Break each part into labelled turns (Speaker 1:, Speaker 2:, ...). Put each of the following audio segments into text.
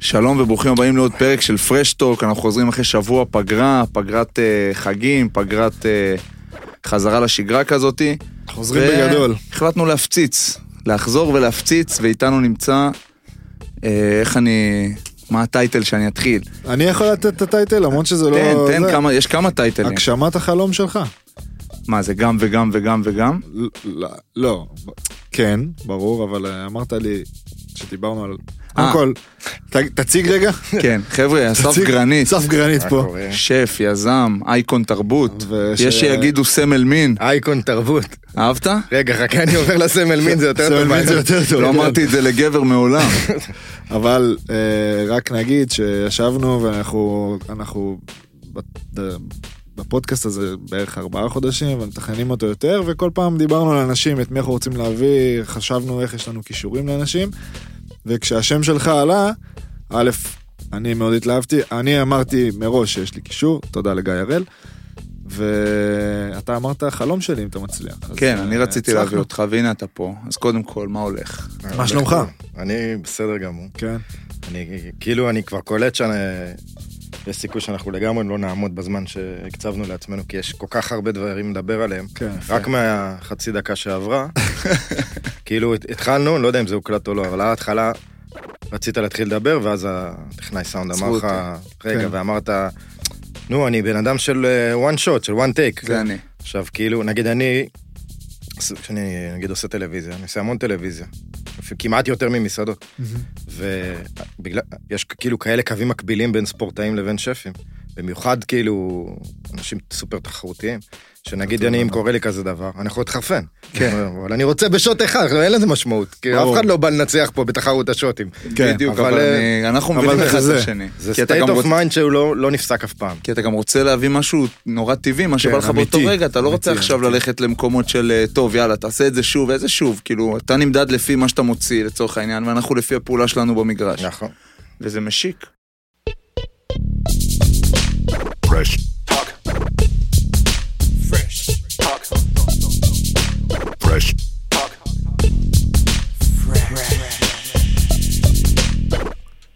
Speaker 1: שלום וברוכים הבאים לעוד פרק של פרשטוק, אנחנו חוזרים אחרי שבוע פגרה, פגרת אה, חגים, פגרת אה, חזרה לשגרה כזאתי.
Speaker 2: חוזרים בגדול.
Speaker 1: החלטנו להפציץ, לחזור ולהפציץ, ואיתנו נמצא, אה, איך אני, מה הטייטל שאני אתחיל?
Speaker 2: אני יכול לתת את הטייטל למרות שזה לא...
Speaker 1: תן, תן
Speaker 2: זה.
Speaker 1: כמה, יש כמה טייטלים.
Speaker 2: הגשמת החלום שלך.
Speaker 1: מה זה גם וגם וגם וגם?
Speaker 2: ל- ל- לא, ב- כן, ברור, אבל אה, אמרת לי שדיברנו על... קודם
Speaker 1: אה.
Speaker 2: כל, ת- תציג רגע.
Speaker 1: כן, חבר'ה, אסף
Speaker 2: תציג-
Speaker 1: גרנית,
Speaker 2: אסף גרנית פה.
Speaker 1: שף, יזם, אייקון תרבות,
Speaker 2: וש-
Speaker 1: יש שיגידו סמל מין,
Speaker 3: אייקון תרבות.
Speaker 1: אהבת?
Speaker 3: רגע, חכה, אני עובר לסמל מין, זה יותר
Speaker 2: סמל
Speaker 3: טוב.
Speaker 2: מין זה יותר טוב. כן.
Speaker 1: לא אמרתי את זה לגבר מעולם.
Speaker 2: אבל אה, רק נגיד שישבנו ואנחנו אנחנו בת- בפודקאסט הזה בערך ארבעה חודשים ומתכננים אותו יותר וכל פעם דיברנו על אנשים את מי אנחנו רוצים להביא חשבנו איך יש לנו כישורים לאנשים וכשהשם שלך עלה א' אני מאוד התלהבתי אני אמרתי מראש שיש לי קישור תודה לגיא הראל. ואתה אמרת חלום שלי אם אתה מצליח. אז,
Speaker 1: כן,
Speaker 2: אה,
Speaker 1: אני רציתי להביא
Speaker 2: הצלחנו.
Speaker 1: אותך, והנה אתה פה. אז קודם כל, מה הולך?
Speaker 2: מה שלומך?
Speaker 3: אה, לא. אני בסדר גמור.
Speaker 2: כן.
Speaker 3: אני כאילו, אני כבר קולט שיש סיכוי שאנחנו לגמרי לא נעמוד בזמן שהקצבנו לעצמנו, כי יש כל כך הרבה דברים לדבר עליהם.
Speaker 2: כן.
Speaker 3: רק מהחצי דקה שעברה, כאילו הת- התחלנו, לא יודע אם זה הוקלט או לא, אבל ההתחלה רצית להתחיל לדבר, ואז הטכנאי סאונד
Speaker 1: עצרו
Speaker 3: אמר לך,
Speaker 2: כן.
Speaker 3: רגע, ואמרת, נו, אני בן אדם של אה, one shot, של one
Speaker 2: כן.
Speaker 3: take.
Speaker 1: זה אני.
Speaker 3: עכשיו, כאילו, נגיד אני, כשאני נגיד עושה טלוויזיה, אני עושה המון טלוויזיה, אפילו כמעט יותר ממסעדות,
Speaker 2: כן.
Speaker 3: ובגלל, יש כאילו כאלה קווים מקבילים בין ספורטאים לבין שפים, במיוחד כאילו אנשים סופר תחרותיים, שנגיד אני, אם קורה לי כזה דבר, אני יכול להתחרפן.
Speaker 1: נכון. כן.
Speaker 3: אבל אני רוצה בשוט אחד, לא, אין לזה משמעות, כי אף
Speaker 1: ברור.
Speaker 3: אחד לא בא לנצח פה בתחרות השוטים.
Speaker 1: כן, בדיוק,
Speaker 3: אבל, אה,
Speaker 1: אבל אני- אנחנו מבינים
Speaker 2: אה, אבל
Speaker 1: אחד את
Speaker 2: זה-
Speaker 1: השני.
Speaker 3: זה
Speaker 1: כי אתה גם
Speaker 3: state of
Speaker 1: רוצ-
Speaker 3: mind שהוא לא לא נפסק אף פעם.
Speaker 1: כי אתה גם רוצה להביא משהו נורא טבעי, מה שבא לך באותו
Speaker 2: כן, אמיתי.
Speaker 1: רגע, אתה לא רוצה
Speaker 2: אמיתי,
Speaker 1: עכשיו ללכת למקומות של אה, טוב, יאללה, תעשה את זה שוב, איזה שוב, כאילו, אתה נמדד לפי מה שאתה מוציא לצורך העניין, ואנחנו לפי הפעולה שלנו במגרש.
Speaker 3: נכון.
Speaker 1: וזה משיק.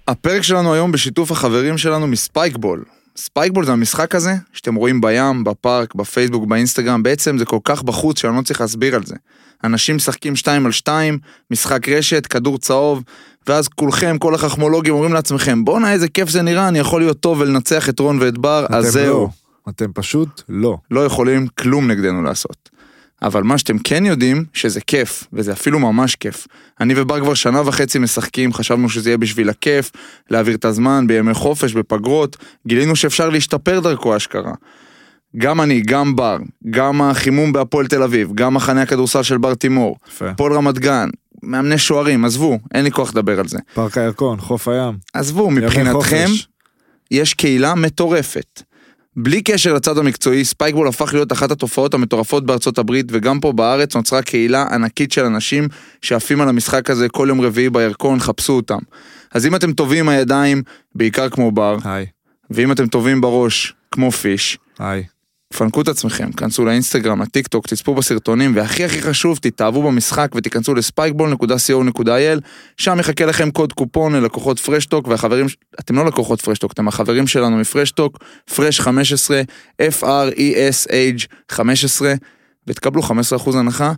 Speaker 1: הפרק שלנו היום בשיתוף החברים שלנו מספייקבול. ספייקבול זה המשחק הזה שאתם רואים בים, בפארק, בפייסבוק, באינסטגרם, בעצם זה כל כך בחוץ שאני לא צריך להסביר על זה. אנשים משחקים שתיים על שתיים, משחק רשת, כדור צהוב, ואז כולכם, כל החכמולוגים אומרים לעצמכם, בואנה איזה כיף זה נראה, אני יכול להיות טוב ולנצח את רון ואת בר, אז
Speaker 2: אתם
Speaker 1: זהו.
Speaker 2: לא. אתם פשוט לא.
Speaker 1: לא יכולים כלום נגדנו לעשות. אבל מה שאתם כן יודעים, שזה כיף, וזה אפילו ממש כיף. אני ובר כבר שנה וחצי משחקים, חשבנו שזה יהיה בשביל הכיף, להעביר את הזמן, בימי חופש, בפגרות, גילינו שאפשר להשתפר דרכו אשכרה. גם אני, גם בר, גם החימום בהפועל תל אביב, גם מחנה הכדורסל של בר תימור,
Speaker 2: יפה.
Speaker 1: הפועל רמת גן, מאמני שוערים, עזבו, אין לי כוח לדבר על זה.
Speaker 2: פארק הירקון, חוף הים.
Speaker 1: עזבו,
Speaker 2: ימי
Speaker 1: מבחינתכם,
Speaker 2: חופש.
Speaker 1: יש קהילה מטורפת. בלי קשר לצד המקצועי, ספייקבול הפך להיות אחת התופעות המטורפות בארצות הברית, וגם פה בארץ נוצרה קהילה ענקית של אנשים שעפים על המשחק הזה כל יום רביעי בירקון, חפשו אותם. אז אם אתם טובים עם הידיים, בעיקר כמו בר,
Speaker 2: היי,
Speaker 1: ואם אתם טובים בראש, כמו פיש,
Speaker 2: היי.
Speaker 1: תפנקו את עצמכם, כנסו לאינסטגרם, לטיק טוק, תצפו בסרטונים, והכי הכי חשוב, תתאהבו במשחק ותיכנסו לספייקבול.co.il, שם יחכה לכם קוד קופון ללקוחות פרשטוק, והחברים, ש- אתם לא לקוחות פרשטוק, אתם החברים שלנו מפרשטוק, פרש 15, E F-R-E-S-H 15, ותקבלו 15% הנחה,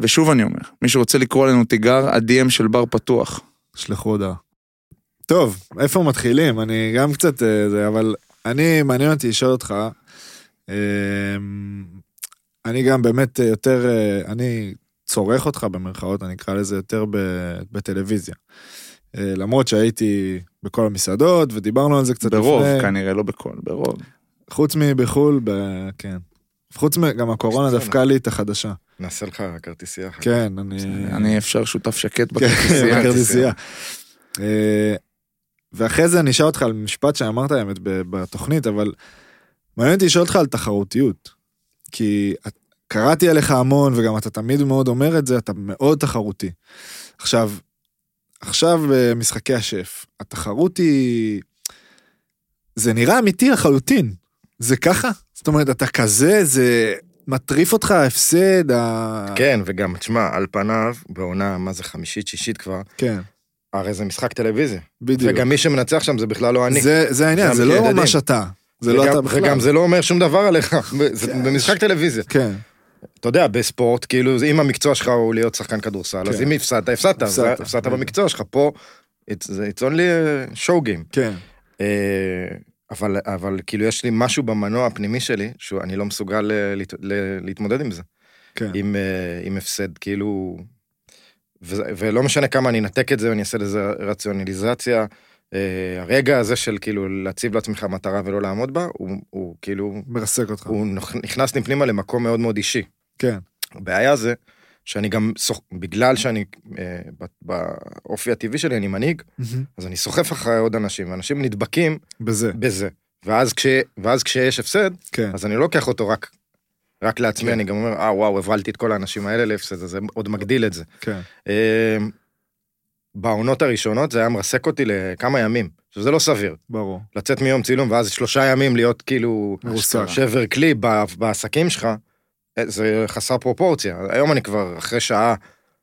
Speaker 1: ושוב אני אומר, מי שרוצה לקרוא לנו תיגר, ה-DM של בר פתוח.
Speaker 2: שלחו הודעה. טוב, איפה מתחילים? אני גם קצת אה, זה, אבל אני, מעניין אותי לשאול אותך, אה, אני גם באמת אה, יותר, אה, אני צורך אותך במרכאות, אני אקרא לזה יותר ב- בטלוויזיה. אה, למרות שהייתי בכל המסעדות, ודיברנו על זה קצת
Speaker 1: ברוב,
Speaker 2: לפני.
Speaker 1: כנראה, לא בכל, ברוב.
Speaker 2: חוץ מבחול, ב... כן. חוץ מ... גם הקורונה
Speaker 3: בסדר.
Speaker 2: דפקה לי את החדשה.
Speaker 3: נעשה לך כרטיסייה אחת.
Speaker 2: כן, אני...
Speaker 1: אני אפשר שותף שקט
Speaker 2: כן,
Speaker 1: בכרטיסייה.
Speaker 2: בכרטיסייה. אה, ואחרי זה אני אשאל אותך על משפט שאמרת האמת ב- בתוכנית, אבל מעניין אותי לשאול אותך על תחרותיות. כי את- קראתי עליך המון, וגם אתה תמיד מאוד אומר את זה, אתה מאוד תחרותי. עכשיו, עכשיו במשחקי השף, התחרות היא... זה נראה אמיתי לחלוטין. זה ככה? זאת אומרת, אתה כזה, זה מטריף אותך ההפסד, ה...
Speaker 3: כן, וגם, תשמע, על פניו, בעונה, מה זה, חמישית, שישית כבר,
Speaker 2: כן.
Speaker 3: הרי זה משחק טלוויזיה.
Speaker 2: בדיוק.
Speaker 3: וגם מי שמנצח שם זה בכלל לא אני.
Speaker 2: זה- זה העניין,
Speaker 3: זה
Speaker 2: זה לא
Speaker 3: המקרה,
Speaker 2: ממש אתה. זה לא
Speaker 3: וגם-
Speaker 2: אתה בכלל.
Speaker 3: וגם זה לא אומר שום דבר עליך, זה במשחק טלוויזיה.
Speaker 2: כן,
Speaker 3: אתה יודע, בספורט, כאילו, אם המקצוע שלך הוא להיות שחקן כדורסל, אז
Speaker 2: כן.
Speaker 3: אם הפסדת, הפסדת, אז
Speaker 2: הפסדת.
Speaker 3: הפסדת במקצוע שלך. פה, it's it's only a show game.
Speaker 2: כן.
Speaker 3: אה, אבל, אבל כאילו יש לי משהו במנוע הפנימי שלי, שאני לא מסוגל אה, להת, ל- להתמודד עם זה,
Speaker 2: כן.
Speaker 3: עם, אה, עם הפסד, כאילו... וזה, ולא משנה כמה אני אנתק את זה, אני אעשה לזה רציונליזציה. אה, הרגע הזה של כאילו להציב לעצמך מטרה ולא לעמוד בה, הוא, הוא כאילו,
Speaker 2: מרסק אותך.
Speaker 3: הוא נכ- נכנס לי פנימה למקום מאוד מאוד אישי.
Speaker 2: כן.
Speaker 3: הבעיה זה שאני גם, סוח, בגלל שאני, אה, ב- באופי הטבעי שלי אני מנהיג,
Speaker 2: מהמם.
Speaker 3: אז אני סוחף אחרי עוד אנשים, ואנשים נדבקים
Speaker 2: בזה,
Speaker 3: בזה. ואז, כש, ואז כשיש הפסד,
Speaker 2: כן.
Speaker 3: אז אני לא לוקח אותו רק, רק לעצמי,
Speaker 2: כן.
Speaker 3: אני גם אומר, אה, וואו, הבהלתי את כל האנשים האלה להפסד, אז זה עוד מגדיל את זה.
Speaker 2: כן.
Speaker 3: אה, בעונות הראשונות זה היה מרסק אותי לכמה ימים, שזה לא סביר.
Speaker 2: ברור.
Speaker 3: לצאת מיום צילום ואז שלושה ימים להיות כאילו
Speaker 2: מרוסק.
Speaker 3: שבר כלי ב- בעסקים שלך, אה, זה חסר פרופורציה. היום אני כבר אחרי שעה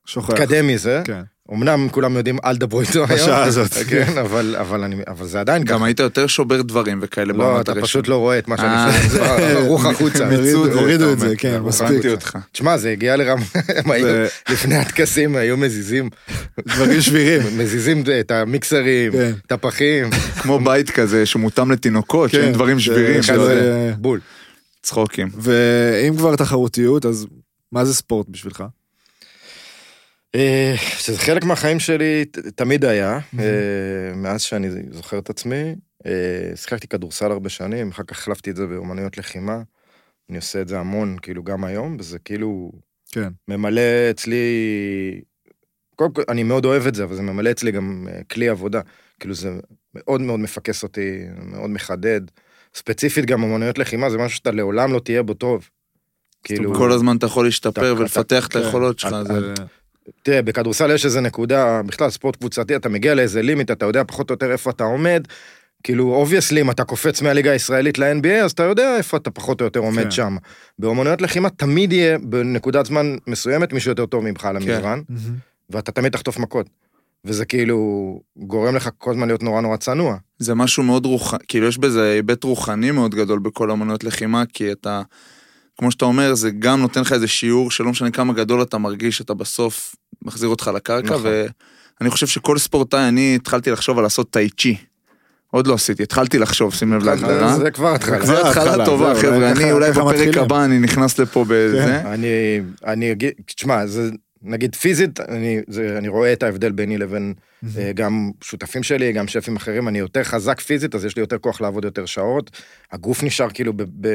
Speaker 2: שוכח.
Speaker 3: מתקדם מזה,
Speaker 2: כן.
Speaker 3: אמנם כולם יודעים אל דברו איתו היום,
Speaker 2: בשעה הזאת.
Speaker 3: כן, אבל, אבל, אני, אבל זה עדיין ככה.
Speaker 1: גם היית יותר שובר דברים וכאלה
Speaker 3: לא,
Speaker 1: בעונת
Speaker 3: אתה
Speaker 1: הראשונה.
Speaker 3: פשוט לא רואה את מה
Speaker 1: אה.
Speaker 3: שאני חושב, הרוח החוצה.
Speaker 2: מריצו
Speaker 1: מיצו את
Speaker 2: הורידו-
Speaker 1: זה,
Speaker 2: הורידו
Speaker 1: אתה
Speaker 2: את זה,
Speaker 1: אומר. לא,
Speaker 2: כן,
Speaker 1: הבנתי
Speaker 2: מספיק.
Speaker 1: אותך.
Speaker 3: תשמע, זה הגיע לרמה, הם היו-
Speaker 2: זה
Speaker 3: לפני הטקסים היו מזיזים,
Speaker 2: דברים שבירים.
Speaker 3: מזיזים את המיקסרים,
Speaker 2: כן.
Speaker 3: את הפחים,
Speaker 1: כמו בית כזה שמותאם לתינוקות,
Speaker 2: כן,
Speaker 1: שאין דברים
Speaker 2: זה-
Speaker 1: שבירים,
Speaker 2: אחד
Speaker 1: אתה
Speaker 2: זה-
Speaker 1: יודע,
Speaker 2: אה,
Speaker 3: בול.
Speaker 1: צחוקים.
Speaker 2: ואם כבר תחרותיות, אז מה זה ספורט בשבילך?
Speaker 3: אה, שזה חלק מהחיים שלי ת- תמיד היה, אה, מאז שאני זוכר את עצמי. אה, שיחקתי כדורסל הרבה שנים, אחר כך החלפתי את זה באומנויות לחימה. אני עושה את זה המון, כאילו, גם היום, וזה כאילו
Speaker 2: כן.
Speaker 3: ממלא אצלי... קודם כל, אני מאוד אוהב את זה, אבל זה ממלא אצלי גם אה, כלי עבודה. כאילו, זה מאוד מאוד מפקס אותי, מאוד מחדד. ספציפית, גם אמנויות לחימה זה משהו שאתה לעולם לא תהיה בו טוב. כאילו,
Speaker 1: כל הזמן אתה יכול להשתפר
Speaker 3: אתה-
Speaker 1: ולפתח את
Speaker 2: כן.
Speaker 1: היכולות שלך.
Speaker 3: אתה-
Speaker 1: זה-
Speaker 3: תראה, בכדורסל יש איזה נקודה, בכלל, ספורט קבוצתי, אתה מגיע לאיזה לימיט, אתה יודע פחות או יותר איפה אתה עומד. כאילו, אובייסלי, אם אתה קופץ מהליגה הישראלית ל-NBA, אז אתה יודע איפה אתה פחות או יותר עומד
Speaker 2: כן.
Speaker 3: שם. באומנויות לחימה תמיד יהיה, בנקודת זמן מסוימת, מישהו יותר טוב ממך על
Speaker 1: כן.
Speaker 3: המזרן.
Speaker 2: מהמם.
Speaker 3: ואתה תמיד תחטוף מכות. וזה כאילו גורם לך כל הזמן להיות נורא נורא צנוע.
Speaker 1: זה משהו מאוד רוחני, כאילו יש בזה היבט רוחני מאוד גדול בכל אמנות לחימה, כי אתה, כמו שאתה אומר, זה גם נותן לך איזה שיעור שלא משנה כמה גדול אתה מרגיש, אתה בסוף מחזיר אותך לקרקע,
Speaker 3: נכון.
Speaker 1: ואני חושב שכל ספורטאי, אני התחלתי לחשוב על לעשות טאי צ'י. עוד לא עשיתי, התחלתי לחשוב, שים
Speaker 2: אה,
Speaker 1: לב להגדרה.
Speaker 3: זה- זה כבר התחלה.
Speaker 1: זו
Speaker 2: ההתחלה,
Speaker 1: התחלה טובה,
Speaker 2: זהו,
Speaker 1: חבר'ה,
Speaker 2: אולי
Speaker 1: אני
Speaker 2: ככה-
Speaker 1: אולי
Speaker 2: ככה
Speaker 1: בפרק
Speaker 2: מתחילים.
Speaker 1: הבא אני נכנס לפה בזה.
Speaker 3: כן. אני, אני אגיד, תשמע, זה, נגיד פיזית, אני, זה, אני רואה את ההבדל ביני לבין אה, גם שותפים שלי, גם שפים אחרים, אני יותר חזק פיזית, אז יש לי יותר כוח לעבוד יותר שעות. הגוף נשאר כאילו ב, ב,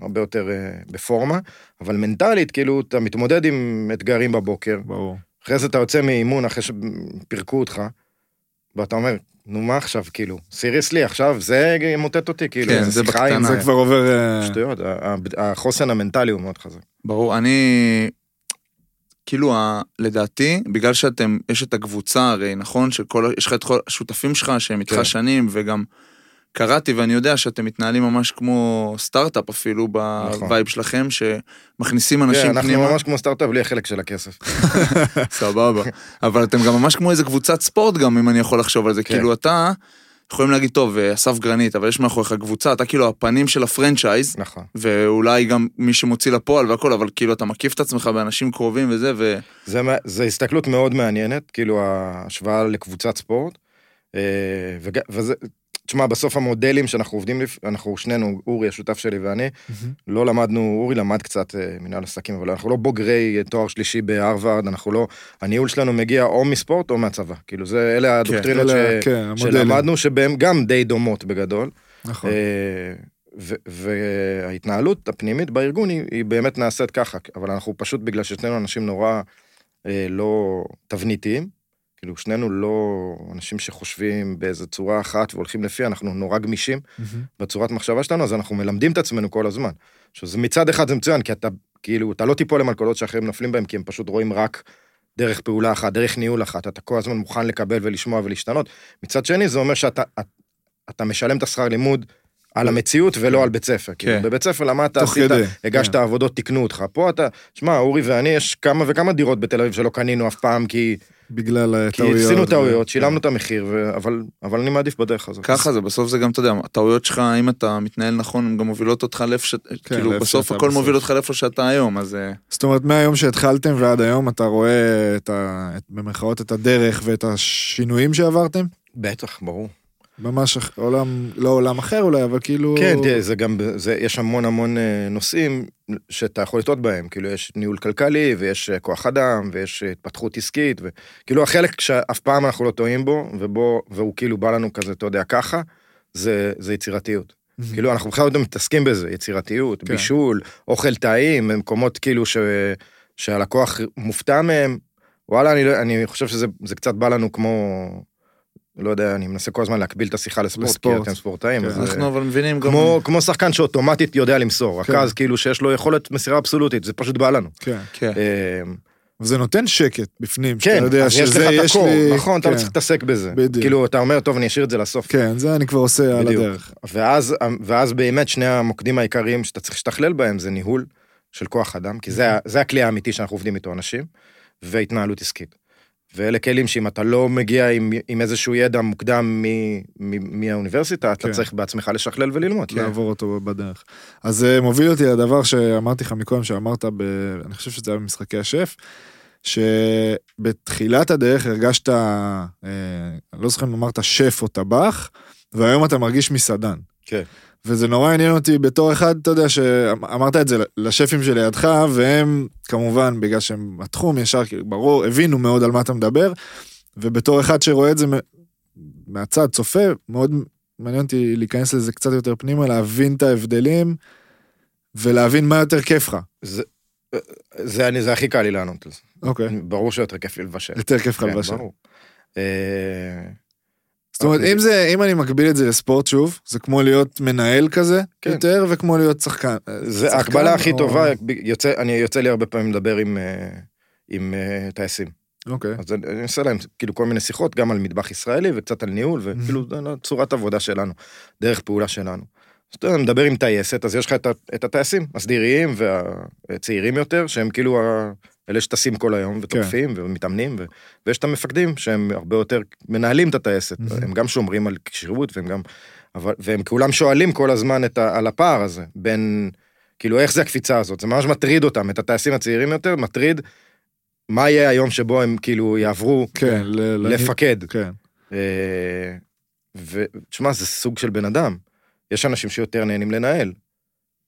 Speaker 3: הרבה יותר אה, בפורמה, אבל מנטלית, כאילו, אתה מתמודד עם אתגרים בבוקר,
Speaker 2: ברור.
Speaker 3: אחרי זה אתה יוצא מאימון, אחרי שפירקו אותך, ואתה אומר, נו מה עכשיו, כאילו, סיריסלי, עכשיו זה ימוטט אותי, כאילו,
Speaker 1: כן, זה
Speaker 3: שיחה עם
Speaker 1: בקטנה.
Speaker 2: זה
Speaker 3: ה-
Speaker 2: כבר עובר... אה,
Speaker 3: שטויות, ה- ה- החוסן המנטלי הוא מאוד חזק.
Speaker 1: ברור, אני... כאילו, ה- לדעתי, בגלל שאתם, יש את הקבוצה הרי, נכון? שכל, יש לך את כל השותפים שלך שהם איתך
Speaker 3: כן.
Speaker 1: שנים, וגם קראתי ואני יודע שאתם מתנהלים ממש כמו סטארט-אפ אפילו, בווייב שלכם, שמכניסים
Speaker 3: כן,
Speaker 1: אנשים
Speaker 3: אנחנו
Speaker 1: פנימה,
Speaker 3: ממש כמו סטארט-אפ בלי החלק של הכסף.
Speaker 1: סבבה. אבל אתם גם ממש כמו איזה קבוצת ספורט גם, אם אני יכול לחשוב על זה.
Speaker 3: כן.
Speaker 1: כאילו, אתה, יכולים להגיד, טוב, אה, אסף גרנית, אבל יש מאחוריך קבוצה, אתה כאילו הפנים של הפרנצ'ייז,
Speaker 3: נכון.
Speaker 1: ואולי גם מי שמוציא לפועל והכל, אבל כאילו, אתה מקיף את עצמך באנשים קרובים וזה, ו...
Speaker 3: זה, מה- זה הסתכלות מאוד מעניינת, כאילו ההשוואה לקבוצת ספורט. אה, וג- וזה, תשמע, בסוף המודלים שאנחנו עובדים, לפ- אנחנו שנינו, אורי השותף שלי ואני,
Speaker 2: מהמם.
Speaker 3: לא למדנו, אורי למד קצת אה, מנהל עסקים, אבל אנחנו לא בוגרי אה, תואר שלישי בהרווארד, אנחנו לא, הניהול שלנו מגיע או מספורט או מהצבא, כאילו זה, אלה הדוקטרינות
Speaker 2: אלה-
Speaker 3: ש...
Speaker 2: כן, המודלים.
Speaker 3: שלמדנו, שהן גם די דומות בגדול.
Speaker 2: נכון.
Speaker 3: אה, ו- וההתנהלות הפנימית בארגון היא, היא באמת נעשית ככה, אבל אנחנו פשוט, בגלל ששנינו אנשים נורא אה, לא תבניתיים, כאילו שנינו לא אנשים שחושבים באיזה צורה אחת והולכים לפיה, אנחנו נורא גמישים
Speaker 2: מהמם.
Speaker 3: בצורת מחשבה שלנו, אז אנחנו מלמדים את עצמנו כל הזמן. עכשיו, זה מצד אחד זה מצוין, כי אתה, כאילו, אתה לא תיפול למלכודות שאחרים נופלים בהם, כי הם פשוט רואים רק דרך פעולה אחת, דרך ניהול אחת, אתה כל הזמן מוכן לקבל ולשמוע ולהשתנות. מצד שני, זה אומר שאתה את- אתה משלם את השכר לימוד על המציאות ולא על בית ספר. כאילו, בבית ספר למדת,
Speaker 2: כן. תוך
Speaker 3: עשית,
Speaker 2: כדי. כן.
Speaker 3: הגשת עבודות, תיקנו אותך. פה אתה, שמע, אורי ואני, יש כמה וכמה דירות בתל אביב שלא קנינו אף פעם, כי
Speaker 2: בגלל כן.
Speaker 3: כי עשינו
Speaker 2: טעויות.
Speaker 3: טעויות, שילמנו את המחיר, ו- אבל אבל אני מעדיף בדרך הזאת.
Speaker 1: ככה זה, בסוף זה גם, אתה יודע, הטעויות שלך, אם אתה מתנהל נכון, הן גם מובילות אותך לאיפה ש...
Speaker 3: כן,
Speaker 1: כאילו,
Speaker 2: לאיפה
Speaker 1: בסוף
Speaker 2: שאתה
Speaker 1: הכל
Speaker 2: בסוף.
Speaker 1: מוביל אותך לאיפה שאתה היום, אז... אה,
Speaker 2: זאת אומרת, מהיום שהתחלתם ועד היום אתה רואה את ה... את- במרכאות את הדרך ואת השינויים שעברתם?
Speaker 3: בטח, ברור.
Speaker 2: ממש אח- עולם, לא עולם אחר אולי, אבל כאילו...
Speaker 3: כן, תראה, זה גם, זה, יש המון המון אה, נושאים שאתה יכול לטעות בהם, כאילו יש ניהול כלכלי, ויש אה, כוח אדם, ויש אה, התפתחות עסקית, וכאילו החלק שאף פעם אנחנו לא טועים בו, ובו, והוא כאילו בא לנו כזה, אתה יודע, ככה, זה, זה יצירתיות.
Speaker 2: Mhm.
Speaker 3: כאילו אנחנו בכלל לא מתעסקים בזה, יצירתיות,
Speaker 2: כן.
Speaker 3: בישול, אוכל טעים, מקומות כאילו ש, שהלקוח מופתע מהם. וואלה, אני, לא- אני חושב שזה זה קצת בא לנו כמו, לא יודע, אני מנסה כל הזמן להקביל את השיחה לספורט,
Speaker 2: לספורט.
Speaker 3: כי אתם ספורטאים.
Speaker 2: כן.
Speaker 3: אז, אה,
Speaker 1: אנחנו אבל מבינים גם...
Speaker 3: כמו, כמו שחקן שאוטומטית יודע למסור,
Speaker 2: כן.
Speaker 3: רכז כאילו שיש לו יכולת מסירה אבסולוטית, זה פשוט בא לנו.
Speaker 2: כן.
Speaker 1: כן.
Speaker 3: אה,
Speaker 2: וזה נותן שקט בפנים,
Speaker 3: כן,
Speaker 2: שאתה יודע
Speaker 3: אז יש
Speaker 2: שזה,
Speaker 3: לך את
Speaker 2: יש
Speaker 3: הקור,
Speaker 2: לי...
Speaker 3: נכון, אתה לא
Speaker 2: כן.
Speaker 3: צריך להתעסק בזה.
Speaker 2: בדיוק.
Speaker 3: כאילו, אתה אומר, טוב, אני אשאיר את זה לסוף.
Speaker 2: כן, זה אני כבר עושה על
Speaker 3: בדיוק.
Speaker 2: הדרך.
Speaker 3: ואז, אמ, ואז באמת שני המוקדים העיקריים שאתה צריך להשתכלל בהם זה ניהול של כוח אדם, כי זה, ה- זה הכלי האמיתי שאנחנו עובדים איתו אנשים, והתנהלות עסקית. ואלה כלים שאם אתה לא מגיע עם, עם איזשהו ידע מוקדם מ, מ, מהאוניברסיטה, אתה
Speaker 2: כן.
Speaker 3: צריך בעצמך לשכלל וללמוד.
Speaker 2: כן. לעבור אותו בדרך. אז זה מוביל אותי לדבר שאמרתי לך מקודם, שאמרת, ב... אני חושב שזה היה במשחקי השף, שבתחילת הדרך הרגשת, אה, אני לא זוכר אם אמרת שף או טבח, והיום אתה מרגיש מסעדן.
Speaker 3: כן.
Speaker 2: וזה נורא עניין אותי בתור אחד, אתה יודע, שאמרת את זה לשפים שלידך, והם כמובן, בגלל שהם התחום ישר, כאילו, ברור, הבינו מאוד על מה אתה מדבר, ובתור אחד שרואה את זה מ- מהצד, צופה, מאוד מעניין אותי להיכנס לזה קצת יותר פנימה, להבין את ההבדלים, ולהבין מה יותר כיף לך.
Speaker 3: זה, אני, זה הכי קל לי לענות על זה.
Speaker 2: אוקיי.
Speaker 3: ברור שיותר כיף לי לבשל.
Speaker 2: יותר כיף לך
Speaker 3: כן,
Speaker 2: לבשל.
Speaker 3: ברור. אוקיי. אה,
Speaker 2: זאת אומרת, אם זה, אם אני מקביל את זה לספורט שוב, זה כמו להיות מנהל כזה,
Speaker 3: כן.
Speaker 2: יותר, וכמו להיות שחקן. אה,
Speaker 3: זה
Speaker 2: שחקן
Speaker 3: ההקבלה הכי
Speaker 2: או-
Speaker 3: טובה, יוצא- אני יוצא לי הרבה פעמים לדבר עם, אה, עם אה, טייסים.
Speaker 2: אוקיי.
Speaker 3: אז אני אני עושה להם כאילו כל מיני שיחות, גם על מטבח ישראלי וקצת על ניהול, וכאילו זה לא צורת עבודה שלנו, דרך פעולה שלנו. אז אתה יודע, מדבר עם טייסת, אז יש לך את ה- את הטייסים, הסדיריים והצעירים יותר, שהם כאילו ה- אלה שטסים כל היום ותוקפים ומתאמנים, ו- ויש את המפקדים שהם הרבה יותר מנהלים את הטייסת,
Speaker 2: Mhm.
Speaker 3: הם גם שומרים על כשירות והם גם, אבל, והם כולם שואלים כל הזמן את ה, על הפער הזה, בין, כאילו איך זה הקפיצה הזאת, זה ממש מטריד אותם, את הטייסים הצעירים יותר, מטריד מה יהיה היום שבו הם כאילו יעברו
Speaker 2: כן, ל- ל-
Speaker 3: לפקד.
Speaker 2: כן.
Speaker 3: אה, ותשמע, זה סוג של בן אדם. יש אנשים שיותר נהנים לנהל.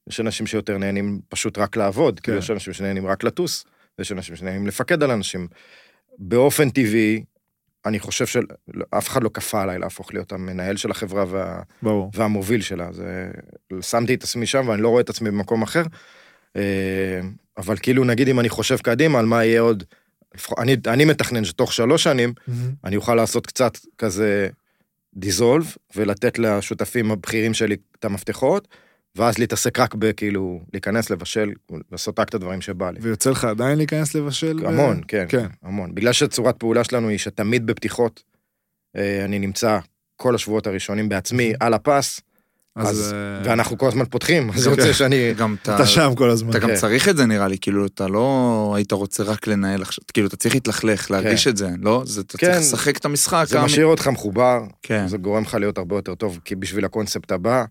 Speaker 3: יש אנשים שיותר נהנים פשוט רק לעבוד,
Speaker 2: כן.
Speaker 3: כן. יש אנשים שנהנים רק לטוס, ויש אנשים שנהנים לפקד על אנשים. באופן טבעי, אני חושב שאף אחד לא כפה עליי להפוך להיות המנהל של החברה וה...
Speaker 2: ברור.
Speaker 3: והמוביל שלה. זה... שמתי את עצמי שם ואני לא רואה את עצמי במקום אחר. אה, אבל כאילו, נגיד אם אני חושב קדימה על מה יהיה עוד, לפחות- אני, אני מתכנן שתוך שלוש שנים אני אוכל לעשות קצת כזה דיזולב, ולתת לשותפים הבכירים שלי את המפתחות, ואז להתעסק רק בכאילו, להיכנס, לבשל, לעשות רק את הדברים שבא לי.
Speaker 2: ויוצא לך עדיין להיכנס לבשל? ב-
Speaker 3: המון, כן,
Speaker 2: כן.
Speaker 3: המון. בגלל שצורת פעולה שלנו היא שתמיד בפתיחות, אה, אני נמצא כל השבועות הראשונים בעצמי על הפס,
Speaker 2: אז
Speaker 3: אז-
Speaker 2: אה,
Speaker 3: ואנחנו כל הזמן פותחים, אז
Speaker 1: כן.
Speaker 3: יוצא שאני...
Speaker 1: גם אתה...
Speaker 2: אתה שם כל הזמן.
Speaker 1: אתה גם
Speaker 3: אה, כן.
Speaker 1: צריך את זה נראה לי, כאילו אתה לא היית רוצה רק לנהל עכשיו, כאילו אתה צריך להתלכלך, להרגיש את זה, לא? זה- אתה
Speaker 3: כן.
Speaker 1: צריך לשחק את המשחק.
Speaker 3: זה
Speaker 1: האמי-
Speaker 3: משאיר אותך מחובר,
Speaker 1: כן.
Speaker 3: זה גורם לך להיות הרבה יותר טוב, כי בשביל הקונספט הבא.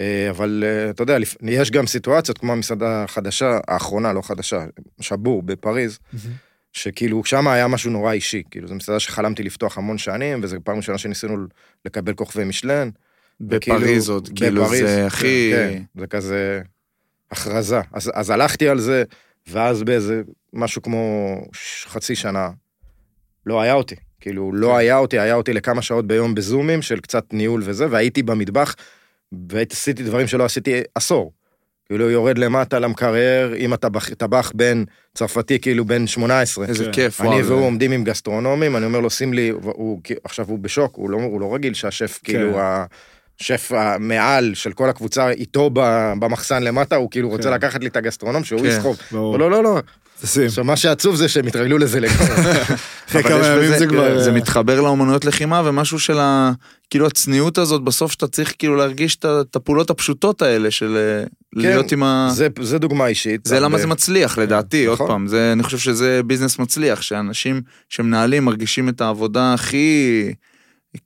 Speaker 3: אה, אבל אה, אתה יודע, לפ- יש גם סיטואציות כמו המסעדה החדשה, האחרונה, לא חדשה, שבור בפריז,
Speaker 2: מהמם.
Speaker 3: שכאילו שם היה משהו נורא אישי, כאילו זו מסעדה שחלמתי לפתוח המון שנים, וזו פעם ראשונה שניסינו לקבל כוכבי משלן.
Speaker 1: בפריז עוד, כאילו
Speaker 3: בפריז,
Speaker 1: זה הכי...
Speaker 3: כן, זה כזה הכרזה. אז, אז הלכתי על זה, ואז באיזה משהו כמו ש- חצי שנה, לא היה אותי. כאילו,
Speaker 1: כן.
Speaker 3: לא היה אותי, היה אותי לכמה שעות ביום בזומים של קצת ניהול וזה, והייתי במטבח, ועשיתי דברים שלא עשיתי עשור. כאילו, יורד למטה למקרר עם הטבח טבח בן צרפתי, כאילו בן 18.
Speaker 1: איזה
Speaker 2: כן.
Speaker 1: כיף, וואו.
Speaker 3: אני
Speaker 1: זה-
Speaker 3: והוא עומדים עם גסטרונומים, אני אומר לו, שים לי, הוא- הוא, כי- עכשיו הוא בשוק, הוא לא, הוא לא רגיל שהשף,
Speaker 2: כן.
Speaker 3: כאילו, השף המעל של כל הקבוצה איתו ב- במחסן למטה, הוא כאילו רוצה
Speaker 2: כן.
Speaker 3: לקחת לי את הגסטרונום, שהוא
Speaker 1: כן.
Speaker 3: יסחוב.
Speaker 2: ברור.
Speaker 3: אבל לא, לא, לא,
Speaker 2: תשים.
Speaker 3: עכשיו, מה שעצוב זה שהם התרגלו לזה לגמרי.
Speaker 2: אחרי
Speaker 1: אבל
Speaker 2: כמה
Speaker 1: יש
Speaker 2: ימים
Speaker 1: בזה-
Speaker 2: זה כבר...
Speaker 1: זה
Speaker 2: אה,
Speaker 1: מתחבר לאומנויות לחימה ומשהו של ה... כאילו הצניעות הזאת בסוף שאתה צריך כאילו להרגיש את ה- את הפעולות הפשוטות האלה של אה,
Speaker 2: כן,
Speaker 1: להיות עם ה...
Speaker 3: זה- זה דוגמה אישית.
Speaker 1: זה
Speaker 3: אבל-
Speaker 1: למה זה מצליח לדעתי,
Speaker 2: כן,
Speaker 1: עוד
Speaker 3: נכון.
Speaker 1: פעם, זה, אני חושב שזה ביזנס מצליח, שאנשים שמנהלים מרגישים את העבודה הכי,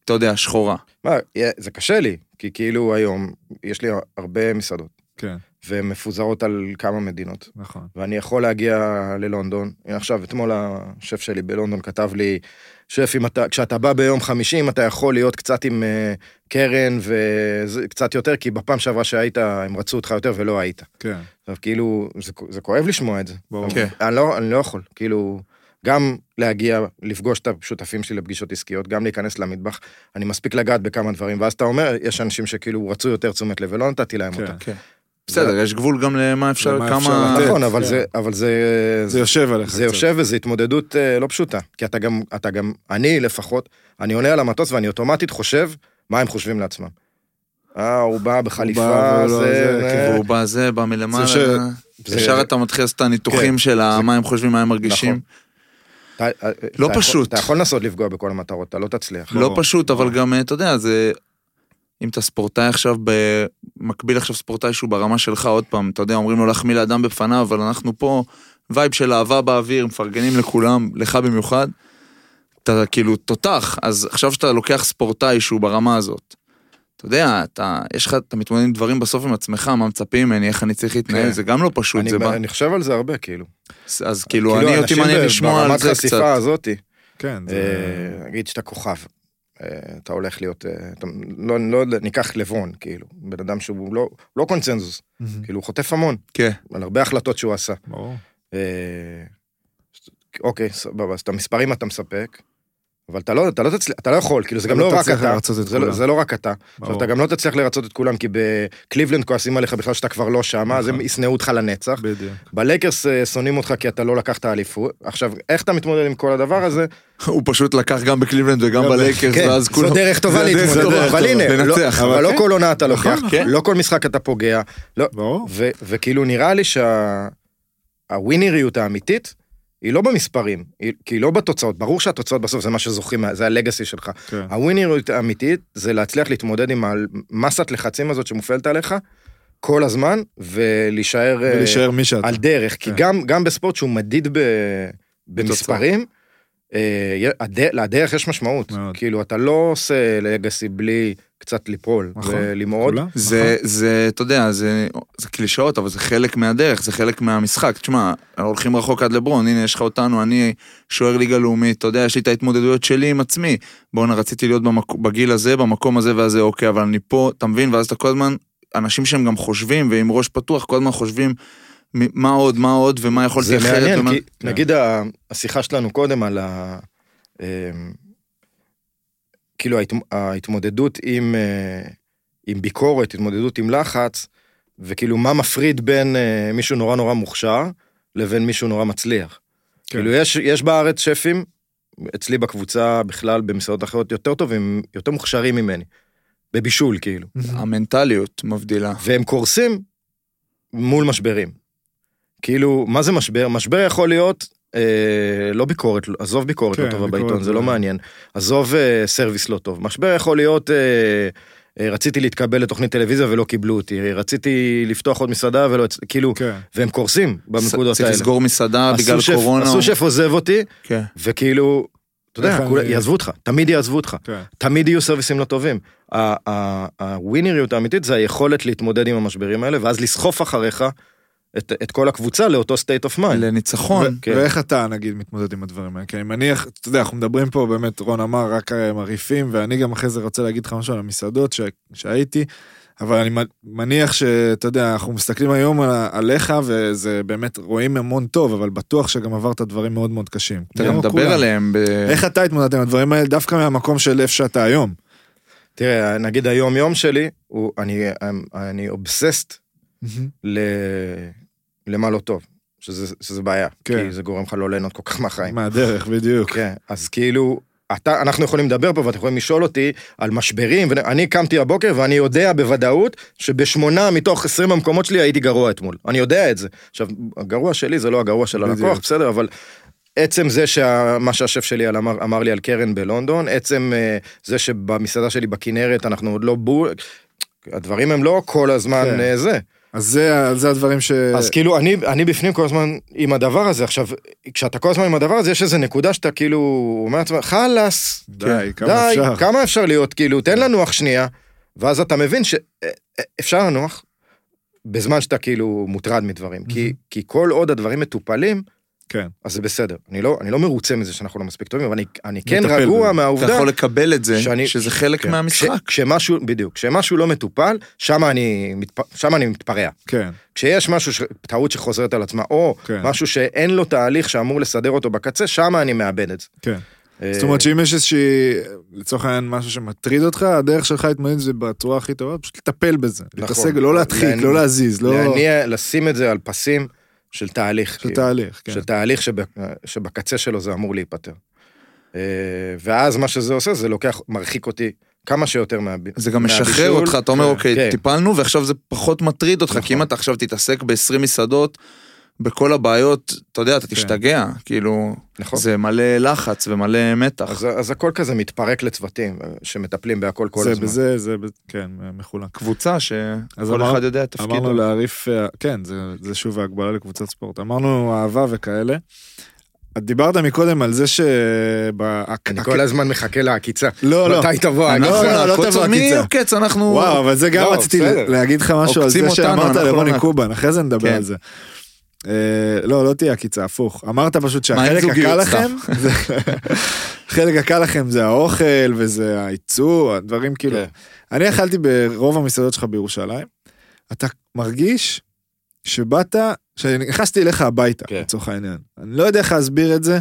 Speaker 1: אתה יודע, שחורה.
Speaker 3: מה, זה קשה לי, כי כאילו היום יש לי הרבה מסעדות,
Speaker 2: כן,
Speaker 3: והן מפוזרות על כמה מדינות.
Speaker 2: נכון.
Speaker 3: ואני יכול להגיע ללונדון. הנה עכשיו, אתמול השף שלי בלונדון כתב לי, שף, אם אתה, כשאתה בא ביום חמישים, אתה יכול להיות קצת עם אה, קרן וקצת יותר, כי בפעם שעברה שהיית, הם רצו אותך יותר ולא היית.
Speaker 2: כן.
Speaker 3: עכשיו, כאילו, זה, כ- זה כואב לשמוע את זה.
Speaker 2: ברור.
Speaker 1: כן.
Speaker 3: אני לא, אני לא יכול, כאילו, גם להגיע, לפגוש את השותפים שלי לפגישות עסקיות, גם להיכנס למטבח, אני מספיק לגעת בכמה דברים, ואז אתה אומר, יש אנשים שכאילו רצו יותר תשומת לב, ולא נתתי להם
Speaker 2: כן.
Speaker 3: אותה.
Speaker 1: בסדר, יש גבול גם למה אפשר,
Speaker 2: למה אפשר
Speaker 1: כמה...
Speaker 2: לתת.
Speaker 3: נכון, אבל
Speaker 2: כן.
Speaker 3: זה, אבל זה,
Speaker 2: זה יושב עליך קצת.
Speaker 3: זה יושב וזו התמודדות אה, לא פשוטה, כי אתה גם, אתה גם, אני לפחות, אני עולה על המטוס ואני אוטומטית חושב מה הם חושבים לעצמם. אה, הוא בא
Speaker 2: בא,
Speaker 3: בחליפה,
Speaker 2: הוא לא
Speaker 3: זה...
Speaker 2: זה,
Speaker 3: זה-
Speaker 2: כן.
Speaker 1: והוא בא זה, בא מלמעלה,
Speaker 2: ש- כן,
Speaker 3: זה-
Speaker 1: ישר אתה מתחיל לעשות את הניתוחים של ה-
Speaker 3: זה-
Speaker 1: מה הם חושבים, מה הם מרגישים.
Speaker 3: נכון. אתה- אה,
Speaker 1: לא
Speaker 3: אתה יכול-
Speaker 1: פשוט.
Speaker 3: אתה יכול לנסות לפגוע בכל המטרות, אתה לא תצליח.
Speaker 1: לא
Speaker 2: ברור,
Speaker 1: פשוט, אבל
Speaker 2: ברור.
Speaker 1: גם, אתה יודע, זה... אם אתה ספורטאי עכשיו, במקביל עכשיו ספורטאי שהוא ברמה שלך, עוד פעם, אתה יודע, אומרים לו להחמיא לאדם בפניו, אבל אנחנו פה, וייב של אהבה באוויר, מפרגנים לכולם, לך במיוחד. אתה כאילו תותח, אז עכשיו שאתה לוקח ספורטאי שהוא ברמה הזאת, אתה יודע, אתה, יש לך, אתה מתמודד עם דברים בסוף עם עצמך, מה מצפים ממני, איך אני צריך להתנהל,
Speaker 3: כן.
Speaker 1: זה גם לא פשוט,
Speaker 3: אני-
Speaker 1: זה בא,
Speaker 3: אני חושב על זה הרבה, כאילו.
Speaker 1: אז, אז כאילו, אני אותי
Speaker 3: אנשים
Speaker 1: מעניין
Speaker 3: ב-
Speaker 1: לשמוע על
Speaker 3: ברמת
Speaker 1: זה קצת.
Speaker 3: חשיפה הזאתי,
Speaker 2: כן, זה...
Speaker 3: אה, נגיד שאתה כוכב, אה, אתה הולך להיות, אה, אתה- לא, לא, ניקח לברון, כאילו, בן אדם שהוא לא- לא קונצנזוס,
Speaker 2: מהמם. כן,
Speaker 3: כאילו, הוא חוטף המון,
Speaker 1: כן,
Speaker 3: על הרבה החלטות שהוא עשה.
Speaker 2: ברור.
Speaker 3: אה, אוקיי, סבבה, אז את המספרים אתה מספק, אבל אתה לא, אתה לא, תצל... אתה לא יכול, כאילו זה גם
Speaker 2: אתה
Speaker 3: לא
Speaker 2: לא
Speaker 3: רק
Speaker 2: תצליח
Speaker 3: אתה,
Speaker 2: לרצות את
Speaker 3: זה, לא,
Speaker 2: כולם.
Speaker 3: זה לא רק אתה, עכשיו,
Speaker 2: ברור.
Speaker 3: אתה גם לא תצליח לרצות את כולם, כי בקליבלנד כועסים עליך בכלל שאתה כבר לא שמה, אז הם
Speaker 2: נכון.
Speaker 3: ישנאו אותך לנצח,
Speaker 2: בדיוק.
Speaker 3: בלייקרס אה, שונאים אותך כי אתה לא לקחת אליפות, עכשיו, איך אתה מתמודד עם כל הדבר הזה,
Speaker 1: הוא פשוט לקח גם בקליבלנד וגם
Speaker 2: גם ב-
Speaker 1: בלייקרס,
Speaker 3: כן,
Speaker 1: ואז
Speaker 3: זו
Speaker 1: כולם...
Speaker 3: דרך טובה
Speaker 1: זה הדרך
Speaker 3: להתמודד,
Speaker 1: הטובה.
Speaker 3: אבל הנה, לא-
Speaker 1: לנצח,
Speaker 3: אבל
Speaker 2: אבל
Speaker 3: לא
Speaker 2: כן.
Speaker 3: כל עונה אתה לוקח,
Speaker 1: כן.
Speaker 3: לא כל משחק אתה פוגע, לא,
Speaker 2: ברור.
Speaker 3: ו- וכאילו נראה לי שהווינריות האמיתית היא לא במספרים, היא, כי היא לא בתוצאות, ברור שהתוצאות בסוף זה מה שזוכרים, זה הלגאסי שלך.
Speaker 2: כן.
Speaker 3: הווינריות האמיתית זה להצליח להתמודד עם המסת לחצים הזאת שמופעלת עליך כל הזמן, ולהישאר אה,
Speaker 2: ולהישאר מי שאתה.
Speaker 3: על דרך, כי
Speaker 2: כן.
Speaker 3: גם, גם בספורט שהוא מדיד ב, במספרים, אה, הד- לדרך יש משמעות,
Speaker 2: מאוד.
Speaker 3: כאילו אתה לא עושה לגאסי בלי קצת ליפול
Speaker 2: נכון,
Speaker 3: ולמעוד.
Speaker 2: כולם?
Speaker 1: זה,
Speaker 3: נכון.
Speaker 1: זה, אתה יודע, זה, זה קלישאות, אבל זה חלק מהדרך, זה חלק מהמשחק. תשמע, הולכים רחוק עד לברון, הנה, יש לך אותנו, אני שוער ליגה לאומית, אתה יודע, יש לי את ההתמודדויות שלי עם עצמי. בואנה, רציתי להיות במק... בגיל הזה, במקום הזה והזה, אוקיי, אבל אני פה, אתה מבין? ואז אתה כל הזמן, אנשים שהם גם חושבים, ועם ראש פתוח, כל הזמן חושבים, מ- מה עוד, מה עוד, ומה יכולתי
Speaker 3: זה
Speaker 1: אחרת.
Speaker 3: מעניין,
Speaker 1: ומה...
Speaker 3: כי נגיד ה- השיחה שלנו קודם על ה... אמ, כאילו ההתמ- ההתמודדות עם, אה, עם ביקורת, התמודדות עם לחץ, וכאילו מה מפריד בין אה, מישהו נורא נורא מוכשר לבין מישהו נורא מצליח.
Speaker 2: כן.
Speaker 3: כאילו יש, יש בארץ שפים, אצלי בקבוצה בכלל, במסעדות אחרות, יותר טובים, יותר מוכשרים ממני. בבישול כאילו.
Speaker 1: המנטליות מבדילה.
Speaker 3: והם קורסים מול משברים. כאילו, מה זה משבר? משבר יכול להיות, אה, לא ביקורת, עזוב ביקורת
Speaker 2: כן,
Speaker 3: לא טובה
Speaker 2: ביקורת
Speaker 3: בעיתון, זה
Speaker 2: זה-
Speaker 3: לא מעניין. עזוב אה, סרוויס לא טוב. משבר יכול להיות, אה, אה, רציתי להתקבל לתוכנית טלוויזיה ולא קיבלו אותי, רציתי לפתוח עוד מסעדה ולא, הצ- כאילו,
Speaker 2: כן.
Speaker 3: והם קורסים בנקודות
Speaker 1: צריך
Speaker 3: האלה.
Speaker 1: לסגור מסעדה
Speaker 3: הסו
Speaker 1: בגלל
Speaker 3: שף-
Speaker 1: קורונה.
Speaker 3: הסו שף עוזב אותי,
Speaker 1: כן.
Speaker 3: וכאילו, אתה יודע,
Speaker 2: איך
Speaker 3: כולם-
Speaker 2: אני-
Speaker 3: יעזבו אותך, תמיד יעזבו אותך.
Speaker 2: כן.
Speaker 3: תמיד יהיו סרוויסים לא טובים. ה- ה- הווינריות האמיתית זה היכולת להתמודד עם המשברים האלה, ואז לסחוף אחריך את, את כל הקבוצה לאותו state of mind.
Speaker 1: לניצחון.
Speaker 3: כן.
Speaker 2: ואיך אתה, נגיד, מתמודד עם הדברים האלה? כי אני מניח, אתה יודע, אנחנו מדברים פה, באמת, רון אמר, רק אה, מרעיפים, ואני גם אחרי זה רוצה להגיד לך משהו על המסעדות ש- שהייתי, אבל אני מ- מניח שאתה יודע, אנחנו מסתכלים היום על- עליך, וזה באמת, רואים המון טוב, אבל בטוח שגם עברת דברים מאוד מאוד קשים.
Speaker 1: אתה גם
Speaker 2: כמו
Speaker 1: מדבר
Speaker 2: כולם.
Speaker 1: עליהם. ב...
Speaker 2: איך אתה התמודדת עם הדברים האלה, דווקא מהמקום של איפה שאתה היום?
Speaker 3: תראה, נגיד היום יום שלי, הוא, אני, אני אובססט ל, למה לא טוב, שזה, שזה בעיה,
Speaker 2: כן.
Speaker 3: כי זה גורם לך לא ליהנות כל כך מהחיים.
Speaker 2: מהדרך, בדיוק.
Speaker 3: כן, אז כאילו, אתה, אנחנו יכולים לדבר פה ואתם יכולים לשאול אותי על משברים, ואני קמתי הבוקר ואני יודע בוודאות שבשמונה מתוך 20 המקומות שלי הייתי גרוע אתמול. אני יודע את זה. עכשיו, הגרוע שלי זה לא הגרוע של הלקוח,
Speaker 2: בדיוק.
Speaker 3: בסדר, אבל עצם זה שה- מה שהשף שלי על- אמר, אמר לי על קרן בלונדון, עצם אה, זה שבמסעדה שלי בכנרת אנחנו עוד לא בול, הדברים הם לא כל הזמן
Speaker 2: כן.
Speaker 3: אה, זה.
Speaker 2: אז זה, זה הדברים ש...
Speaker 3: אז כאילו אני אני בפנים כל הזמן עם הדבר הזה עכשיו כשאתה כל הזמן עם הדבר הזה יש איזה נקודה שאתה כאילו אומר לעצמך חלאס
Speaker 2: די, כמה
Speaker 3: כן. די
Speaker 2: אפשר.
Speaker 3: כמה אפשר להיות כאילו תן לנוח שנייה ואז אתה מבין שאפשר לנוח בזמן שאתה כאילו מוטרד מדברים כי כי כל עוד הדברים מטופלים
Speaker 2: כן.
Speaker 3: אז זה בסדר אני לא אני לא מרוצה מזה שאנחנו לא מספיק טובים אבל אני אני כן
Speaker 2: נטפל
Speaker 3: רגוע
Speaker 2: בזה.
Speaker 1: אתה
Speaker 3: מהעובדה
Speaker 1: יכול לקבל את זה,
Speaker 3: שאני-
Speaker 1: שזה חלק
Speaker 3: כן.
Speaker 1: מהמשחק.
Speaker 3: כש- כשמשהו בדיוק כשמשהו לא מטופל שם אני מתפ- שם אני מתפרע.
Speaker 2: כן.
Speaker 3: כשיש משהו, ש... טעות שחוזרת על עצמה, או
Speaker 2: כן.
Speaker 3: כן. משהו שאין לו תהליך שאמור לסדר אותו בקצה, שם אני מאבד את זה.
Speaker 2: כן.
Speaker 3: אה,
Speaker 2: זאת אומרת שאם יש איזושהי, לצורך העניין, משהו שמטריד אותך, הדרך שלך להתמודד עם זה בצורה הכי טובה, פשוט לטפל בזה. להתעסק, לא להדחיק,
Speaker 3: להניע-
Speaker 2: לא להזיז, לא...
Speaker 3: נכון. להניע, לשים את זה על פסים של תהליך.
Speaker 2: של
Speaker 3: כאילו.
Speaker 2: תהליך, כן.
Speaker 3: של תהליך שב... שבקצה שלו זה אמור להיפתר. אה, ואז מה שזה עושה, זה לוקח, מרחיק אותי כמה שיותר מה...
Speaker 1: זה גם משחרר
Speaker 3: מהבישול.
Speaker 1: אותך, אתה אומר,
Speaker 3: כן,
Speaker 1: אוקיי,
Speaker 3: כן.
Speaker 1: טיפלנו, ועכשיו זה פחות מטריד אותך, כי אם
Speaker 3: נכון.
Speaker 1: אתה עכשיו תתעסק ב-20 מסעדות, בכל הבעיות, אתה יודע, אתה
Speaker 2: כן.
Speaker 1: תשתגע, כאילו,
Speaker 3: נכון.
Speaker 1: זה מלא לחץ ומלא מתח.
Speaker 3: אז, אז הכל כזה מתפרק לצוותים אה, שמטפלים בהכל כל
Speaker 2: זה
Speaker 3: הזמן.
Speaker 2: בזה, זה, ב- כן, מחולק.
Speaker 1: קבוצה שכל
Speaker 2: אמר-
Speaker 1: אחד יודע את תפקידו.
Speaker 2: אמרנו להעריף, אה, כן, זה, זה שוב ההגבלה לקבוצת ספורט. אמרנו אהבה וכאלה. את דיברת מקודם על זה ש... ב-
Speaker 3: אני
Speaker 2: הק-
Speaker 3: כל הזמן מחכה לעקיצה.
Speaker 2: לא, לא.
Speaker 3: מתי תבוא
Speaker 2: אני-
Speaker 3: העקיצה?
Speaker 1: אנחנו
Speaker 2: לא, לא, לא
Speaker 1: נעקוץ-
Speaker 2: תבוא
Speaker 1: מי
Speaker 2: עקיצה.
Speaker 1: עוקץ? אנחנו...
Speaker 2: וואו, אבל זה גם
Speaker 3: לא,
Speaker 2: רציתי
Speaker 3: בסדר.
Speaker 2: להגיד לך משהו על
Speaker 1: עוקצים
Speaker 2: זה
Speaker 1: אותנו,
Speaker 2: שאמרת
Speaker 1: אנחנו
Speaker 2: לרוני
Speaker 1: לא נעק-
Speaker 2: קובן, אחרי זה נדבר
Speaker 1: כן.
Speaker 2: על זה. אה, לא, לא תהיה עקיצה, הפוך. אמרת פשוט
Speaker 1: מה עם
Speaker 2: שהחלק הקל
Speaker 1: זוגיות,
Speaker 2: לכם, זה- חלק הקל לכם זה האוכל וזה הייצוא, הדברים כאילו.
Speaker 3: כן.
Speaker 2: אני אכלתי ברוב המסעדות שלך בירושלים, אתה מרגיש שבאת, שנכנסתי אליך הביתה,
Speaker 3: כן.
Speaker 2: לצורך העניין. אני לא יודע איך להסביר את זה,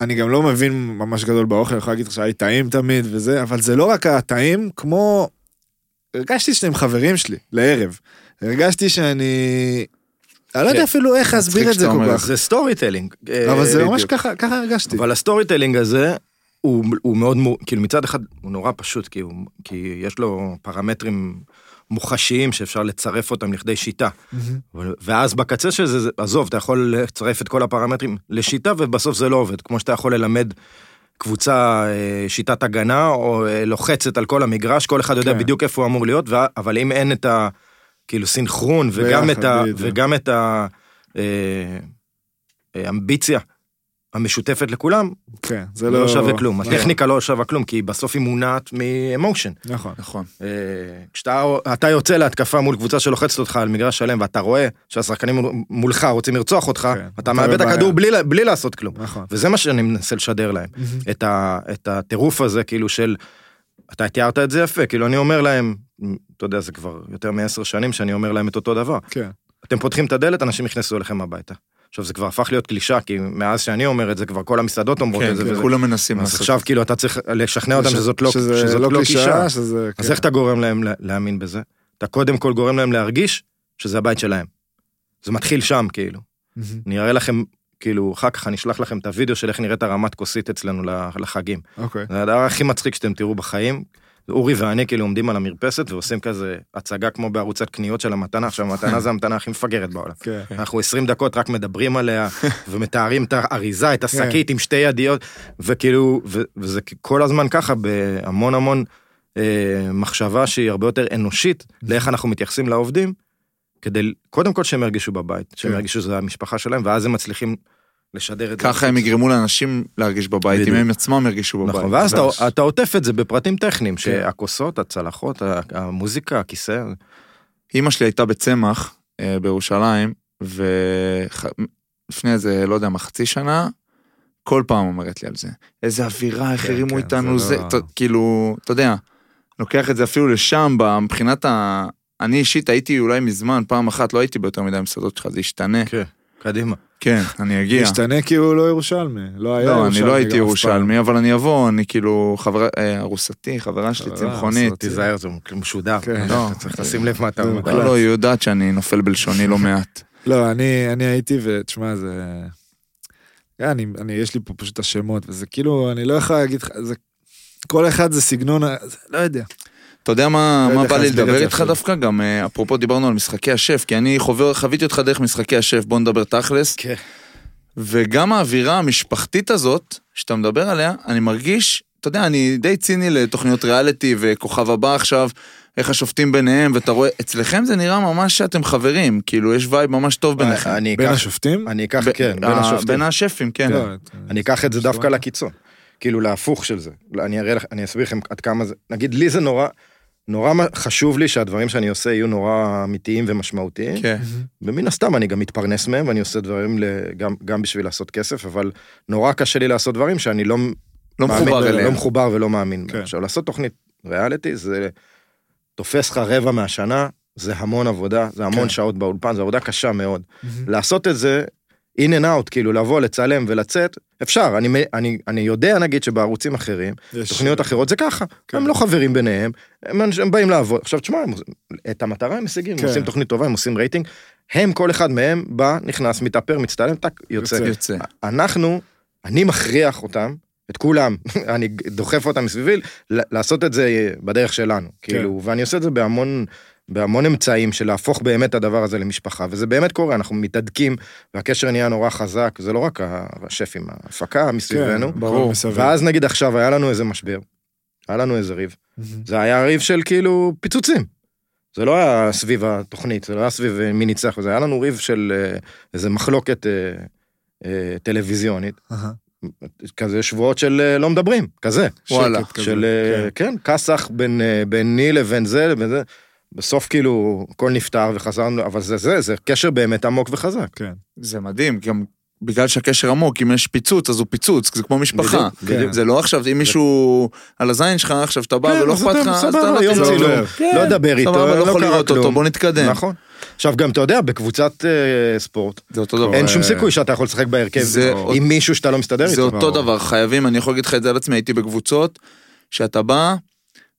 Speaker 2: אני גם לא מבין ממש גדול באוכל, אני יכול להגיד לך שהיה לי טעים תמיד וזה, אבל זה לא רק הטעים, כמו... הרגשתי שאתם חברים שלי, לערב. הרגשתי שאני... אני לא יודע
Speaker 3: כן.
Speaker 2: אפילו איך להסביר את זה
Speaker 1: שאתה
Speaker 2: כל
Speaker 1: אומר
Speaker 2: כך,
Speaker 3: זה אה, סטורי טלינג.
Speaker 2: אבל זה ממש
Speaker 3: בדיוק.
Speaker 2: ככה, ככה הרגשתי.
Speaker 3: אבל הסטורי טלינג הזה הוא, הוא מאוד, מו- כאילו מצד אחד הוא נורא פשוט, כי, הוא, כי יש לו פרמטרים מוחשיים שאפשר לצרף אותם לכדי שיטה.
Speaker 2: מהמם.
Speaker 3: אבל- ואז בקצה של זה, זה- עזוב, אתה יכול לצרף את כל הפרמטרים לשיטה ובסוף זה לא עובד, כמו שאתה יכול ללמד. קבוצה, אה, שיטת הגנה, או אה, לוחצת על כל המגרש, כל אחד יודע
Speaker 2: כן.
Speaker 3: בדיוק איפה הוא אמור להיות, וה- אבל אם אין את ה... כאילו סינכרון, וגם
Speaker 2: ביחד,
Speaker 3: את ה...
Speaker 2: בדיוק.
Speaker 3: וגם את ה... אה, אה, אמביציה המשותפת לכולם,
Speaker 2: כן, זה
Speaker 3: זה
Speaker 2: לא...
Speaker 3: לא שווה כלום.
Speaker 2: לא.
Speaker 3: הטכניקה לא שווה כלום, כי בסוף היא מונעת מאמושן.
Speaker 2: נכון.
Speaker 1: נכון.
Speaker 3: אה, כשאתה אתה יוצא להתקפה מול קבוצה שלוחצת אותך על מגרש שלם, ואתה רואה שהשחקנים מול- מולך רוצים לרצוח אותך,
Speaker 2: כן, אתה
Speaker 3: אתה מאבד את
Speaker 2: בבעיה.
Speaker 3: הכדור בלי ל- בלי לעשות כלום.
Speaker 2: נכון.
Speaker 3: וזה מה שאני מנסה לשדר להם. את, ה, את הטירוף הזה, כאילו של... אתה תיארת את זה יפה, כאילו אני אומר להם, אתה יודע, זה כבר יותר מעשר שנים שאני אומר להם את אותו דבר.
Speaker 2: כן,
Speaker 3: אתם פותחים את הדלת, אנשים נכנסו אליכם הביתה. עכשיו, זה כבר הפך להיות קלישה, כי מאז שאני אומר את זה, כבר כל המסעדות אומרות
Speaker 1: כן,
Speaker 3: את זה.
Speaker 1: כן,
Speaker 3: וזה-
Speaker 1: כולם מנסים
Speaker 3: אז
Speaker 1: לעשות.
Speaker 3: עכשיו כאילו אתה צריך לשכנע אותם שזאת לא
Speaker 2: שזה
Speaker 3: שזאת
Speaker 2: לא
Speaker 3: לא
Speaker 2: קלישאה, שזה...
Speaker 3: אז
Speaker 2: כן.
Speaker 3: איך אתה גורם להם לה- להאמין בזה? אתה קודם כל גורם להם להרגיש שזה הבית שלהם. זה מתחיל שם כאילו.
Speaker 2: מהמם.
Speaker 3: אני אראה לכם, כאילו, אחר כך אני אשלח לכם את הוידאו של איך נראית הרמת כוסית אצלנו לח- לחגים.
Speaker 2: אוקיי.
Speaker 3: זה הדבר הכי מצחיק שאתם תראו בחיים. אורי ואני כאילו עומדים על המרפסת ועושים כזה הצגה כמו בערוצת קניות של המתנה. עכשיו, המתנה זה המתנה הכי מפגרת בעולם.
Speaker 2: כן.
Speaker 3: אנחנו 20 דקות רק מדברים עליה, ומתארים את האריזה, את השקית
Speaker 1: כן.
Speaker 3: עם שתי ידיות, וכאילו, ו- וזה כל הזמן ככה בהמון המון אה, מחשבה שהיא הרבה יותר אנושית לאיך אנחנו מתייחסים לעובדים, כדי קודם כל שהם ירגישו בבית, שהם
Speaker 2: כן.
Speaker 3: ירגישו שזו המשפחה שלהם, ואז הם מצליחים לשדר את זה.
Speaker 1: ככה הם יגרמו לאנשים להרגיש בבית, אם
Speaker 3: בדיוק.
Speaker 1: הם עצמם ירגישו בבית.
Speaker 3: נכון, ואז
Speaker 1: ממש. כן.
Speaker 3: אתה, אתה עוטף את זה בפרטים טכניים, שהכוסות, הצלחות, ה- המוזיקה, הכיסא,
Speaker 1: אימא שלי הייתה בצמח אה, בירושלים, ולפני איזה, לא יודע, מה, חצי שנה, כל פעם אומרת לי על זה. איזה אווירה, איך
Speaker 3: כן,
Speaker 1: הרימו
Speaker 3: כן,
Speaker 1: איתנו,
Speaker 3: זה
Speaker 1: זה,
Speaker 3: לא-
Speaker 1: אתה- כאילו, אתה יודע, לוקח את זה אפילו לשם, ב- מבחינת ה... אני אישית הייתי אולי מזמן, פעם אחת, לא הייתי ביותר מדי מסעדות שלך, זה ישתנה.
Speaker 3: כן. קדימה.
Speaker 1: כן, אני אגיע.
Speaker 2: השתנה כי הוא לא ירושלמי, לא היה
Speaker 1: לא, אני
Speaker 2: ירושלמי
Speaker 1: לא
Speaker 2: גם אף
Speaker 1: הייתי
Speaker 2: פעם.
Speaker 1: ירושלמי, אבל אני אבוא, אני כאילו, חברה, אה, ארוסתי, חברה שלי
Speaker 2: חברה,
Speaker 1: צמחונית.
Speaker 2: ארוסתי.
Speaker 3: תיזהר, זה משודר.
Speaker 2: כן.
Speaker 1: לא.
Speaker 3: אתה צריך לשים לב מה אתה אומר.
Speaker 1: לא, לא, היא יודעת שאני נופל בלשוני לא מעט.
Speaker 2: לא, אני, אני הייתי, ותשמע, זה... כן, אני, אני, יש לי פה פשוט את השמות, וזה כאילו, אני לא יכול להגיד לך, זה... כל אחד זה סגנון, ה- זה, לא יודע.
Speaker 1: אתה יודע מה,
Speaker 2: לא
Speaker 1: מה
Speaker 2: יודע
Speaker 1: בא
Speaker 2: איך
Speaker 1: לי
Speaker 2: להסביר את
Speaker 1: לדבר
Speaker 2: זה
Speaker 1: איתך
Speaker 2: אפילו.
Speaker 1: דווקא? גם אה, אפרופו דיברנו על משחקי השף, כי אני חובר, חוויתי אותך דרך משחקי השף, בוא נדבר תכלס.
Speaker 3: כן.
Speaker 1: וגם האווירה המשפחתית הזאת, שאתה מדבר עליה, אני מרגיש, אתה יודע, אני די ציני לתוכניות ריאליטי וכוכב הבא עכשיו, איך השופטים ביניהם, ואתה רואה, אצלכם זה נראה ממש שאתם חברים, כאילו יש וייב ממש טוב ביניכם.
Speaker 3: אני
Speaker 2: בין
Speaker 3: אקח-
Speaker 2: השופטים?
Speaker 3: אני אקח,
Speaker 1: ב-
Speaker 3: כן, בין
Speaker 1: ה-
Speaker 3: השופטים.
Speaker 1: בין השפים, כן.
Speaker 2: לא, את-
Speaker 3: אני אקח את זה
Speaker 2: שמה.
Speaker 3: דווקא לקיצון. כאילו להפוך של זה. לא, אני אראה לך, אני אסביר לכם עד כמה זה, נגיד לי זה נורא, נורא מה- חשוב לי שהדברים שאני עושה יהיו נורא אמיתיים ומשמעותיים.
Speaker 1: כן.
Speaker 3: ומן הסתם אני גם מתפרנס מהם ואני עושה דברים ל- גם, גם בשביל לעשות כסף, אבל נורא קשה לי לעשות דברים שאני לא,
Speaker 1: לא
Speaker 3: מאמין בהם,
Speaker 1: מחובר
Speaker 3: לא
Speaker 1: אליהם.
Speaker 3: מחובר ולא מאמין.
Speaker 2: כן.
Speaker 3: בהם. עכשיו לעשות תוכנית ריאליטי זה תופס לך רבע מהשנה, זה המון עבודה, זה המון
Speaker 2: כן.
Speaker 3: שעות באולפן, זו עבודה קשה מאוד. לעשות את זה in and out, כאילו לבוא, לצלם ולצאת, אפשר, אני, מ- אני, אני יודע נגיד שבערוצים אחרים,
Speaker 2: יש-
Speaker 3: תוכניות אחרות זה ככה,
Speaker 2: כן.
Speaker 3: הם לא חברים ביניהם, הם, אנש- הם באים לעבוד. עכשיו תשמע, הם, את המטרה הם משיגים,
Speaker 2: כן.
Speaker 3: הם עושים תוכנית טובה, הם עושים רייטינג, הם כל אחד מהם בא, נכנס, מתאפר, מצטלם, טק, יוצא.
Speaker 2: יוצא.
Speaker 1: יוצא.
Speaker 3: אנחנו, אני מכריח אותם, את כולם, אני דוחף אותם מסביבי, ל- לעשות את זה אה, בדרך שלנו, כאילו, ואני עושה את זה בהמון... בהמון אמצעים של להפוך באמת את הדבר הזה למשפחה, וזה באמת קורה, אנחנו מתהדקים, והקשר נהיה נורא חזק, זה לא רק השפים, ההפקה מסביבנו.
Speaker 2: כן,
Speaker 1: ברור.
Speaker 2: מסביב.
Speaker 3: ואז נגיד עכשיו היה לנו איזה משבר, היה לנו איזה ריב,
Speaker 2: מהמם.
Speaker 3: זה היה ריב של כאילו פיצוצים. זה לא היה סביב התוכנית, זה לא היה סביב אה, מי ניצח, זה היה לנו ריב של אה, איזה מחלוקת אה, אה, טלוויזיונית,
Speaker 2: אהה.
Speaker 3: כזה שבועות של אה, לא מדברים, כזה.
Speaker 1: וואלה.
Speaker 2: שקט כזה.
Speaker 3: של, אה, כן, כסח בין, אה, ביני לבין זה לבין זה. בסוף כאילו הכל נפתר וחזרנו, אבל זה זה, זה קשר באמת עמוק וחזק.
Speaker 2: כן,
Speaker 1: זה מדהים, גם בגלל שהקשר עמוק, אם יש פיצוץ, אז הוא פיצוץ, זה כמו משפחה.
Speaker 3: בדיוק, בדיוק.
Speaker 1: זה לא עכשיו, אם מישהו על הזין שלך עכשיו, שאתה בא
Speaker 3: כן,
Speaker 1: ולא
Speaker 3: אז
Speaker 1: אכפת
Speaker 3: אתה-
Speaker 1: לך, אז
Speaker 3: סבבה,
Speaker 1: אתה לא
Speaker 3: יום
Speaker 1: תזרוק.
Speaker 3: צילום.
Speaker 1: כן,
Speaker 3: לא לדבר איתו,
Speaker 1: סבבה, לא
Speaker 3: לא
Speaker 1: יכול
Speaker 3: קרה
Speaker 1: לראות אותו,
Speaker 3: כלום.
Speaker 1: בוא נתקדם.
Speaker 3: נכון. עכשיו גם, אתה יודע, בקבוצת אה, ספורט,
Speaker 1: זה אותו דבר.
Speaker 3: אין שום סיכוי שאתה יכול לשחק בהרכב
Speaker 1: אה, זה-
Speaker 3: עם מישהו שאתה לא מסתדר
Speaker 1: זה
Speaker 3: איתו.
Speaker 1: אותו דבר, חייבים, אני יכול להגיד לך את זה על עצמי, הייתי בקבוצות, שאתה בא,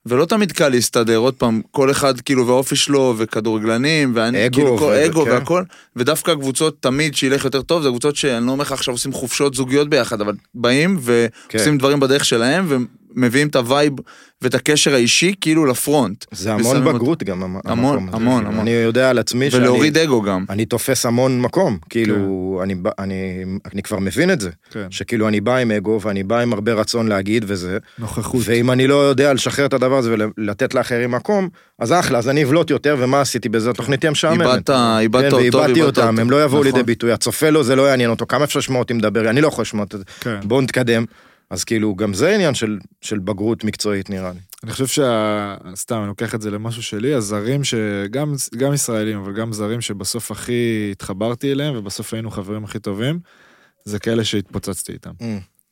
Speaker 1: ולא תמיד קל להסתדר, עוד פעם, כל אחד כאילו והאופי שלו, וכדורגלנים, ואני,
Speaker 3: אגו,
Speaker 1: כאילו, כל-
Speaker 3: ו-
Speaker 1: אגו
Speaker 3: כן.
Speaker 1: והכל, ודווקא הקבוצות תמיד שילך יותר טוב, זה קבוצות שאני לא אומר לך עכשיו עושים חופשות זוגיות ביחד, אבל באים
Speaker 3: כן.
Speaker 1: ועושים דברים בדרך שלהם, ומביאים את הווייב ואת הקשר האישי כאילו לפרונט.
Speaker 3: זה
Speaker 1: ושמים
Speaker 3: המון
Speaker 1: אותו.
Speaker 3: בגרות גם. המ-
Speaker 1: המון,
Speaker 3: המקום הזה.
Speaker 1: המון, המון.
Speaker 3: אני יודע על עצמי שאני...
Speaker 1: ולהוריד אגו גם.
Speaker 3: אני תופס המון מקום, כאילו,
Speaker 1: כן.
Speaker 3: אני, בא- אני, אני כבר מבין את זה,
Speaker 2: כן,
Speaker 3: שכאילו אני בא עם אגו ואני בא עם הרבה רצון להגיד וזה,
Speaker 2: נוכחות.
Speaker 3: ואם אני לא יודע לשחרר את הדבר הזה ולתת לאחרים מקום, אז אחלה, אז אני אבלוט יותר, ומה עשיתי בזה? התוכנית תהיה משעממת.
Speaker 1: איבדת, איבדת
Speaker 3: כן,
Speaker 1: אותו,
Speaker 3: ואיבדתי אותם, הם לא יבואו
Speaker 1: נכון.
Speaker 3: לידי ביטוי, הצופה לו זה לא יעניין אותו, כמה אפשר לשמוע אותי מדבר, אני לא יכול לשמוע את זה,
Speaker 2: כן.
Speaker 3: בואו נתקדם. אז כאילו, גם זה עניין של, של בגרות מקצועית נראה לי.
Speaker 2: אני חושב שה... סתם, אני לוקח את זה למשהו שלי, הזרים שגם גם ישראלים, אבל גם זרים שבסוף הכי התחברתי אליהם, ובסוף היינו חברים הכי טובים, זה כאלה שהתפוצצתי איתם.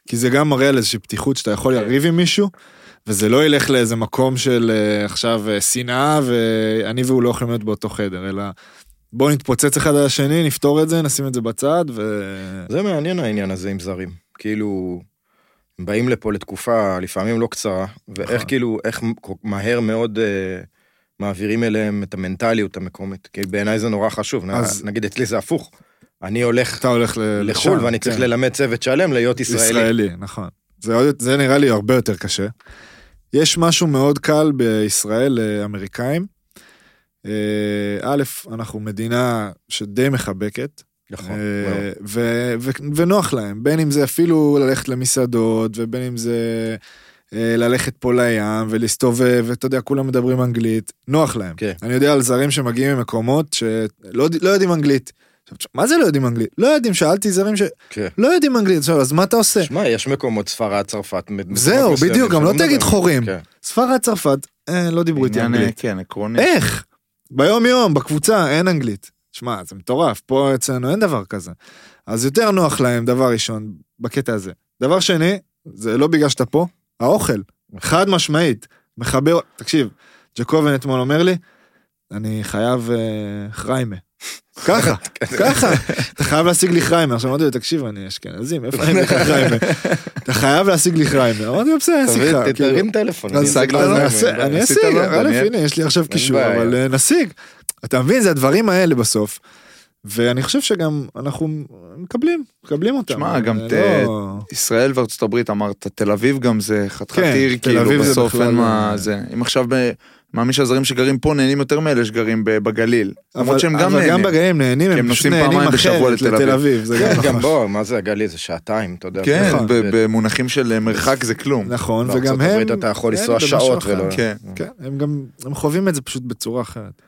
Speaker 2: כי זה גם מראה על איזושהי פתיחות שאתה יכול לריב עם מישהו, וזה לא ילך לאיזה מקום של אה, עכשיו אה, שנאה, ואני והוא לא יכולים להיות באותו חדר, אלא בואו נתפוצץ אחד על השני, נפתור את זה, נשים את זה בצד, ו...
Speaker 3: זה מעניין העניין הזה עם זרים. כאילו, הם באים לפה לתקופה לפעמים לא קצרה, ואיך
Speaker 2: נכון.
Speaker 3: כאילו, איך כל- מהר מאוד אה, מעבירים אליהם את המנטליות המקומית. כי בעיניי זה נורא חשוב. נ-
Speaker 2: אז-
Speaker 3: נגיד, אצלי זה הפוך. אני הולך
Speaker 2: אתה הולך ל-
Speaker 3: לחו"ל
Speaker 2: לשם,
Speaker 3: ואני צריך
Speaker 2: כן.
Speaker 3: ללמד צוות שלם להיות ישראלי.
Speaker 2: ישראלי, נכון. זה, עוד, זה נראה לי הרבה יותר קשה. יש משהו מאוד קל בישראל לאמריקאים. אה, א', אנחנו מדינה שדי מחבקת,
Speaker 3: נכון,
Speaker 2: אה,
Speaker 3: מאוד.
Speaker 2: ו- ו- ונוח להם, בין אם זה אפילו ללכת למסעדות, ובין אם זה אה, ללכת פה לים ולהסתובב, ואתה יודע, כולם מדברים אנגלית, נוח להם.
Speaker 3: כן.
Speaker 2: אני יודע על זרים שמגיעים ממקומות שלא יודע- לא יודעים אנגלית. עכשיו, תשמע, מה זה לא יודעים אנגלית? לא יודעים, שאלתי זרים ש...
Speaker 3: כן.
Speaker 2: לא יודעים אנגלית, עכשיו, אז מה אתה עושה?
Speaker 3: שמע, יש מקומות, ספרד, צרפת, מ-
Speaker 2: כן. זהו,
Speaker 3: מקומות מסוימים
Speaker 2: בדיוק, גם
Speaker 3: שלא
Speaker 2: לא תגיד
Speaker 3: מדברים.
Speaker 2: חורים.
Speaker 3: כן.
Speaker 2: ספרד, צרפת, אה, לא דיברו איתי
Speaker 1: עניין,
Speaker 2: אנגלית.
Speaker 1: כן, עקרוני.
Speaker 2: איך? ביום יום, בקבוצה, אין אנגלית. שמע, זה מטורף, פה אצלנו אין דבר כזה. אז יותר נוח להם, דבר ראשון, בקטע הזה. דבר שני, זה לא בגלל שאתה פה, האוכל, חד משמעית, מחבר, תקשיב, ג'קובן אתמול אומר לי, אני חייב אה, חריימה. ככה, ככה, אתה חייב להשיג לי חריימה. עכשיו אמרתי לו, תקשיב, אני אשכנזים, איפה אני אביא לך חריימה? אתה חייב להשיג לי חריימה. אמרתי לו, בסדר, אני אשיג לך.
Speaker 3: תביא-
Speaker 2: כאילו.
Speaker 3: תרים טלפון.
Speaker 2: אז
Speaker 3: אני אשיג
Speaker 1: לא,
Speaker 2: אז
Speaker 3: לך
Speaker 2: אני
Speaker 1: לא,
Speaker 2: אעשה-
Speaker 3: זמן,
Speaker 2: אני
Speaker 1: עשית
Speaker 2: אשיג,
Speaker 1: לא,
Speaker 2: א'
Speaker 1: דניאל.
Speaker 2: הנה יש לי עכשיו קישור,
Speaker 3: בעיה.
Speaker 2: אבל אה, נשיג. אתה מבין, זה הדברים האלה בסוף. ואני חושב שגם אנחנו מקבלים, מקבלים אותם.
Speaker 1: שמע, גם
Speaker 2: אה,
Speaker 1: ת-
Speaker 2: לא-
Speaker 1: ישראל וארצות הברית אמרת, תל אביב גם זה חתיכת
Speaker 2: כן,
Speaker 1: עיר,
Speaker 2: תל
Speaker 1: כאילו
Speaker 2: אביב זה
Speaker 1: בסוף
Speaker 2: בכלל
Speaker 1: אין מה
Speaker 2: לא-
Speaker 1: זה. אם עכשיו, ב- מאמין שהזרים שגרים פה נהנים יותר מאלה שגרים ב- בגליל. למרות שהם גם
Speaker 2: אבל
Speaker 1: נהנים.
Speaker 2: גם בגליל נהנים,
Speaker 1: כי
Speaker 2: הם
Speaker 1: הם
Speaker 2: פשוט
Speaker 1: נוסעים
Speaker 2: נהנים
Speaker 1: פעמיים בשבוע
Speaker 2: אחרת
Speaker 1: לתל אביב.
Speaker 2: לתל אביב, זה
Speaker 3: כן,
Speaker 2: גם
Speaker 3: גם
Speaker 2: נכון.
Speaker 3: בוא, מה זה הגליל? זה שעתיים, אתה יודע.
Speaker 1: כן,
Speaker 2: נכון.
Speaker 1: ב- במונחים של אה, מרחק זה כלום.
Speaker 2: נכון,
Speaker 3: בארצות
Speaker 2: וגם הם...
Speaker 3: הברית אתה יכול
Speaker 2: הם
Speaker 3: לנסוע
Speaker 2: במשהו
Speaker 3: שעות
Speaker 2: אחר.
Speaker 3: ולא-
Speaker 1: כן.
Speaker 2: כן, הם גם, הם חווים את זה פשוט בצורה אחרת.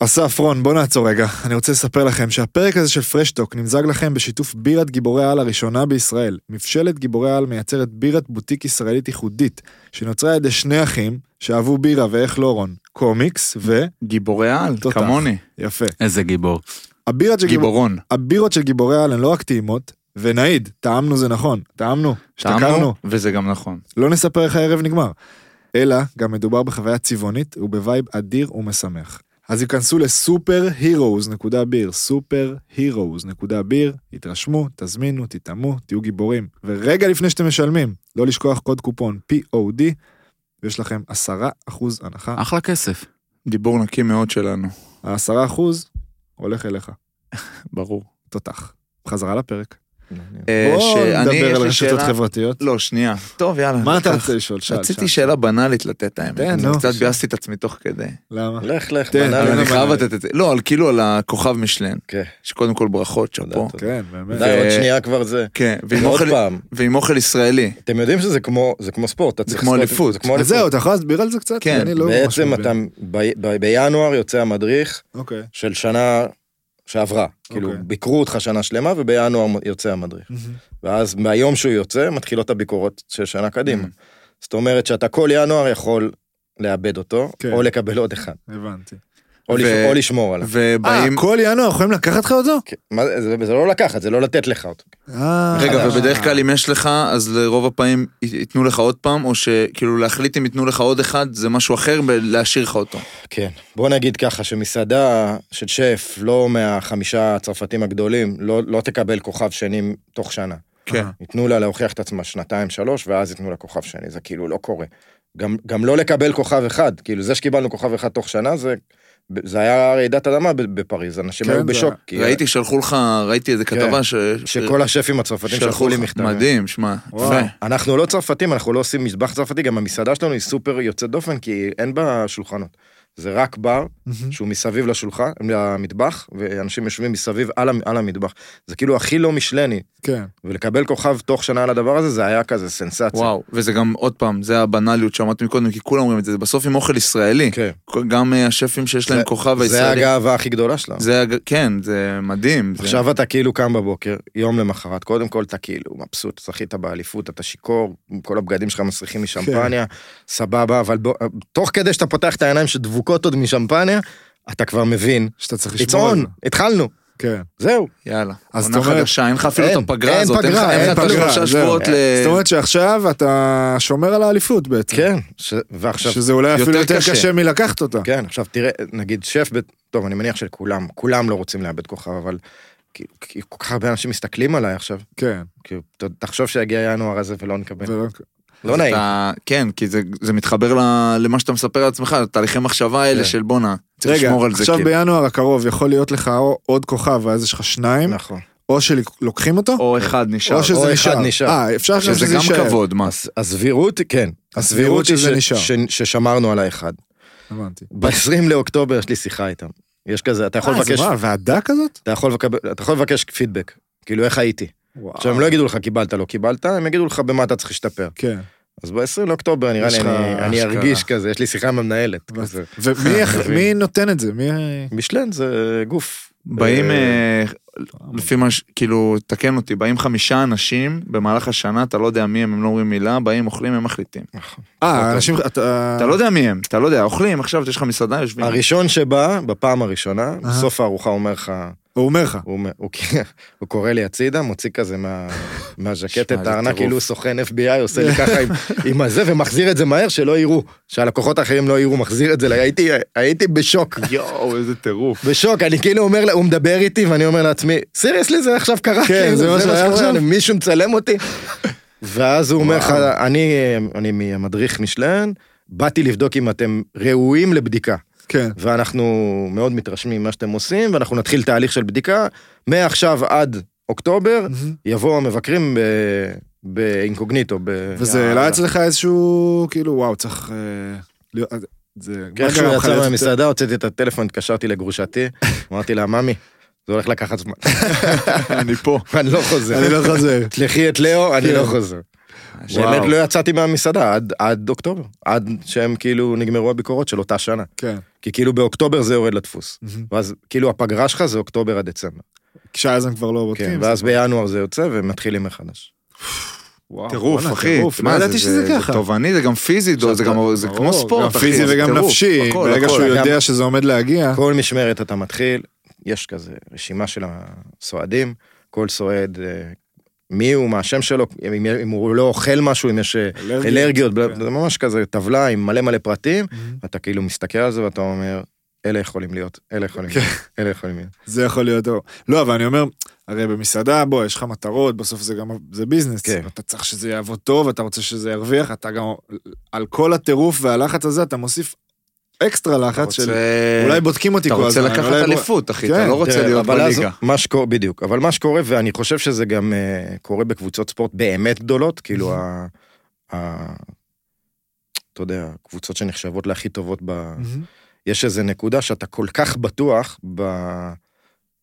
Speaker 2: אסף, רון, בוא נעצור רגע. אני רוצה לספר לכם שהפרק הזה של פרשטוק נמזג לכם בשיתוף בירת גיבורי העל הראשונה בישראל. מבשלת גיבורי העל מייצרת בירת בוטיק ישראלית ייחודית, שנוצרה על ידי שני אחים שאהבו בירה ואיך לא רון, קומיקס ו...
Speaker 1: גיבורי על,
Speaker 2: תותח.
Speaker 1: כמוני.
Speaker 2: יפה.
Speaker 4: איזה גיבור.
Speaker 2: הבירות של, גיבור...
Speaker 1: גיבורון.
Speaker 2: הבירות של גיבורי העל הן לא רק טעימות, ונעיד, טעמנו זה נכון, טעמנו, השתכרנו.
Speaker 1: טעמנו, וזה גם נכון.
Speaker 2: לא נספר איך הערב נגמר. אלא גם מדובר בחוויה צבעונית ובווייב אדיר ומשמח. אז היכנסו לסופר-הירוז.ביר, סופר-הירוז.ביר, התרשמו, תזמינו, תטעמו, תהיו גיבורים. ורגע לפני שאתם משלמים, לא לשכוח קוד קופון POD, ויש לכם 10% הנחה.
Speaker 4: אחלה כסף.
Speaker 1: דיבור נקי מאוד שלנו,
Speaker 2: ה-10% הולך אליך,
Speaker 1: ברור.
Speaker 2: תותח. חזרה לפרק.
Speaker 1: אה,
Speaker 2: בואו
Speaker 1: שאני- יש
Speaker 2: נדבר על
Speaker 1: לי
Speaker 2: רשתות
Speaker 1: שאלה-
Speaker 2: חברתיות.
Speaker 1: לא, שנייה. טוב, יאללה.
Speaker 2: מה אתה
Speaker 1: קח.
Speaker 2: רוצה לשאול? שאל,
Speaker 1: רציתי
Speaker 2: שאל.
Speaker 1: שאלה בנאלית לתת האמת.
Speaker 2: תן, נו.
Speaker 1: אני קצת ביאסתי את עצמי תוך כדי.
Speaker 2: למה?
Speaker 3: לך, לך,
Speaker 2: תן,
Speaker 1: אבל
Speaker 3: בנאלי.
Speaker 1: אני
Speaker 2: בנאלית.
Speaker 1: חייב לתת את זה. לא, על כאילו על הכוכב משלן.
Speaker 3: כן.
Speaker 1: שקודם כל ברכות,
Speaker 3: תודה,
Speaker 1: שאפו.
Speaker 3: תודה.
Speaker 2: כן, באמת.
Speaker 3: די, עוד שנייה כבר זה.
Speaker 1: כן, ועם
Speaker 3: עוד
Speaker 1: אוכל-
Speaker 3: פעם,
Speaker 1: ועם אוכל ישראלי.
Speaker 3: אתם יודעים שזה כמו, זה כמו ספורט, אתה צריך
Speaker 1: כמו
Speaker 3: לספורט-
Speaker 1: אליפות.
Speaker 3: זה כמו
Speaker 2: אז
Speaker 3: אליפות.
Speaker 2: זהו, אתה יכול להסביר על זה קצת?
Speaker 1: כן,
Speaker 2: אני לא ממש
Speaker 3: בעצם
Speaker 2: מבין.
Speaker 3: אתה, ב- ב- בינואר יוצא המדריך
Speaker 2: אוקיי.
Speaker 3: של שנה שעברה. כאילו,
Speaker 2: אוקיי.
Speaker 3: ביקרו אותך שנה שלמה ובינואר יוצא המדריך. ואז מהיום שהוא יוצא, מתחילות הביקורות של שנה קדימה. זאת אומרת שאתה כל ינואר יכול לאבד אותו,
Speaker 2: כן.
Speaker 3: או לקבל עוד אחד,
Speaker 2: הבנתי.
Speaker 3: או
Speaker 1: ו-
Speaker 3: לש- או לשמור עליו.
Speaker 2: אה,
Speaker 1: ובאים...
Speaker 2: כל ינואר יכולים לקחת לך אותו?
Speaker 3: כן, מה זה- זה זה לא לקחת, זה לא לתת לך אותו.
Speaker 2: אה.
Speaker 1: רגע, ובדרך כלל אם יש לך, אז לרוב הפעמים י- ייתנו לך עוד פעם, או שכאילו להחליט אם ייתנו לך עוד אחד, זה משהו אחר בלהשאיר לך אותו.
Speaker 3: כן, בוא נגיד ככה שמסעדה של שף, לא מהחמישה הצרפתים הגדולים, לא, לא תקבל כוכב שני תוך שנה.
Speaker 1: כן.
Speaker 3: ייתנו לה להוכיח את עצמה שנתיים, שלוש, ואז ייתנו לה כוכב שני, זה כאילו לא קורה. גם, גם לא לקבל כוכב אחד, כאילו זה שקיבלנו כוכב אחד תוך שנה, זה, זה היה רעידת אדמה ב- בפריז, אנשים
Speaker 2: כן,
Speaker 3: היו
Speaker 2: זה-
Speaker 3: בשוק. כי- אה, כן.
Speaker 1: ראיתי שלחו לך, ראיתי איזה כתבה ש...
Speaker 3: שכל השפים הצרפתים שלחו לי
Speaker 1: לך.
Speaker 3: מכתבים.
Speaker 1: מדהים, שמע.
Speaker 2: וואו.
Speaker 1: יפה.
Speaker 3: אנחנו לא צרפתים, אנחנו לא עושים מטבח צרפתי, גם המסעדה שלנו היא סופר יוצאת דופן, כי אין בה שולחנות. זה רק בר, שהוא מסביב לשולחן, למטבח, ואנשים יושבים מסביב על, המ- על המטבח. זה כאילו הכי לא משלני,
Speaker 2: כן.
Speaker 3: ולקבל כוכב תוך שנה על הדבר הזה, זה היה כזה סנסציה.
Speaker 1: וואו, וזה גם, עוד פעם, זה הבנאליות שאמרתי מקודם, כי כולם אומרים את זה, זה בסוף עם אוכל ישראלי.
Speaker 3: כן.
Speaker 1: גם אה, השפים שיש להם כוכב
Speaker 3: זה
Speaker 1: הישראלי.
Speaker 3: הגאווה הכי גדולה שלנו.
Speaker 1: זה, הג- כן, זה מדהים. זה-
Speaker 3: עכשיו אתה כאילו קם בבוקר, יום למחרת, קודם כל אתה כאילו מבסוט, זכית באליפות, אתה שיכור, כל הבגדים שלך מסריחים משמפניה,
Speaker 2: כן.
Speaker 3: סבבה, אבל בוא, תוך כדי שאתה פותח את העיניים שדבוקות עוד משמפניה, אתה כבר מבין.
Speaker 2: שאתה צריך
Speaker 3: It's
Speaker 2: לשמור על
Speaker 3: on,
Speaker 2: זה.
Speaker 3: התחלנו,
Speaker 2: כן. אה,
Speaker 3: זהו.
Speaker 1: יאללה.
Speaker 2: אז
Speaker 1: עונה
Speaker 2: זאת אומרת-
Speaker 1: חדשה, אין לך אפילו
Speaker 3: אין,
Speaker 1: את הפגרה
Speaker 3: אין
Speaker 1: הזאת, אין לך-
Speaker 3: פגרה,
Speaker 1: אין
Speaker 3: אין
Speaker 1: לך אפילו
Speaker 2: פגרה,
Speaker 1: שלושה
Speaker 2: זהו. כן.
Speaker 1: שבועות ל...
Speaker 2: זאת אומרת שעכשיו אתה שומר על האליפות בעצם.
Speaker 3: כן, ש... ועכשיו,
Speaker 2: שזה אולי אפילו
Speaker 1: יותר
Speaker 2: יותר
Speaker 1: קשה.
Speaker 2: קשה מלקחת אותה.
Speaker 3: כן, עכשיו תראה, נגיד שף, ב... טוב, אני מניח שכולם, כולם לא רוצים לאבד כוכב, אבל כאילו, כי כל כך הרבה אנשים מסתכלים עליי עכשיו,
Speaker 2: כן.
Speaker 3: כאילו, ת- תחשוב שיגיע ינואר הזה ולא נקבל,
Speaker 2: ולא-
Speaker 3: לא נעים.
Speaker 1: אתה, כן, כי זה, זה מתחבר ל, למה שאתה מספר על עצמך, תהליכי מחשבה האלה
Speaker 3: כן.
Speaker 1: של בואנה, צריך
Speaker 2: רגע,
Speaker 1: לשמור על זה.
Speaker 2: עכשיו
Speaker 1: כאילו.
Speaker 2: בינואר הקרוב יכול להיות לך או- עוד כוכב ואז יש לך שניים,
Speaker 3: נכון.
Speaker 2: או שלוקחים אותו,
Speaker 1: או אחד נשאר,
Speaker 2: או שזה
Speaker 3: או אחד
Speaker 2: נשאר.
Speaker 3: נשאר.
Speaker 2: אה, אפשר גם
Speaker 1: שזה
Speaker 2: שזה
Speaker 1: גם
Speaker 2: יישאר.
Speaker 1: כבוד, מה.
Speaker 3: אז הסבירות, כן.
Speaker 2: הסבירות
Speaker 3: הסבירות היא
Speaker 2: שזה
Speaker 3: ש-
Speaker 2: נשאר.
Speaker 3: ש- ששמרנו על האחד.
Speaker 2: הבנתי.
Speaker 3: ב-20 לאוקטובר יש לי שיחה איתם. יש כזה, אתה יכול
Speaker 2: אה, זה
Speaker 3: לבקש,
Speaker 2: מה, ועדה כזאת?
Speaker 3: אתה יכול לקבל- אתה יכול לבקש פידבק. כאילו, איך הייתי? עכשיו,
Speaker 2: אה.
Speaker 3: הם לא יגידו לך קיבלת, לא קיבלת, הם יגידו לך במה אתה צריך להשתפר.
Speaker 2: כן.
Speaker 3: אז ב-20 לאוקטובר, נראה
Speaker 2: יש
Speaker 3: לי,
Speaker 2: לך
Speaker 3: אני- אני
Speaker 1: אשכרה.
Speaker 3: ארגיש כזה, יש לי שיחה עם המנהלת. כזה.
Speaker 2: ומי יח- מי נותן את זה? מי...
Speaker 3: משלן זה גוף.
Speaker 1: באים,
Speaker 3: אה,
Speaker 1: אה, לפי מה ש... כאילו, תקן אותי, באים חמישה אנשים במהלך השנה, אתה לא יודע מי הם, הם לא אומרים מילה, באים, אוכלים, הם מחליטים.
Speaker 2: אה, אנשים... אתה
Speaker 1: אתה לא יודע מי הם, אתה לא יודע, אוכלים, עכשיו יש לך מסעדה, יושבים.
Speaker 2: אה,
Speaker 3: הראשון שבא, בפעם הראשונה, בסוף הארוחה אומר לך,
Speaker 2: הוא אומר לך.
Speaker 3: הוא אומר- הוא כ- הוא קורא לי הצידה, מוציא כזה מה- מהז'קט
Speaker 1: שמע,
Speaker 3: את
Speaker 1: זה
Speaker 3: הארנק,
Speaker 1: טירוף.
Speaker 3: כאילו הוא סוכן FBI, עושה לי ככה עם- עם הזה, ומחזיר את זה מהר, שלא יראו, שהלקוחות האחרים לא יראו, מחזיר את זה, ל- הייתי- הייתי בשוק.
Speaker 1: יואו, איזה טירוף.
Speaker 3: בשוק, אני כאילו אומר, לה- הוא מדבר איתי ואני אומר לעצמי, סיריוסלי זה עכשיו קרה,
Speaker 2: כן,
Speaker 3: כאילו,
Speaker 2: זה מה שהיה
Speaker 3: שקורה,
Speaker 2: עכשיו?
Speaker 3: אני- מישהו מצלם אותי. ואז הוא אומר לך, אה, אני אני מהמדריך משלן, באתי לבדוק אם אתם ראויים לבדיקה.
Speaker 2: כן.
Speaker 3: ואנחנו מאוד מתרשמים ממה שאתם עושים, ואנחנו נתחיל תהליך של בדיקה. מעכשיו עד אוקטובר יבואו המבקרים ב... באינקוגניטו. ב...
Speaker 2: וזה העלה אצלך איזשהו, כאילו, וואו, צריך... אה, להיות- זה... מה
Speaker 3: כן, כשהוא
Speaker 2: גרם לך
Speaker 3: יצא
Speaker 2: להיות-
Speaker 3: מהמסעדה, הוצאתי את הטלפון, התקשרתי לגרושתי, אמרתי לה, ממי, זה הולך לקחת זמן,
Speaker 1: אני פה.
Speaker 3: אני לא חוזר.
Speaker 2: אני לא חוזר.
Speaker 3: תלכי את לאו, אני
Speaker 2: כן.
Speaker 3: לא חוזר. באמת
Speaker 1: וואו.
Speaker 3: לא יצאתי מהמסעדה עד- עד אוקטובר, עד שהם כאילו נגמרו הביקורות של אותה שנה.
Speaker 2: כן.
Speaker 3: כי כאילו באוקטובר זה יורד לדפוס.
Speaker 2: מהמם.
Speaker 3: ואז כאילו הפגרה שלך זה אוקטובר עד דצמבר.
Speaker 2: כשאז הם כבר לא
Speaker 3: כן,
Speaker 2: בודקים.
Speaker 3: ואז בינואר זה יוצא ומתחילים מחדש.
Speaker 2: וואו,
Speaker 1: טירוף,
Speaker 2: בואנה,
Speaker 1: אחי.
Speaker 2: טירוף, לא
Speaker 1: מה זה,
Speaker 2: ידעתי שזה
Speaker 1: זה-
Speaker 2: ככה.
Speaker 1: זה תובעני, זה גם פיזי, דו, זה גם זה
Speaker 2: ברור,
Speaker 1: כמו ספורט,
Speaker 2: גם
Speaker 1: אחי.
Speaker 2: פיזי
Speaker 1: זה
Speaker 2: וגם
Speaker 1: טירוף.
Speaker 2: נפשי,
Speaker 1: הכל,
Speaker 2: ברגע
Speaker 1: הכל.
Speaker 2: שהוא יודע
Speaker 3: גם-
Speaker 2: שזה עומד להגיע.
Speaker 3: כל משמרת אתה מתחיל, יש כזה רשימה של הסועדים, כל סועד, אה, מי הוא, מה השם שלו, אם אם הוא לא אוכל משהו, אם יש אה,
Speaker 2: אלרגיה.
Speaker 3: אלרגיות, בל-
Speaker 2: כן.
Speaker 3: זה ממש כזה טבלה עם מלא מלא פרטים, אתה כאילו מסתכל על זה ואתה אומר, אלה יכולים להיות, אלה יכולים להיות, אלה יכולים להיות.
Speaker 2: זה יכול להיות, או- לא, אבל אני אומר, הרי במסעדה, בוא, יש לך מטרות, בסוף זה גם, זה ביזנס.
Speaker 3: כן.
Speaker 2: אתה צריך שזה יעבוד טוב, אתה רוצה שזה ירוויח, אתה גם, על כל הטירוף והלחץ הזה, אתה מוסיף אקסטרה לחץ של,
Speaker 1: רוצה-
Speaker 2: אולי בודקים אותי
Speaker 1: אתה
Speaker 2: כל
Speaker 1: רוצה
Speaker 2: הזמן.
Speaker 1: לקחת
Speaker 2: אולי בוא-
Speaker 1: אליפות, אחי, אתה
Speaker 2: כן,
Speaker 1: לא רוצה
Speaker 3: תראה,
Speaker 1: להיות
Speaker 3: אבל אז
Speaker 1: בליגה.
Speaker 3: מה שקורה, בדיוק, אבל מה שקורה, ואני חושב שזה גם אה, קורה בקבוצות ספורט באמת גדולות, כאילו
Speaker 1: Mm-hmm.
Speaker 3: ה... ה- אתה יודע, קבוצות שנחשבות להכי טובות ב...
Speaker 2: מהמם.
Speaker 3: יש איזה נקודה שאתה כל כך בטוח ב...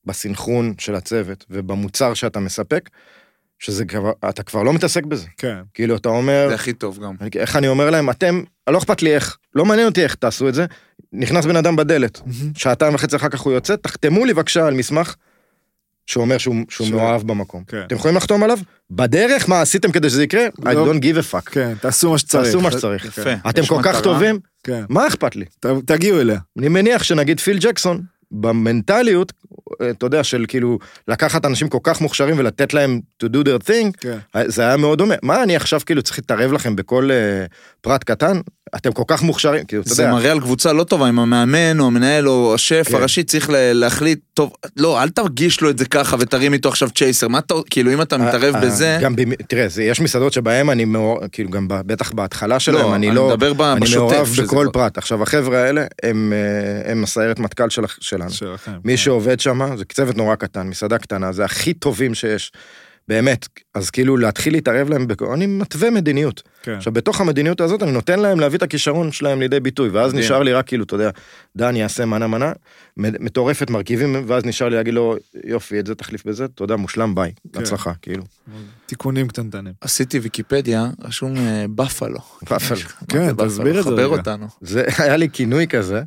Speaker 3: בסנכרון של הצוות ובמוצר שאתה מספק, שזה כבר, אתה כבר לא מתעסק בזה.
Speaker 2: כן.
Speaker 3: כאילו, אתה אומר,
Speaker 1: זה הכי טוב גם.
Speaker 3: אני- איך אני אומר להם, אתם, לא אכפת לי איך, לא מעניין אותי איך תעשו את זה, נכנס בן אדם בדלת, שעתיים וחצי אחר כך הוא יוצא, תחתמו לי בבקשה על מסמך שאומר שהוא, שהוא
Speaker 2: ש-
Speaker 3: מאוהב במקום.
Speaker 2: כן.
Speaker 3: אתם יכולים לחתום עליו? בדרך, מה עשיתם כדי שזה יקרה? I
Speaker 2: לא.
Speaker 3: don't give a fuck.
Speaker 2: כן, תעשו מה שצריך.
Speaker 3: תעשו מה שצריך.
Speaker 1: יפה.
Speaker 3: אתם
Speaker 1: יש
Speaker 3: כל כך
Speaker 1: מטרה.
Speaker 3: טובים,
Speaker 2: כן,
Speaker 3: מה אכפת לי?
Speaker 2: ת- תגיעו אליה.
Speaker 3: אני מניח שנגיד פיל ג'קסון, במנטליות, אה, אתה יודע, של כאילו לקחת אנשים כל כך מוכשרים ולתת להם to do their thing, אה,
Speaker 2: כן.
Speaker 3: זה היה מאוד דומה. מה אני עכשיו כאילו צריך להתערב לכם בכל אה, פרט קטן? אתם כל כך מוכשרים, כאילו, אתה
Speaker 1: זה
Speaker 3: יודע,
Speaker 1: מראה על קבוצה לא טובה, אם המאמן או המנהל או השף
Speaker 3: כן.
Speaker 1: הראשי צריך ל- להחליט, טוב, לא, אל תרגיש לו את זה ככה ותרים איתו עכשיו צ'ייסר, מה אתה, כאילו אם אתה מתערב
Speaker 3: אה,
Speaker 1: בזה,
Speaker 3: גם במ- תראה, זה- יש מסעדות שבהן אני מעורב, כאילו גם ב- בטח בהתחלה שלהם,
Speaker 1: לא,
Speaker 3: אני
Speaker 1: אני
Speaker 3: לא...
Speaker 1: מדבר ב-
Speaker 3: אני
Speaker 1: בשוטף,
Speaker 3: מעורב
Speaker 1: שזה
Speaker 3: בכל
Speaker 1: כבר-
Speaker 3: פרט. עכשיו, החבר'ה האלה הם, אה, הם הסיירת מטכ"ל של- שלנו.
Speaker 2: שלכם.
Speaker 1: כן.
Speaker 3: מי שעובד שם, זה צוות נורא קטן, מסעדה קטנה, זה הכי טובים שיש. באמת, אז כאילו להתחיל להתערב להם, בכ... אני מתווה מדיניות.
Speaker 2: כן.
Speaker 3: עכשיו, בתוך המדיניות הזאת אני נותן להם להביא את הכישרון שלהם לידי ביטוי, ואז
Speaker 1: מדהים.
Speaker 3: נשאר לי רק כאילו, אתה יודע, דן יעשה מנה מנה, מ- מטורפת מרכיבים, ואז נשאר לי להגיד לו, יופי, את זה תחליף בזה, תודה, מושלם, ביי,
Speaker 2: כן.
Speaker 3: הצלחה, כאילו.
Speaker 2: תיקונים קטנטנים.
Speaker 1: עשיתי ויקיפדיה, רשום אה, בפלו.
Speaker 3: בפלו.
Speaker 1: מה
Speaker 2: כן,
Speaker 1: זה
Speaker 2: תסביר
Speaker 1: בפלו?
Speaker 2: את זה
Speaker 1: חבר
Speaker 2: רגע.
Speaker 1: אותנו.
Speaker 3: זה היה לי כינוי כזה.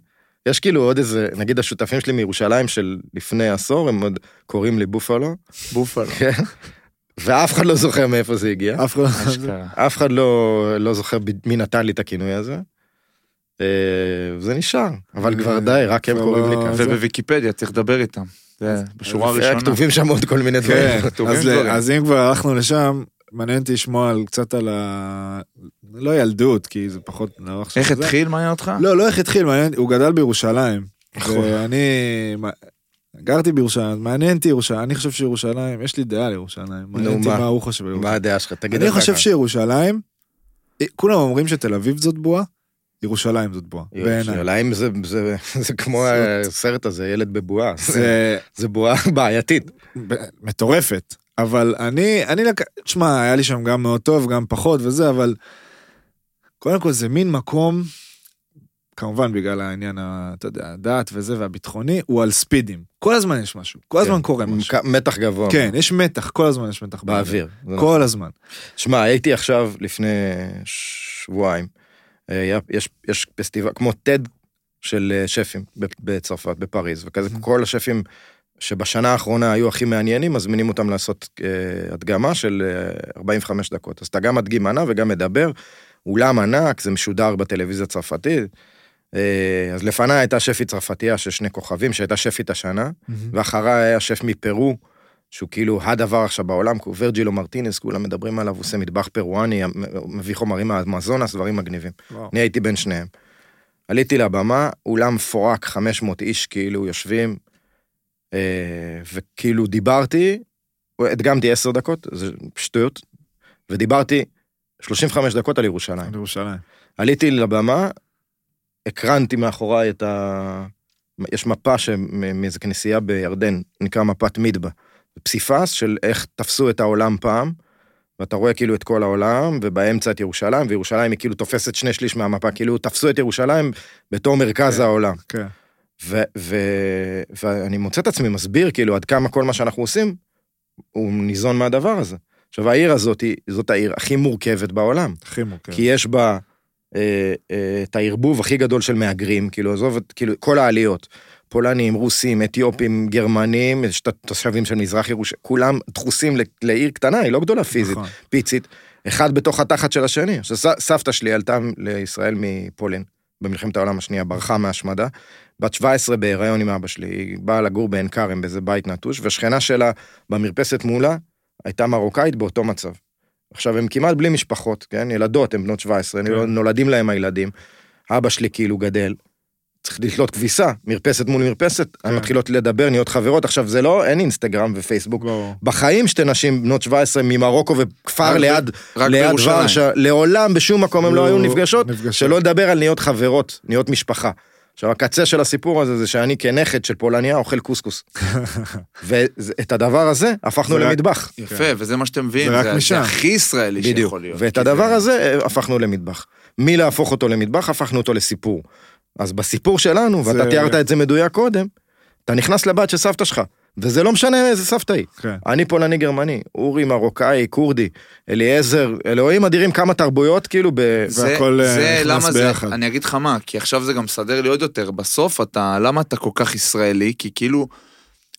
Speaker 3: יש כאילו עוד איזה, נגיד השותפים שלי מירושלים של לפני עשור, הם עוד קוראים לי בופלו,
Speaker 1: בופלו.
Speaker 3: כן? ואף אחד לא זוכר מאיפה זה הגיע.
Speaker 2: אף אחד.
Speaker 1: אשכרה.
Speaker 3: אף אחד לא, לא זוכר ב- מי נתן לי את הכינוי הזה. אה, זה נשאר, אבל כבר די, רק הם
Speaker 2: כבר
Speaker 3: קוראים לי
Speaker 2: לא-
Speaker 3: ככה.
Speaker 2: זה-
Speaker 1: ובוויקיפדיה צריך לדבר איתם. זה בשורה
Speaker 3: זה היה
Speaker 1: הראשונה.
Speaker 3: כתובים שם עוד כל מיני
Speaker 2: כן,
Speaker 3: דברים.
Speaker 1: כתובים
Speaker 2: אז-
Speaker 1: דברים.
Speaker 2: אז אם כבר הלכנו לשם, מעניין אותי לשמוע על- קצת על ה... לא ילדות, כי זה פחות... לא עכשיו
Speaker 1: איך
Speaker 2: זה.
Speaker 1: התחיל מעניין אותך?
Speaker 2: לא, לא איך התחיל, מעניין, הוא גדל בירושלים.
Speaker 3: נכון.
Speaker 2: ואני מה- גרתי בירושלים, מעניין אותי ירושלים, אני חושב שירושלים, יש לי דעה על ירושלים, מעניין אותי
Speaker 3: מה?
Speaker 2: מה הוא חושב על
Speaker 3: מה
Speaker 2: ירושלים.
Speaker 3: הדעה שלך? תגיד
Speaker 2: אני
Speaker 3: אתה
Speaker 2: חושב
Speaker 3: ככה.
Speaker 2: שירושלים, אה, כולם אומרים שתל אביב זאת בועה, ירושלים זאת בועה, בעיניי.
Speaker 3: ירושלים זה- זה- זה כמו
Speaker 2: זאת-
Speaker 3: הסרט הזה, ילד בבועה.
Speaker 2: זה
Speaker 3: זה בועה בעייתית.
Speaker 2: ב- מטורפת, אבל אני, אני, לק... תשמע, היה לי שם גם מאוד טוב, גם פחות וזה, אבל קודם כל זה מין מקום, כמובן בגלל העניין, ה- אתה יודע, הדת וזה והביטחוני, הוא על ספידים. כל הזמן יש משהו, כל הזמן
Speaker 3: כן.
Speaker 2: קורה משהו.
Speaker 3: מק- מתח גבוה.
Speaker 2: כן, יש מתח, כל הזמן יש מתח
Speaker 3: באוויר. לא-
Speaker 2: כל הזמן.
Speaker 3: שמע, הייתי עכשיו לפני שבועיים, אה, היה- יש- יש פסטיבל, כמו TED של אה, שפים ב- בצרפת, בפריז, וכזה כל השפים שבשנה האחרונה היו הכי מעניינים, מזמינים אותם לעשות אה, הדגמה של אה, 45 דקות. אז אתה גם מדגים מנה וגם מדבר, אולם ענק, זה משודר בטלוויזיה הצרפתית. אה, אז לפניי הייתה שפית צרפתייה של שני כוכבים, שהייתה שפית השנה. ואחריי היה שף מפרו, שהוא כאילו הדבר עכשיו בעולם, כי הוא ורג'ילו מרטינס, כולם מדברים עליו, הוא עושה מטבח פרואני, המ- מביא חומרים מהמזונס, דברים מגניבים.
Speaker 2: וואו.
Speaker 3: אני הייתי בין שניהם. עליתי לבמה, אולם מפורק, 500 איש כאילו יושבים, אה, וכאילו דיברתי, הדגמתי 10 דקות, זה שטויות, ודיברתי 35 דקות על ירושלים.
Speaker 2: על ירושלים.
Speaker 3: עליתי לבמה, הקרנתי מאחוריי את ה... יש מפה שמ- מאיזה כנסייה בירדן, נקרא מפת מדבה. זה פסיפס של איך תפסו את העולם פעם, ואתה רואה כאילו את כל העולם, ובאמצע את ירושלים, וירושלים היא כאילו תופסת שני שליש מהמפה, כאילו תפסו את ירושלים בתור מרכז
Speaker 2: כן.
Speaker 3: העולם.
Speaker 2: כן.
Speaker 3: ו- ו- ואני מוצא את עצמי מסביר כאילו עד כמה כל מה שאנחנו עושים, הוא ניזון מהדבר הזה. עכשיו העיר הזאת, היא- זאת העיר הכי מורכבת בעולם.
Speaker 2: הכי מורכב.
Speaker 3: כי יש בה אה, אה, את הערבוב הכי גדול של מהגרים, כאילו, עזוב את, כאילו, כל העליות. פולנים, רוסים, אתיופים, גרמנים, יש את התושבים של מזרח ירושלים, כולם דחוסים ל- לעיר קטנה, היא לא גדולה פיזית,
Speaker 2: נכון.
Speaker 3: פיצית, אחד בתוך התחת של השני. עכשיו, ס- סבתא שלי עלתה לישראל מפולין במלחמת העולם השנייה, ברחה מהשמדה. בת 17 בהיריון עם אבא שלי, היא באה לגור בעין כרם, באיזה בית נטוש, והשכנה שלה במרפסת מולה הייתה מרוקאית באותו מצב. עכשיו, הם כמעט בלי משפחות, כן? ילדות, הם בנות 17,
Speaker 2: כן.
Speaker 3: נולדים להם הילדים. אבא שלי כאילו גדל. צריך לתלות כביסה, מרפסת מול מרפסת, הן
Speaker 2: כן.
Speaker 3: מתחילות לדבר, נהיות חברות. עכשיו, זה לא, אין אינסטגרם ופייסבוק.
Speaker 2: ברור.
Speaker 3: בחיים שתי נשים בנות 17 ממרוקו
Speaker 1: רק
Speaker 3: וכפר
Speaker 1: ב-
Speaker 3: ליד,
Speaker 1: רק
Speaker 3: ליד
Speaker 1: בירושלים.
Speaker 3: ורשה, לעולם בשום מקום הם לא היו נפגשות,
Speaker 2: נפגשות.
Speaker 3: שלא לדבר על להיות חברות, להיות משפחה. עכשיו הקצה של הסיפור הזה זה שאני כנכד של פולניה אוכל קוסקוס. ואת הדבר הזה הפכנו
Speaker 2: זה רק-
Speaker 3: למטבח.
Speaker 1: יפה,
Speaker 2: כן.
Speaker 1: וזה מה שאתם מביאים,
Speaker 2: זה רק
Speaker 1: זה-
Speaker 2: משם.
Speaker 1: זה הכי ישראלי
Speaker 3: בדיוק.
Speaker 1: שיכול להיות. כן,
Speaker 3: ואת
Speaker 1: כי
Speaker 3: הדבר
Speaker 1: זה-
Speaker 3: הזה אה, הפכנו למטבח. מלהפוך אותו למטבח הפכנו אותו לסיפור. אז בסיפור שלנו,
Speaker 2: זה-
Speaker 3: ואתה תיארת את זה מדויק קודם, אתה נכנס לבת של סבתא שלך, וזה לא משנה איזה סבתא היא.
Speaker 2: כן.
Speaker 3: אני פולני גרמני, אורי מרוקאי, כורדי, אליעזר, אלוהים אדירים, כמה תרבויות כאילו ב...
Speaker 1: זה-
Speaker 2: והכל, אה,
Speaker 1: זה
Speaker 2: נכנס
Speaker 1: למה זה,
Speaker 2: ביחד.
Speaker 1: אני אגיד לך מה, כי עכשיו זה גם מסדר לי עוד יותר, בסוף אתה, למה אתה כל כך ישראלי? כי כאילו,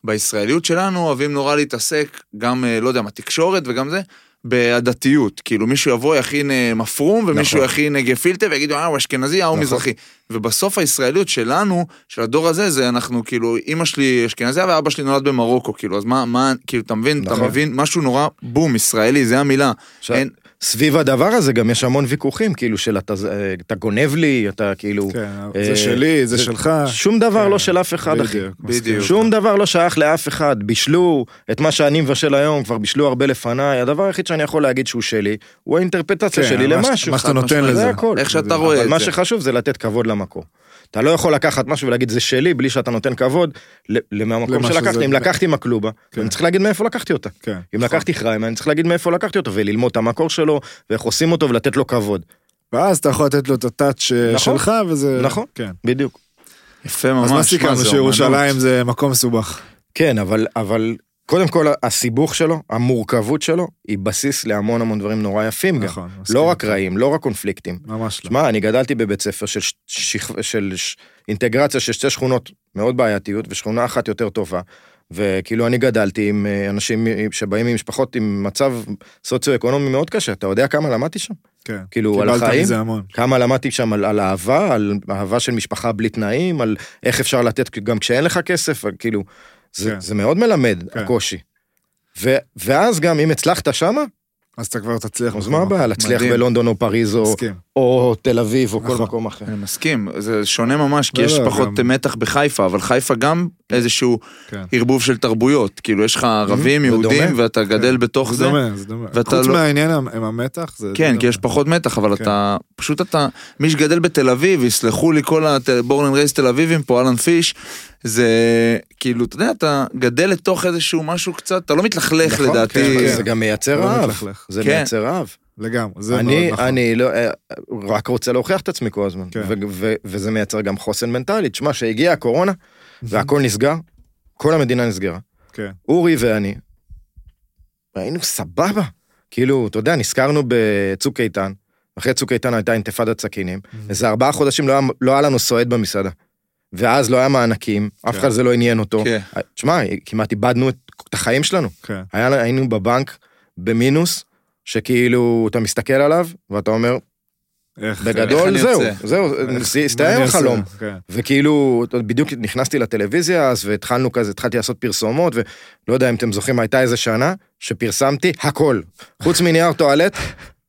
Speaker 1: בישראליות שלנו אוהבים נורא להתעסק, גם, אה, לא יודע מה, תקשורת וגם זה, בעדתיות. כאילו מישהו יבוא, יכין אה, מפרום, ומישהו
Speaker 3: נכון.
Speaker 1: יכין אה, גפילטה, ויגידו, אה, הוא אשכנזי, אה, הוא
Speaker 3: נכון.
Speaker 1: מזרחי. ובסוף הישראליות שלנו, של הדור הזה, זה אנחנו כאילו, אימא שלי אשכנזיה ואבא שלי נולד במרוקו, כאילו, אז מה, מה, כאילו, אתה מבין, אתה
Speaker 3: נכון.
Speaker 1: מבין, משהו נורא בום, ישראלי, זה המילה.
Speaker 3: עכשיו,
Speaker 1: אין-
Speaker 3: סביב הדבר הזה גם יש המון ויכוחים, כאילו של אתה, אה, אתה גונב לי, אתה כאילו...
Speaker 2: כן,
Speaker 3: אה,
Speaker 2: זה שלי, זה
Speaker 3: זה-
Speaker 2: שלך.
Speaker 3: שום דבר
Speaker 2: כן,
Speaker 3: לא של אף אחד, אחי.
Speaker 2: בדיוק,
Speaker 1: בדיוק.
Speaker 2: מסכים.
Speaker 3: שום דבר לא שייך לאף אחד, בישלו את מה שאני מבשל היום, כבר בישלו הרבה לפניי, הדבר היחיד שאני יכול להגיד שהוא שלי, הוא האינטרפטציה
Speaker 2: כן,
Speaker 3: שלי
Speaker 2: מה ש-
Speaker 3: למשהו.
Speaker 2: מה שאתה
Speaker 3: חד
Speaker 2: נותן
Speaker 3: משמעית,
Speaker 2: לזה.
Speaker 3: זה הכל.
Speaker 1: איך שאתה
Speaker 2: בדיוק.
Speaker 1: רואה את
Speaker 3: אבל
Speaker 1: זה.
Speaker 3: מה שחשוב זה לתת כבוד למקור. אתה לא יכול לקחת משהו ולהגיד זה שלי בלי שאתה נותן כבוד ל- ל- מהמקום
Speaker 2: למה שזה-
Speaker 3: שלקחתי, אם לקחתי מקלובה,
Speaker 2: כן.
Speaker 3: אני צריך להגיד מאיפה לקחתי אותה.
Speaker 2: כן.
Speaker 3: אם לקחתי חיים, אני צריך להגיד מאיפה לקחתי אותו, וללמוד את המקור שלו, ואיך עושים אותו, ולתת לו כבוד.
Speaker 2: ואז אתה יכול לתת לו את הטאץ' אה,
Speaker 3: נכון.
Speaker 2: שלך, וזה...
Speaker 3: נכון.
Speaker 2: כן.
Speaker 3: בדיוק.
Speaker 1: יפה ממש,
Speaker 2: אז מה
Speaker 1: זה
Speaker 2: סיכמנו?
Speaker 1: אומנות.
Speaker 2: שירושלים זה מקום מסובך.
Speaker 3: כן, אבל, אבל קודם כל הסיבוך שלו, המורכבות שלו, היא בסיס להמון המון דברים נורא יפים גם.
Speaker 2: נכון. מסכים.
Speaker 3: לא רק רעים, לא רק קונפליקטים.
Speaker 2: ממש לא.
Speaker 3: שמע, אני גדלתי בבית ספר של, ש- שכב- של ש- אינטגרציה של שתי שכונות מאוד בעייתיות, ושכונה אחת יותר טובה. וכאילו אני גדלתי עם אה, אנשים שבאים ממשפחות עם מצב סוציו-אקונומי מאוד קשה, אתה יודע כמה למדתי שם?
Speaker 2: כן.
Speaker 3: כאילו, על
Speaker 2: קיבלת
Speaker 3: החיים?
Speaker 2: מזה המון.
Speaker 3: כמה למדתי שם על, על אהבה, על אהבה של משפחה בלי תנאים, על איך אפשר לתת גם כשאין לך כסף, על כאילו, זה,
Speaker 2: כן.
Speaker 3: כן. זה מאוד מלמד,
Speaker 2: כן.
Speaker 3: כן. הקושי. ו, ואז גם אם הצלחת שמה,
Speaker 2: אז אתה כבר תצליח.
Speaker 3: אז
Speaker 2: בכל
Speaker 3: מה
Speaker 2: מקום.
Speaker 3: הבעיה? לא, להצליח
Speaker 1: מדהים.
Speaker 3: בלונדון או פריז או,
Speaker 2: מסכים.
Speaker 3: או תל אביב או כל
Speaker 2: נכון.
Speaker 3: מקום אחר.
Speaker 1: אני מסכים, זה שונה ממש, כי
Speaker 2: לא,
Speaker 1: יש
Speaker 2: לא,
Speaker 1: פחות
Speaker 2: גם-
Speaker 1: מתח בחיפה, אבל חיפה גם איזשהו
Speaker 2: כן. Mm-hmm.
Speaker 1: ערבוב של תרבויות, כאילו יש לך ערבים,
Speaker 3: זה
Speaker 1: יהודים,
Speaker 3: דומה.
Speaker 1: ואתה גדל בתוך
Speaker 2: כן. זה
Speaker 1: זה.
Speaker 2: דומה, זה דומה.
Speaker 1: ואתה
Speaker 2: חוץ
Speaker 1: לא-
Speaker 2: מהעניין עם עם המתח, זה...
Speaker 1: כן,
Speaker 2: דומה.
Speaker 1: כי יש פחות מתח, אבל
Speaker 2: כן.
Speaker 1: אתה, פשוט אתה, מי שגדל בתל אביב, יסלחו לי כל הבורלנד רייס תל אביבים פה, אהלן פיש, זה כאילו, אתה יודע, אתה גדל לתוך איזשהו משהו קצת, אתה לא מתלכלך
Speaker 3: נכון,
Speaker 1: לדעתי.
Speaker 3: כן,
Speaker 2: כן.
Speaker 3: זה גם מייצר
Speaker 2: לא
Speaker 3: רעב.
Speaker 2: מתלכלך.
Speaker 3: זה
Speaker 1: כן.
Speaker 3: מייצר רעב.
Speaker 2: לגמרי, זה מאוד
Speaker 3: אני,
Speaker 2: נכון.
Speaker 3: אני לא, אה, רק רוצה להוכיח את עצמי כל הזמן,
Speaker 2: כן.
Speaker 3: ו- ו- וזה מייצר גם חוסן מנטלי. תשמע, שהגיעה הקורונה והכל נסגר, כל המדינה נסגרה.
Speaker 2: כן.
Speaker 3: אורי ואני, היינו סבבה. כאילו, אתה יודע, נזכרנו בצוק איתן, אחרי צוק איתן הייתה אינתיפאדת סכינים,
Speaker 2: Mm-hmm.
Speaker 3: איזה ארבעה חודשים לא היה, לא היה לנו סועד במסעדה. ואז לא היה מענקים, אף
Speaker 2: כן.
Speaker 3: אחד זה לא עניין אותו.
Speaker 1: כן.
Speaker 3: תשמע, כמעט איבדנו את, את החיים שלנו.
Speaker 2: כן.
Speaker 3: היה, לה- היינו בבנק במינוס, שכאילו, אתה מסתכל עליו, ואתה אומר,
Speaker 2: איך...
Speaker 1: איך
Speaker 3: בגדול
Speaker 1: אני
Speaker 3: זהו,
Speaker 1: יוצא?
Speaker 3: זהו,
Speaker 2: איך-
Speaker 3: ס-
Speaker 2: מה
Speaker 3: הסתיים
Speaker 2: אני עושה?
Speaker 3: החלום.
Speaker 2: כן.
Speaker 3: וכאילו, אתה יודע, בדיוק נכנסתי לטלוויזיה אז, והתחלנו כזה, התחלתי לעשות פרסומות, ולא יודע אם אתם זוכרים, הייתה איזה שנה שפרסמתי הכל, חוץ מנייר טואלט,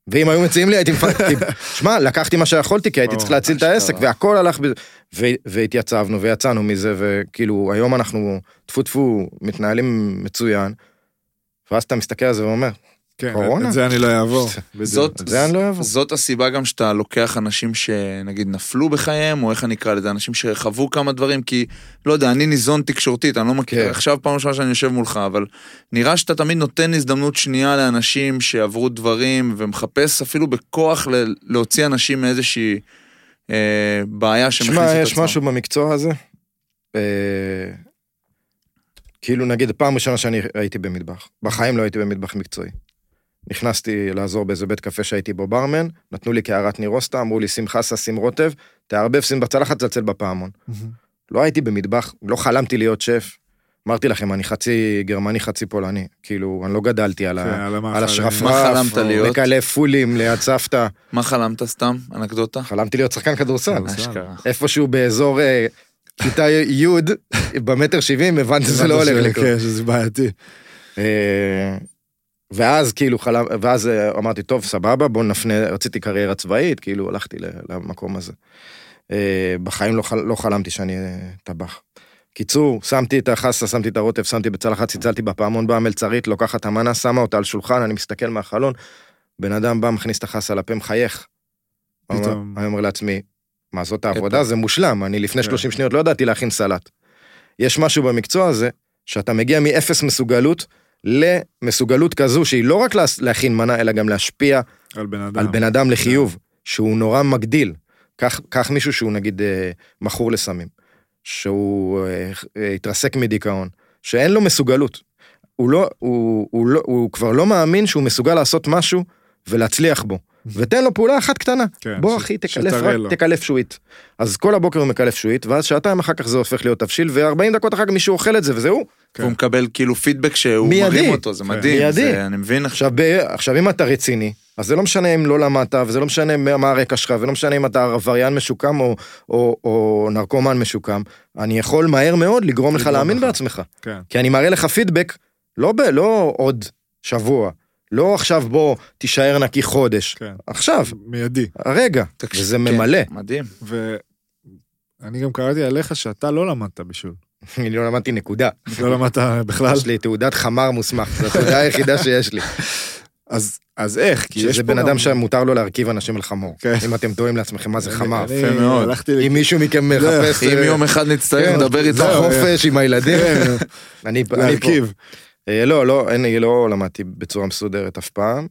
Speaker 3: ואם היו מציעים לי הייתי מפרקים. שמע, לקחתי מה שיכולתי, כי הייתי
Speaker 2: ברור,
Speaker 3: צריך להציל את
Speaker 1: אשכרה.
Speaker 3: העסק, והכל הלך, ב- ו- והתייצבנו, ויצאנו מזה, וכאילו, היום אנחנו, טפו טפו, מתנהלים מצוין, ואז אתה מסתכל על זה ואומר,
Speaker 2: כן,
Speaker 3: קורונה?
Speaker 2: את זה אני לא אעבור.
Speaker 1: זאת,
Speaker 3: את זה אני לא אעבור.
Speaker 1: זאת הסיבה גם שאתה לוקח אנשים שנגיד נפלו בחייהם, או איך אני אקרא לזה, אנשים שחוו כמה דברים, כי לא יודע, אני ניזון תקשורתית, אני לא מכיר,
Speaker 3: כן.
Speaker 1: עכשיו פעם ראשונה שאני יושב מולך, אבל נראה שאתה תמיד נותן הזדמנות שנייה לאנשים שעברו דברים, ומחפש אפילו בכוח ל- להוציא אנשים מאיזושהי אה, בעיה שמכניס
Speaker 3: שמע,
Speaker 1: את
Speaker 3: יש
Speaker 1: עצמם.
Speaker 3: משהו במקצוע הזה. אה, כאילו נגיד, פעם ראשונה שאני הייתי במטבח. בחיים לא הייתי במטבח מקצועי. נכנסתי לעזור באיזה בית קפה שהייתי בו ברמן, נתנו לי קערת נירוסטה, אמרו לי שים חסה, שים רוטב, תערבב, שים בצלחת, תצלצל בפעמון. לא הייתי במטבח, לא חלמתי להיות שף. אמרתי לכם, אני חצי גרמני, חצי פולני. כאילו, אני לא גדלתי על
Speaker 2: כן,
Speaker 3: ה... על השרפה.
Speaker 1: כן, מה חלמת להיות?
Speaker 3: לקלף פולים, ליד סבתא.
Speaker 1: מה חלמת סתם? אנקדוטה?
Speaker 3: חלמתי להיות שחקן כדורסל.
Speaker 1: אשכרה.
Speaker 3: איפשהו באזור אה, כיתה י', במטר שבעים, הבנתי שזה לא הולך לקרות.
Speaker 2: כן, שזה בעייתי.
Speaker 3: אה, ואז כאילו חלם, ואז אה, אמרתי, טוב, סבבה, בוא נפנה, רציתי קריירה צבאית, כאילו הלכתי ל- למקום הזה. אה, בחיים לא, חל, לא חלמתי שאני אה, טבח. קיצור, שמתי את החסה, שמתי את הרוטב, שמתי בצלחת, צלצלתי בפעמון, באה המלצרית, לוקחת את המנה, שמה אותה על שולחן, אני מסתכל מהחלון, בן אדם בא, מכניס את החסה לפה, מחייך.
Speaker 2: פתאום.
Speaker 3: פתאום. אני אומר לעצמי, מה זאת העבודה? זה מושלם, אני לפני
Speaker 2: כן.
Speaker 3: 30 שניות לא ידעתי להכין סלט. יש משהו במקצוע הזה, שאתה מגיע מאפס מסוגלות למסוגלות כזו שהיא לא רק להס- להכין מנה, אלא גם להשפיע
Speaker 2: על בן אדם.
Speaker 3: על בן אדם לחיוב, שהוא נורא מגדיל. קח, קח מישהו שהוא נגיד אה, מכור לסמים, שהוא אה, אה, התרסק מדיכאון, שאין לו מסוגלות. הוא, לא, הוא, הוא, לא, הוא כבר לא מאמין שהוא מסוגל לעשות משהו ולהצליח בו. ותן לו פעולה אחת קטנה.
Speaker 2: כן,
Speaker 3: בוא
Speaker 2: ש-
Speaker 3: אחי, תקלף,
Speaker 2: שתראה
Speaker 3: רק,
Speaker 2: לו.
Speaker 3: תקלף שועית. אז כל הבוקר הוא מקלף שועית, ואז שעתיים אחר כך זה הופך להיות תבשיל, ו-40 דקות אחר כך מישהו אוכל את זה, וזהו.
Speaker 2: כן.
Speaker 1: והוא מקבל כאילו פידבק שהוא
Speaker 3: מיידי. כן.
Speaker 1: מרים אותו, זה מדהים,
Speaker 3: מיידי.
Speaker 1: זה- אני מבין עכשיו.
Speaker 3: עכשיו, ב... עכשיו, אם אתה רציני, אז זה לא משנה אם לא למדת, וזה לא משנה מה מה הרקע שלך, ולא משנה אם אתה עבריין משוקם או, או, או נרקומן משוקם, אני יכול מהר מאוד לגרום לך
Speaker 2: לגרום
Speaker 3: להאמין
Speaker 2: לך.
Speaker 3: בעצמך.
Speaker 2: כן.
Speaker 3: כי אני מראה לך פידבק, לא, ב... לא עוד שבוע, לא עכשיו בוא תישאר נקי חודש,
Speaker 2: כן.
Speaker 3: עכשיו,
Speaker 2: מיידי.
Speaker 3: הרגע,
Speaker 1: תקשיב,
Speaker 3: וזה
Speaker 1: כן,
Speaker 3: ממלא.
Speaker 1: מדהים.
Speaker 2: ואני גם קראתי עליך שאתה לא למדת בישול.
Speaker 3: אני לא למדתי נקודה.
Speaker 2: לא למדת בכלל.
Speaker 3: יש לי תעודת חמר מוסמך, זו התעודה היחידה שיש לי.
Speaker 2: אז- אז איך? כי יש
Speaker 3: שזה
Speaker 2: פה
Speaker 3: בן
Speaker 2: גם-
Speaker 3: אדם שמותר לו להרכיב אנשים על חמור.
Speaker 2: כן.
Speaker 3: אם אתם תוהים לעצמכם מה זה
Speaker 2: אני-
Speaker 3: חמר.
Speaker 2: אני לא,
Speaker 1: יפה מאוד.
Speaker 2: הלכתי
Speaker 3: אם מישהו מכם מחפש...
Speaker 1: אם
Speaker 3: אה,
Speaker 1: יום אחד נצטרך
Speaker 3: כן,
Speaker 1: נדבר איתך.
Speaker 2: זהו.
Speaker 3: בחופש עם הילדים.
Speaker 2: כן,
Speaker 3: אני אני פה.
Speaker 2: להרכיב.
Speaker 3: אה, לא, לא, אני לא למדתי בצורה מסודרת אף פעם.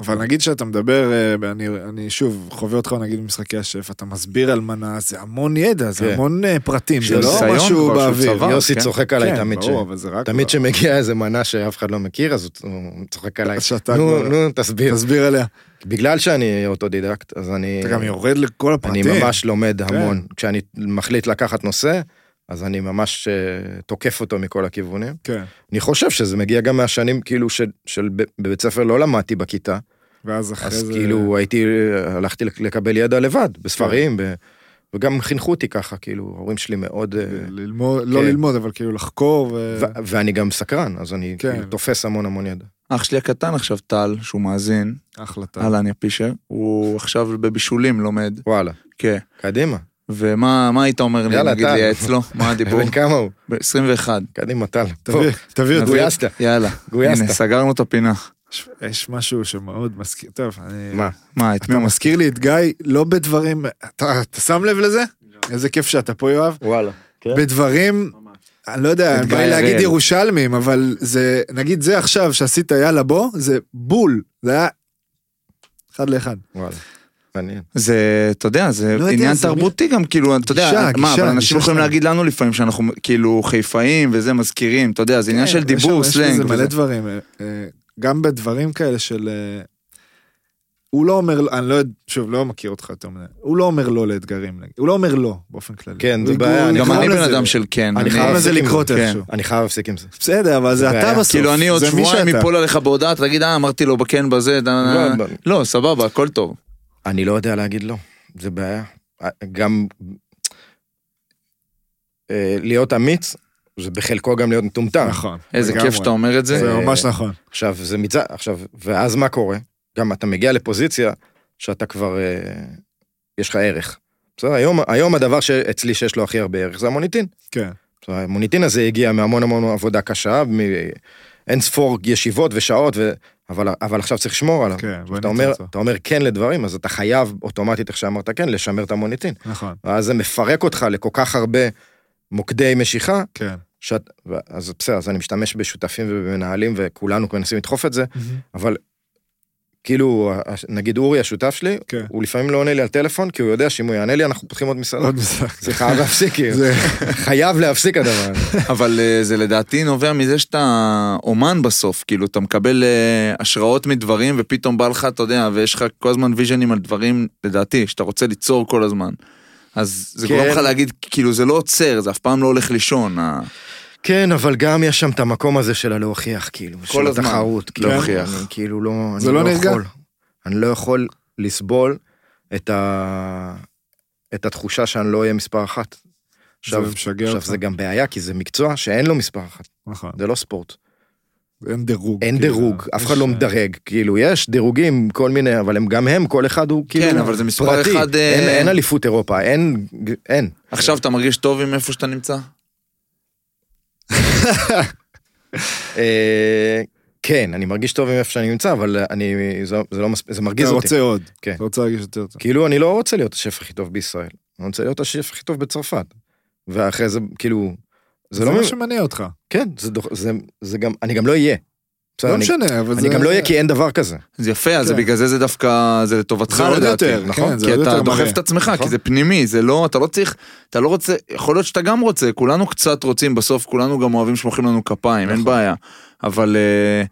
Speaker 2: אבל נגיד שאתה מדבר, אה, אני, אני שוב חווה אותך נגיד במשחקי השף, אתה מסביר על מנה, זה המון ידע, זה
Speaker 3: כן.
Speaker 2: המון אה, פרטים, זה
Speaker 1: של
Speaker 2: לא
Speaker 1: ניסיון
Speaker 2: משהו
Speaker 1: כבר שהוא
Speaker 2: באוויר.
Speaker 1: צבר. אה,
Speaker 3: יוסי
Speaker 1: כן.
Speaker 3: צוחק עליי
Speaker 2: כן,
Speaker 3: תמיד, ש-
Speaker 2: ברור, אבל זה רק...
Speaker 3: תמיד שמגיע איזה מנה שאף אחד לא מכיר, אז הוא- הוא צוחק עליי.
Speaker 2: אז שאתה
Speaker 3: נו,
Speaker 2: כבר-
Speaker 3: נו, תסביר.
Speaker 2: תסביר עליה.
Speaker 3: בגלל שאני אוטודידקט, אז אני...
Speaker 2: אתה גם יורד לכל
Speaker 3: אה, אני
Speaker 2: הפרטים.
Speaker 3: ממש לומד
Speaker 2: כן.
Speaker 3: המון. כשאני מחליט לקחת נושא, אז אני ממש אה, תוקף אותו מכל הכיוונים.
Speaker 2: כן,
Speaker 3: אני חושב שזה מגיע גם מהשנים, כאילו, של- של ב- בבית ספר לא למדתי בכיתה,
Speaker 2: ואז אחרי
Speaker 3: אז
Speaker 2: זה...
Speaker 3: כאילו הייתי, הלכתי לק- לקבל ידע לבד, בספרים,
Speaker 2: כן.
Speaker 3: ב- וגם חינכו אותי ככה, כאילו, ההורים שלי מאוד... אה,
Speaker 2: ללמוד, לא
Speaker 3: כן.
Speaker 2: ללמוד, אבל כאילו לחקור, ו...
Speaker 3: ו- ואני גם סקרן, אז אני
Speaker 2: כן.
Speaker 3: כאילו תופס המון המון ידע.
Speaker 1: אח שלי הקטן עכשיו, טל, שהוא מאזין,
Speaker 2: החלטה.
Speaker 1: אהלן יפישר, הוא עכשיו בבישולים לומד.
Speaker 3: וואלה,
Speaker 1: כן.
Speaker 3: קדימה.
Speaker 1: ומה מה היית אומר לי,
Speaker 3: יאללה,
Speaker 1: נגיד
Speaker 3: טל.
Speaker 1: לייעץ לו? מה הדיבור?
Speaker 3: בן כמה הוא?
Speaker 1: ב- 21.
Speaker 3: קדימה, טל.
Speaker 2: תביא,
Speaker 3: בוא,
Speaker 2: תביא את זה.
Speaker 3: גויסת,
Speaker 1: יאללה.
Speaker 3: גויסת.
Speaker 1: הנה, סגרנו את הפינה.
Speaker 2: יש- יש משהו שמאוד מזכיר, טוב, אני...
Speaker 3: מה?
Speaker 1: מה, את מי
Speaker 2: אתה
Speaker 1: הוא מס...
Speaker 2: מזכיר לי את גיא, לא בדברים, אתה אתה שם לב לזה?
Speaker 3: לא.
Speaker 2: איזה כיף שאתה פה, יואב.
Speaker 3: וואלה.
Speaker 2: בדברים, אני לא יודע,
Speaker 1: את
Speaker 2: בא לי
Speaker 1: גיא
Speaker 2: להגיד
Speaker 1: הראל.
Speaker 2: ירושלמים, אבל זה, נגיד זה עכשיו שעשית יאללה בוא, זה בול, זה היה אחד לאחד.
Speaker 3: וואלה. מעניין.
Speaker 1: זה, אתה יודע, זה
Speaker 2: לא יודע,
Speaker 1: עניין
Speaker 2: זה
Speaker 1: תרבותי גם, כאילו, אתה יודע,
Speaker 2: גישה,
Speaker 1: מה,
Speaker 2: גישה,
Speaker 1: אבל
Speaker 2: גישה
Speaker 1: אנשים יכולים
Speaker 2: שלנו.
Speaker 1: להגיד לנו לפעמים שאנחנו כאילו חיפאים וזה, מזכירים, אתה יודע, זה עניין של
Speaker 2: כן, יש
Speaker 1: דיבור,
Speaker 2: שם- יש
Speaker 1: סלנג.
Speaker 2: בזה מלא
Speaker 1: וזה.
Speaker 2: דברים, אה, אה, גם בדברים כאלה של... אה, הוא לא אומר, אני לא יודע, שוב, לא מכיר אותך יותר מדי, הוא לא אומר לא לאתגרים, נגיד. הוא לא אומר לא, באופן כללי.
Speaker 3: כן,
Speaker 2: הוא
Speaker 3: זה
Speaker 2: יגרום
Speaker 3: בעיה,
Speaker 2: לזה-
Speaker 3: אני
Speaker 1: גם אני
Speaker 2: יגרום
Speaker 1: בן
Speaker 2: לזה.
Speaker 1: אדם של כן.
Speaker 3: אני
Speaker 2: יגרום
Speaker 3: חייב
Speaker 2: לזה
Speaker 3: להפסיק עם
Speaker 2: לקרות
Speaker 1: זה, כן.
Speaker 2: איכשהו.
Speaker 3: אני חייב להפסיק עם זה.
Speaker 2: בסדר, אבל זה
Speaker 3: זה
Speaker 2: אתה
Speaker 3: בעיה.
Speaker 2: בסוף.
Speaker 1: כאילו אני עוד
Speaker 2: זה מי
Speaker 1: שבועיים
Speaker 2: שאתה.
Speaker 1: יפול עליך בהודעה, אתה תגיד, אה, אמרתי לו בכן בזה, דה,
Speaker 2: אה,
Speaker 1: דה, דה."
Speaker 3: לא,
Speaker 1: לא, סבבה, הכל טוב.
Speaker 3: אני לא יודע להגיד לא, זה בעיה. גם אה, להיות אמיץ, זה בחלקו גם להיות מטומטם.
Speaker 2: נכון.
Speaker 1: איזה
Speaker 2: לגמרי.
Speaker 1: כיף שאתה אומר את זה.
Speaker 2: זה ממש נכון.
Speaker 3: עכשיו, זה מצד... עכשיו, ואז מה קורה? גם אתה מגיע לפוזיציה שאתה כבר... אה, יש לך ערך. בסדר, היום, היום הדבר שאצלי שיש לו הכי הרבה ערך זה המוניטין.
Speaker 2: כן.
Speaker 3: בסדר, המוניטין הזה הגיע מהמון המון עבודה קשה, מ- אין ספור ישיבות ושעות, ו... אבל, אבל עכשיו צריך לשמור עליו.
Speaker 2: כן, בוא
Speaker 3: אתה אומר,
Speaker 2: ניצור.
Speaker 3: אתה אומר כן לדברים, אז אתה חייב אוטומטית, איך שאמרת כן, לשמר את המוניטין.
Speaker 2: נכון,
Speaker 3: ואז זה מפרק אותך לכל כך הרבה מוקדי משיכה,
Speaker 2: כן.
Speaker 3: שאת, ו- אז בסדר, אז אני משתמש בשותפים ובמנהלים, וכולנו מנסים לדחוף את זה, אבל כאילו, ה- נגיד אורי השותף שלי,
Speaker 2: כן.
Speaker 3: הוא לפעמים לא עונה לי על טלפון, כי הוא יודע שאם הוא יענה לי, אנחנו פותחים עוד מסעדות.
Speaker 2: עוד משחק.
Speaker 3: זה חייב להפסיק, כאילו.
Speaker 2: זה-
Speaker 3: חייב להפסיק הדבר הזה.
Speaker 1: אבל אה, זה לדעתי נובע מזה שאתה אומן בסוף, כאילו אתה מקבל אה, השראות מדברים ופתאום בא לך, אתה יודע, ויש לך כל הזמן ויז'נים על דברים, לדעתי, שאתה רוצה ליצור כל הזמן. אז זה
Speaker 3: כן.
Speaker 1: גורם לך להגיד, כאילו זה לא עוצר, זה אף פעם לא הולך לישון, ה-
Speaker 3: כן, אבל גם יש שם את המקום הזה של הלהוכיח, כאילו, של
Speaker 1: הזמן,
Speaker 3: התחרות. כאילו,
Speaker 1: להוכיח.
Speaker 3: אני כאילו לא,
Speaker 2: זה
Speaker 3: אני
Speaker 2: לא
Speaker 3: לא
Speaker 2: נרגע?
Speaker 3: יכול. אני לא יכול לסבול את ה... את התחושה שאני לא אהיה מספר אחת.
Speaker 2: זה
Speaker 3: עכשיו,
Speaker 2: משגע
Speaker 3: עכשיו
Speaker 2: אותך.
Speaker 3: זה גם בעיה, כי זה מקצוע שאין לו מספר אחת,
Speaker 2: נכון.
Speaker 3: זה לא ספורט.
Speaker 2: אין דירוג.
Speaker 3: אין
Speaker 2: כאילו.
Speaker 3: דירוג, אף אחד
Speaker 2: יש,
Speaker 3: לא
Speaker 2: אה,
Speaker 3: מדרג, כאילו, יש דירוגים, כל מיני, אבל הם גם הם, כל אחד הוא כאילו
Speaker 1: כן, אבל זה מספר
Speaker 3: פרטי.
Speaker 1: אחד, אה,
Speaker 3: אין אין אליפות אירופה, אין, אין.
Speaker 2: כן.
Speaker 1: עכשיו אתה מרגיש טוב עם איפה שאתה נמצא?
Speaker 3: אה, כן, אני מרגיש טוב עם איפה שאני נמצא, אבל אני, זה זה לא מספיק, זה מרגיז
Speaker 2: אתה
Speaker 3: אותי.
Speaker 2: רוצה עוד.
Speaker 3: כן.
Speaker 2: אתה רוצה להרגיש יותר טוב.
Speaker 3: כאילו, אני לא רוצה להיות השף הכי טוב בישראל, אני רוצה להיות השף הכי טוב בצרפת. ואחרי זה, כאילו, זה
Speaker 2: זה
Speaker 3: לא...
Speaker 2: מה
Speaker 3: מ-
Speaker 2: שמניע אותך.
Speaker 3: כן, זה דוח- זה- זה גם, אני גם לא אהיה. בסדר,
Speaker 2: לא
Speaker 3: אני-
Speaker 2: משנה, אבל זה...
Speaker 3: אני גם לא אהיה כי אין דבר כזה.
Speaker 1: זה יפה, אז
Speaker 2: כן.
Speaker 1: בגלל זה זה דווקא, זה לטובתך
Speaker 2: זה עוד
Speaker 1: לדעתי,
Speaker 2: יותר, כן,
Speaker 1: נכון?
Speaker 2: זה
Speaker 1: כי
Speaker 2: עוד
Speaker 1: אתה
Speaker 2: יותר
Speaker 1: דוחף
Speaker 2: מראה.
Speaker 1: את עצמך,
Speaker 3: נכון.
Speaker 1: כי זה פנימי, זה לא, אתה לא צריך, אתה לא רוצה, יכול להיות שאתה גם רוצה, כולנו קצת רוצים, בסוף כולנו גם אוהבים שמוחאים לנו כפיים, אין בעיה. אבל אה,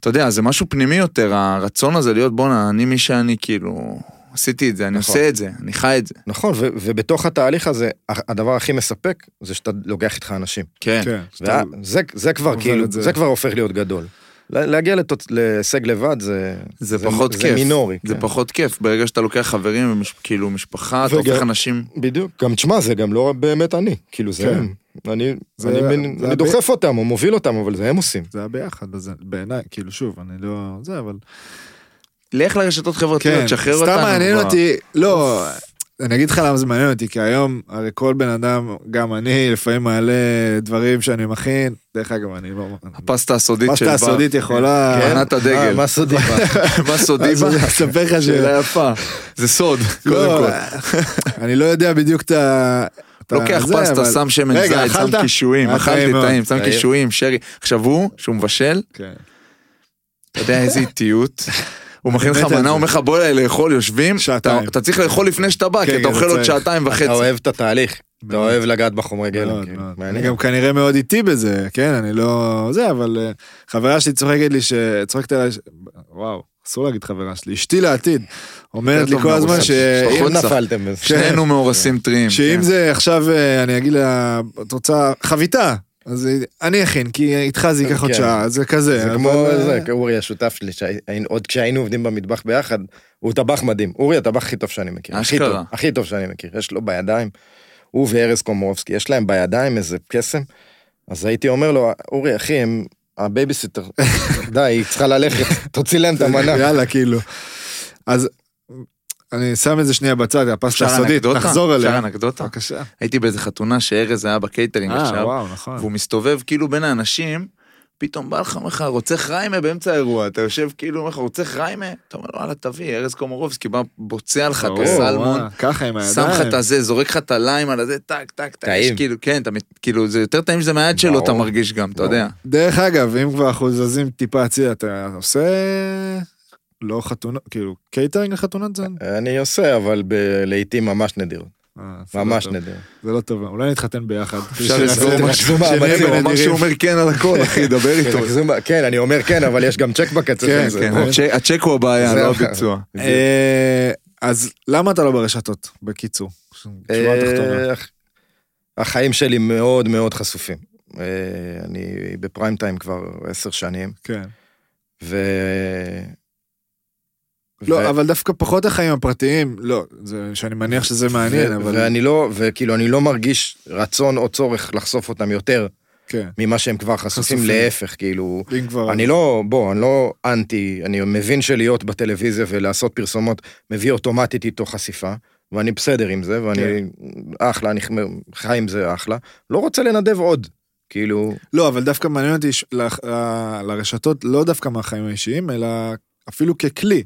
Speaker 1: אתה יודע, זה משהו פנימי יותר, הרצון הזה להיות בואנה, אני מי שאני כאילו, עשיתי את זה, אני
Speaker 3: נכון.
Speaker 1: עושה את זה, אני חי את זה.
Speaker 3: נכון, ו- ובתוך התהליך הזה, ה- הדבר הכי מספק, זה שאתה לוקח איתך אנשים.
Speaker 1: כן.
Speaker 2: כן.
Speaker 3: וה- זה- זה כבר
Speaker 2: עובר
Speaker 3: כאילו,
Speaker 2: את זה.
Speaker 3: זה כבר הופך להיות גדול. לה- להגיע לתוצ- להישג לבד זה...
Speaker 1: זה פחות
Speaker 3: זה
Speaker 1: כיף.
Speaker 3: מינורי.
Speaker 1: זה
Speaker 3: כן.
Speaker 1: פחות כיף, ברגע שאתה לוקח חברים, ומש- כאילו משפחה, אתה
Speaker 3: וגם-
Speaker 1: הופך אנשים...
Speaker 3: בדיוק. גם תשמע, זה גם לא באמת אני. כאילו זה
Speaker 2: כן.
Speaker 3: הם. אני
Speaker 2: זה-
Speaker 3: אני
Speaker 2: זה
Speaker 3: מין-
Speaker 2: הב-
Speaker 3: אני דוחף אותם, או מוביל אותם, אבל זה הם עושים.
Speaker 2: זה היה ביחד, אז זה- בעיניי, כאילו שוב, אני לא... זה, אבל...
Speaker 1: לך לרשתות חברתיות,
Speaker 2: כן,
Speaker 1: תשחרר אותנו.
Speaker 2: סתם מעניין
Speaker 1: כבר.
Speaker 2: אותי, לא, אני אגיד לך למה זה מעניין אותי, כי היום, הרי כל בן אדם, גם אני, לפעמים מעלה דברים שאני מכין, דרך אגב, אני לא...
Speaker 1: הפסטה הסודית של
Speaker 2: פסטה
Speaker 1: בר.
Speaker 2: הסודית יכולה...
Speaker 1: כן? ענת הדגל.
Speaker 3: אה, מה סודי?
Speaker 1: מה סודי
Speaker 2: אז
Speaker 1: בה?
Speaker 2: אני אספר לך ש...
Speaker 1: שאלה יפה. זה סוד, קודם
Speaker 2: לא,
Speaker 1: כל.
Speaker 2: אני לא יודע בדיוק את ה... את
Speaker 1: לוקח
Speaker 2: הזה,
Speaker 1: פסטה,
Speaker 2: אבל-
Speaker 1: שם שמן
Speaker 2: רגע,
Speaker 1: זית, שם
Speaker 2: אכלת?
Speaker 1: קישואים,
Speaker 2: היה
Speaker 1: אכלתי
Speaker 2: טעים מאוד. אה,
Speaker 1: טעים, שם
Speaker 3: טעים.
Speaker 1: קישואים, שרי. עכשיו הוא, שהוא מבשל,
Speaker 2: כן.
Speaker 1: אתה יודע איזה איטיות. הוא מכין לך
Speaker 2: מת על
Speaker 1: מנה,
Speaker 2: זה.
Speaker 1: הוא אומר לך בוא אליי לאכול, יושבים, אתה-
Speaker 2: שעתיים.
Speaker 1: אתה צריך לאכול לפני שאתה בא, כי
Speaker 2: כן,
Speaker 1: אתה
Speaker 2: כן,
Speaker 1: אוכל עוד
Speaker 2: צריך.
Speaker 1: שעתיים
Speaker 3: אתה
Speaker 1: וחצי.
Speaker 3: אוהב את התהליך. אתה
Speaker 2: מאוד.
Speaker 3: אוהב לגעת בחומרי
Speaker 1: כן,
Speaker 3: גלם.
Speaker 2: מאוד,
Speaker 3: כאילו.
Speaker 2: מאוד.
Speaker 3: מעניין.
Speaker 2: אני גם כנראה מאוד איטי בזה, כן? אני לא... זה, אבל אה, חברה שלי צוחקת לי ש... צוחקת עליי... ש- וואו, אסור להגיד חברה שלי. אשתי לעתיד. אומרת
Speaker 1: יותר
Speaker 2: לי
Speaker 1: טוב
Speaker 2: כל הזמן
Speaker 1: מהרוסה.
Speaker 2: ש...
Speaker 1: פחות
Speaker 3: פחות
Speaker 1: צח.
Speaker 3: נפלתם בזה.
Speaker 2: כן.
Speaker 1: שנינו מאורסים טריים.
Speaker 2: שאם
Speaker 1: כן.
Speaker 2: זה עכשיו, אה, אני אגיד לה, את רוצה חביתה, אז היא- אני אכין, כי איתך זה ייקח עוד
Speaker 3: כן.
Speaker 2: שעה, אז זה אה, כזה.
Speaker 3: זה
Speaker 2: אבל-
Speaker 3: כמו זה, אורי השותף שלי, שהי- עוד כשהיינו עובדים במטבח ביחד, הוא טבח מדהים. אורי הטבח הכי טוב שאני מכיר. הכי
Speaker 1: אשכרה.
Speaker 3: טוב, הכי טוב שאני מכיר. יש לו בידיים, הוא וארז קומורובסקי, יש להם בידיים איזה קסם. אז הייתי אומר לו, אורי אחי, הם הבייביסיטר, די, היא צריכה ללכת, תוציא להם את המנה.
Speaker 2: יאללה, כאילו. אז אני שם את זה שנייה בצד, הפסטה
Speaker 1: אפשר
Speaker 2: הסודית,
Speaker 1: אנקדוטה?
Speaker 2: נחזור
Speaker 1: אפשר
Speaker 2: אליה.
Speaker 1: אנקדוטה?
Speaker 2: בבקשה.
Speaker 1: הייתי באיזה חתונה שארז היה בקייטרינג
Speaker 2: אה,
Speaker 1: עכשיו,
Speaker 2: וואו, נכון.
Speaker 1: והוא מסתובב כאילו בין האנשים, פתאום בא לך, אומר לך, רוצח ריימה באמצע האירוע, אתה יושב כאילו, אומר לך, רוצח ריימה? אתה אומר לו, וואלה, תביא, ארז קומורובסקי בא, בוצע לך את
Speaker 2: ברור,
Speaker 1: הסלמון,
Speaker 2: וואו, ככה עם הידיים.
Speaker 1: שם לך את הזה, זורק לך את הליים על הזה, טק, טק, טק,
Speaker 3: טעים.
Speaker 1: יש כאילו, כן, אתה, מת- כאילו, זה יותר טעים שזה מהיד שלו,
Speaker 3: ברור.
Speaker 1: אתה מרגיש גם, אתה
Speaker 3: ברור.
Speaker 1: יודע.
Speaker 2: דרך אגב, אם כבר אנחנו זזים טיפה הצידה, אתה עושה... לא חתונה, כאילו, קייטרינג לחתונת זן?
Speaker 3: אני עושה, אבל ב- לעיתים ממש נדיר,
Speaker 2: אה, זה לא
Speaker 3: ממש
Speaker 2: טוב.
Speaker 3: נדיר.
Speaker 2: זה לא טוב, אולי נתחתן ביחד.
Speaker 1: אפשר לסגור
Speaker 2: שנעשה
Speaker 1: משהו,
Speaker 2: משהו, שנהיה
Speaker 3: מאמצים,
Speaker 1: הוא אמר
Speaker 2: בנדירים.
Speaker 1: שהוא אומר כן על הכל, אחי, דבר איתו.
Speaker 3: תרכזו מה- כן, אני אומר כן, אבל יש גם צ'ק בקצה
Speaker 2: כן,
Speaker 3: של זה.
Speaker 1: כן, הצ'ק- הצ'ק הוא הבעיה,
Speaker 3: זה
Speaker 1: לא
Speaker 3: אחר.
Speaker 1: הביצוע.
Speaker 2: אה, אז למה אתה לא ברשתות, בקיצור? שורה תחתונה.
Speaker 3: אה, הח- החיים שלי מאוד מאוד חשופים. אה, אני בפריים טיים כבר עשר שנים,
Speaker 2: כן.
Speaker 3: ו...
Speaker 2: לא, אבל דווקא פחות החיים הפרטיים, לא, זה- שאני מניח שזה מעניין,
Speaker 3: ו-
Speaker 2: אבל...
Speaker 3: ואני לא, וכאילו, אני לא מרגיש רצון או צורך לחשוף אותם יותר
Speaker 2: כן,
Speaker 3: ממה שהם כבר חשופים,
Speaker 2: חשופים.
Speaker 3: להפך, כאילו...
Speaker 2: אם כבר...
Speaker 3: אני לא, בוא, אני לא אנטי, אני מבין שלהיות בטלוויזיה ולעשות פרסומות מביא אוטומטית איתו חשיפה, ואני
Speaker 2: כן.
Speaker 3: בסדר עם זה, ואני אחלה, אני חי עם זה אחלה. לא רוצה לנדב עוד. כאילו,
Speaker 2: לא, אבל דווקא מעניין אותי ש- ל- ל- לרשתות, לא דווקא מהחיים האישיים, אלא אפילו ככלי.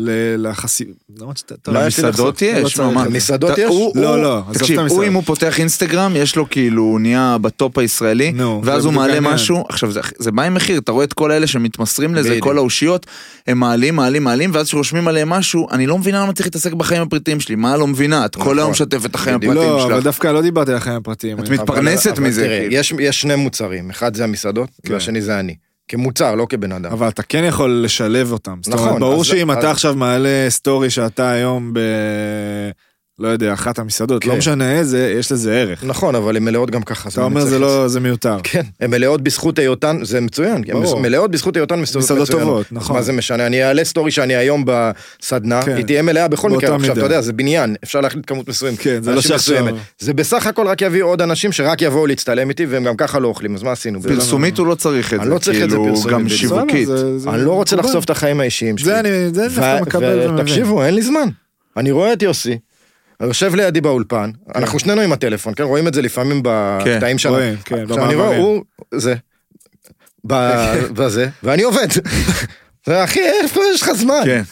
Speaker 2: ל- לחסי... למרות שאתה... אתה-
Speaker 1: למסעדות
Speaker 2: לא
Speaker 1: יש,
Speaker 2: צריך.
Speaker 1: ממש.
Speaker 3: למסעדות
Speaker 1: אתה-
Speaker 3: יש?
Speaker 1: הוא-
Speaker 2: לא,
Speaker 1: הוא-
Speaker 2: לא, עזוב את
Speaker 1: תקשיב, הוא
Speaker 2: המסעדות.
Speaker 1: אם הוא פותח אינסטגרם, יש לו כאילו, הוא נהיה בטופ הישראלי,
Speaker 2: נו,
Speaker 1: ואז
Speaker 2: זה
Speaker 1: הוא
Speaker 2: בדיוק
Speaker 1: מעלה
Speaker 2: העניין.
Speaker 1: משהו, עכשיו זה- זה בא עם מחיר, אתה רואה את כל אלה שמתמסרים לזה,
Speaker 3: בדיוק.
Speaker 1: כל האושיות, הם מעלים, מעלים, מעלים, ואז כשרושמים עליהם משהו, אני לא מבינה למה צריך להתעסק בחיים הפרטיים שלי, מה לא מבינה, את כל היום
Speaker 3: נכון.
Speaker 1: משתפת את החיים
Speaker 3: בדיוק.
Speaker 1: הפרטיים
Speaker 2: לא, אבל
Speaker 1: שלך.
Speaker 2: דווקא לא דיברתי על החיים הפרטיים.
Speaker 1: את
Speaker 2: אני-
Speaker 1: מת- מתפרנסת מזה,
Speaker 3: תראה,
Speaker 1: כאילו.
Speaker 3: יש, יש שני מוצרים, אחד זה המסעדות,
Speaker 2: כן.
Speaker 3: והשני זה אני. כמוצר, לא כבן אדם.
Speaker 2: אבל אתה כן יכול לשלב אותם. זאת אומרת,
Speaker 3: נכון,
Speaker 2: ברור
Speaker 3: אז-
Speaker 2: שאם
Speaker 3: אז-
Speaker 2: אתה עכשיו מעלה סטורי שאתה היום ב... לא יודע, אחת המסעדות, לא
Speaker 3: כן.
Speaker 2: משנה איזה, יש לזה ערך.
Speaker 3: נכון, אבל הן מלאות גם ככה. אז
Speaker 2: אתה
Speaker 3: אני
Speaker 2: אומר
Speaker 3: צריך
Speaker 2: זה
Speaker 3: לעשות-
Speaker 2: לא, זה מיותר.
Speaker 3: כן, הן מלאות בזכות היותן, זה מצוין. הן
Speaker 2: ברור.
Speaker 3: מלאות בזכות היותן מסעדות
Speaker 2: מסעדות
Speaker 3: מצוינות.
Speaker 2: טובות,
Speaker 3: אז
Speaker 2: נכון.
Speaker 3: מה זה משנה? אני אעלה סטורי שאני היום בסדנה,
Speaker 2: כן.
Speaker 3: היא תהיה מלאה בכל
Speaker 2: באותה
Speaker 3: מקרה. עכשיו,
Speaker 2: מידה.
Speaker 3: אתה יודע, זה בניין, אפשר להחליט כמות מסוימת.
Speaker 2: כן, זה לא
Speaker 3: אנשים
Speaker 2: שעכשיו-
Speaker 3: מסוימת. זה בסך הכל רק יביא עוד אנשים שרק יבואו להצטלם איתי, והם גם ככה לא אוכלים, אז מה עשינו? בזה?
Speaker 1: פרסומית הוא לא צריך את
Speaker 3: אני
Speaker 1: זה,
Speaker 3: לא צריך את זה
Speaker 1: כאילו,
Speaker 3: פרסומית,
Speaker 1: גם
Speaker 3: בסדר,
Speaker 1: שיווקית.
Speaker 2: בסדר, זה- זה
Speaker 3: אני לא רוצה
Speaker 2: מקובל.
Speaker 3: לחשוף את החיים האישיים שלי.
Speaker 2: זה אני, זה דווקא
Speaker 3: ו-
Speaker 2: מקבל
Speaker 3: ו-
Speaker 2: ומבין.
Speaker 3: תקשיבו, אין לי זמן. אני רואה את יוסי, יושב לידי באולפן, אנחנו שנינו עם הטלפון, כן? רואים את זה לפעמים בקטעים שלנו.
Speaker 2: רואים, כן. כן,
Speaker 3: עכשיו אני רואה,
Speaker 2: במעברים.
Speaker 3: הוא, זה,
Speaker 2: כן.
Speaker 3: ב- בזה, ואני עובד. זה, אחי, איפה יש לך זמן?
Speaker 1: כן.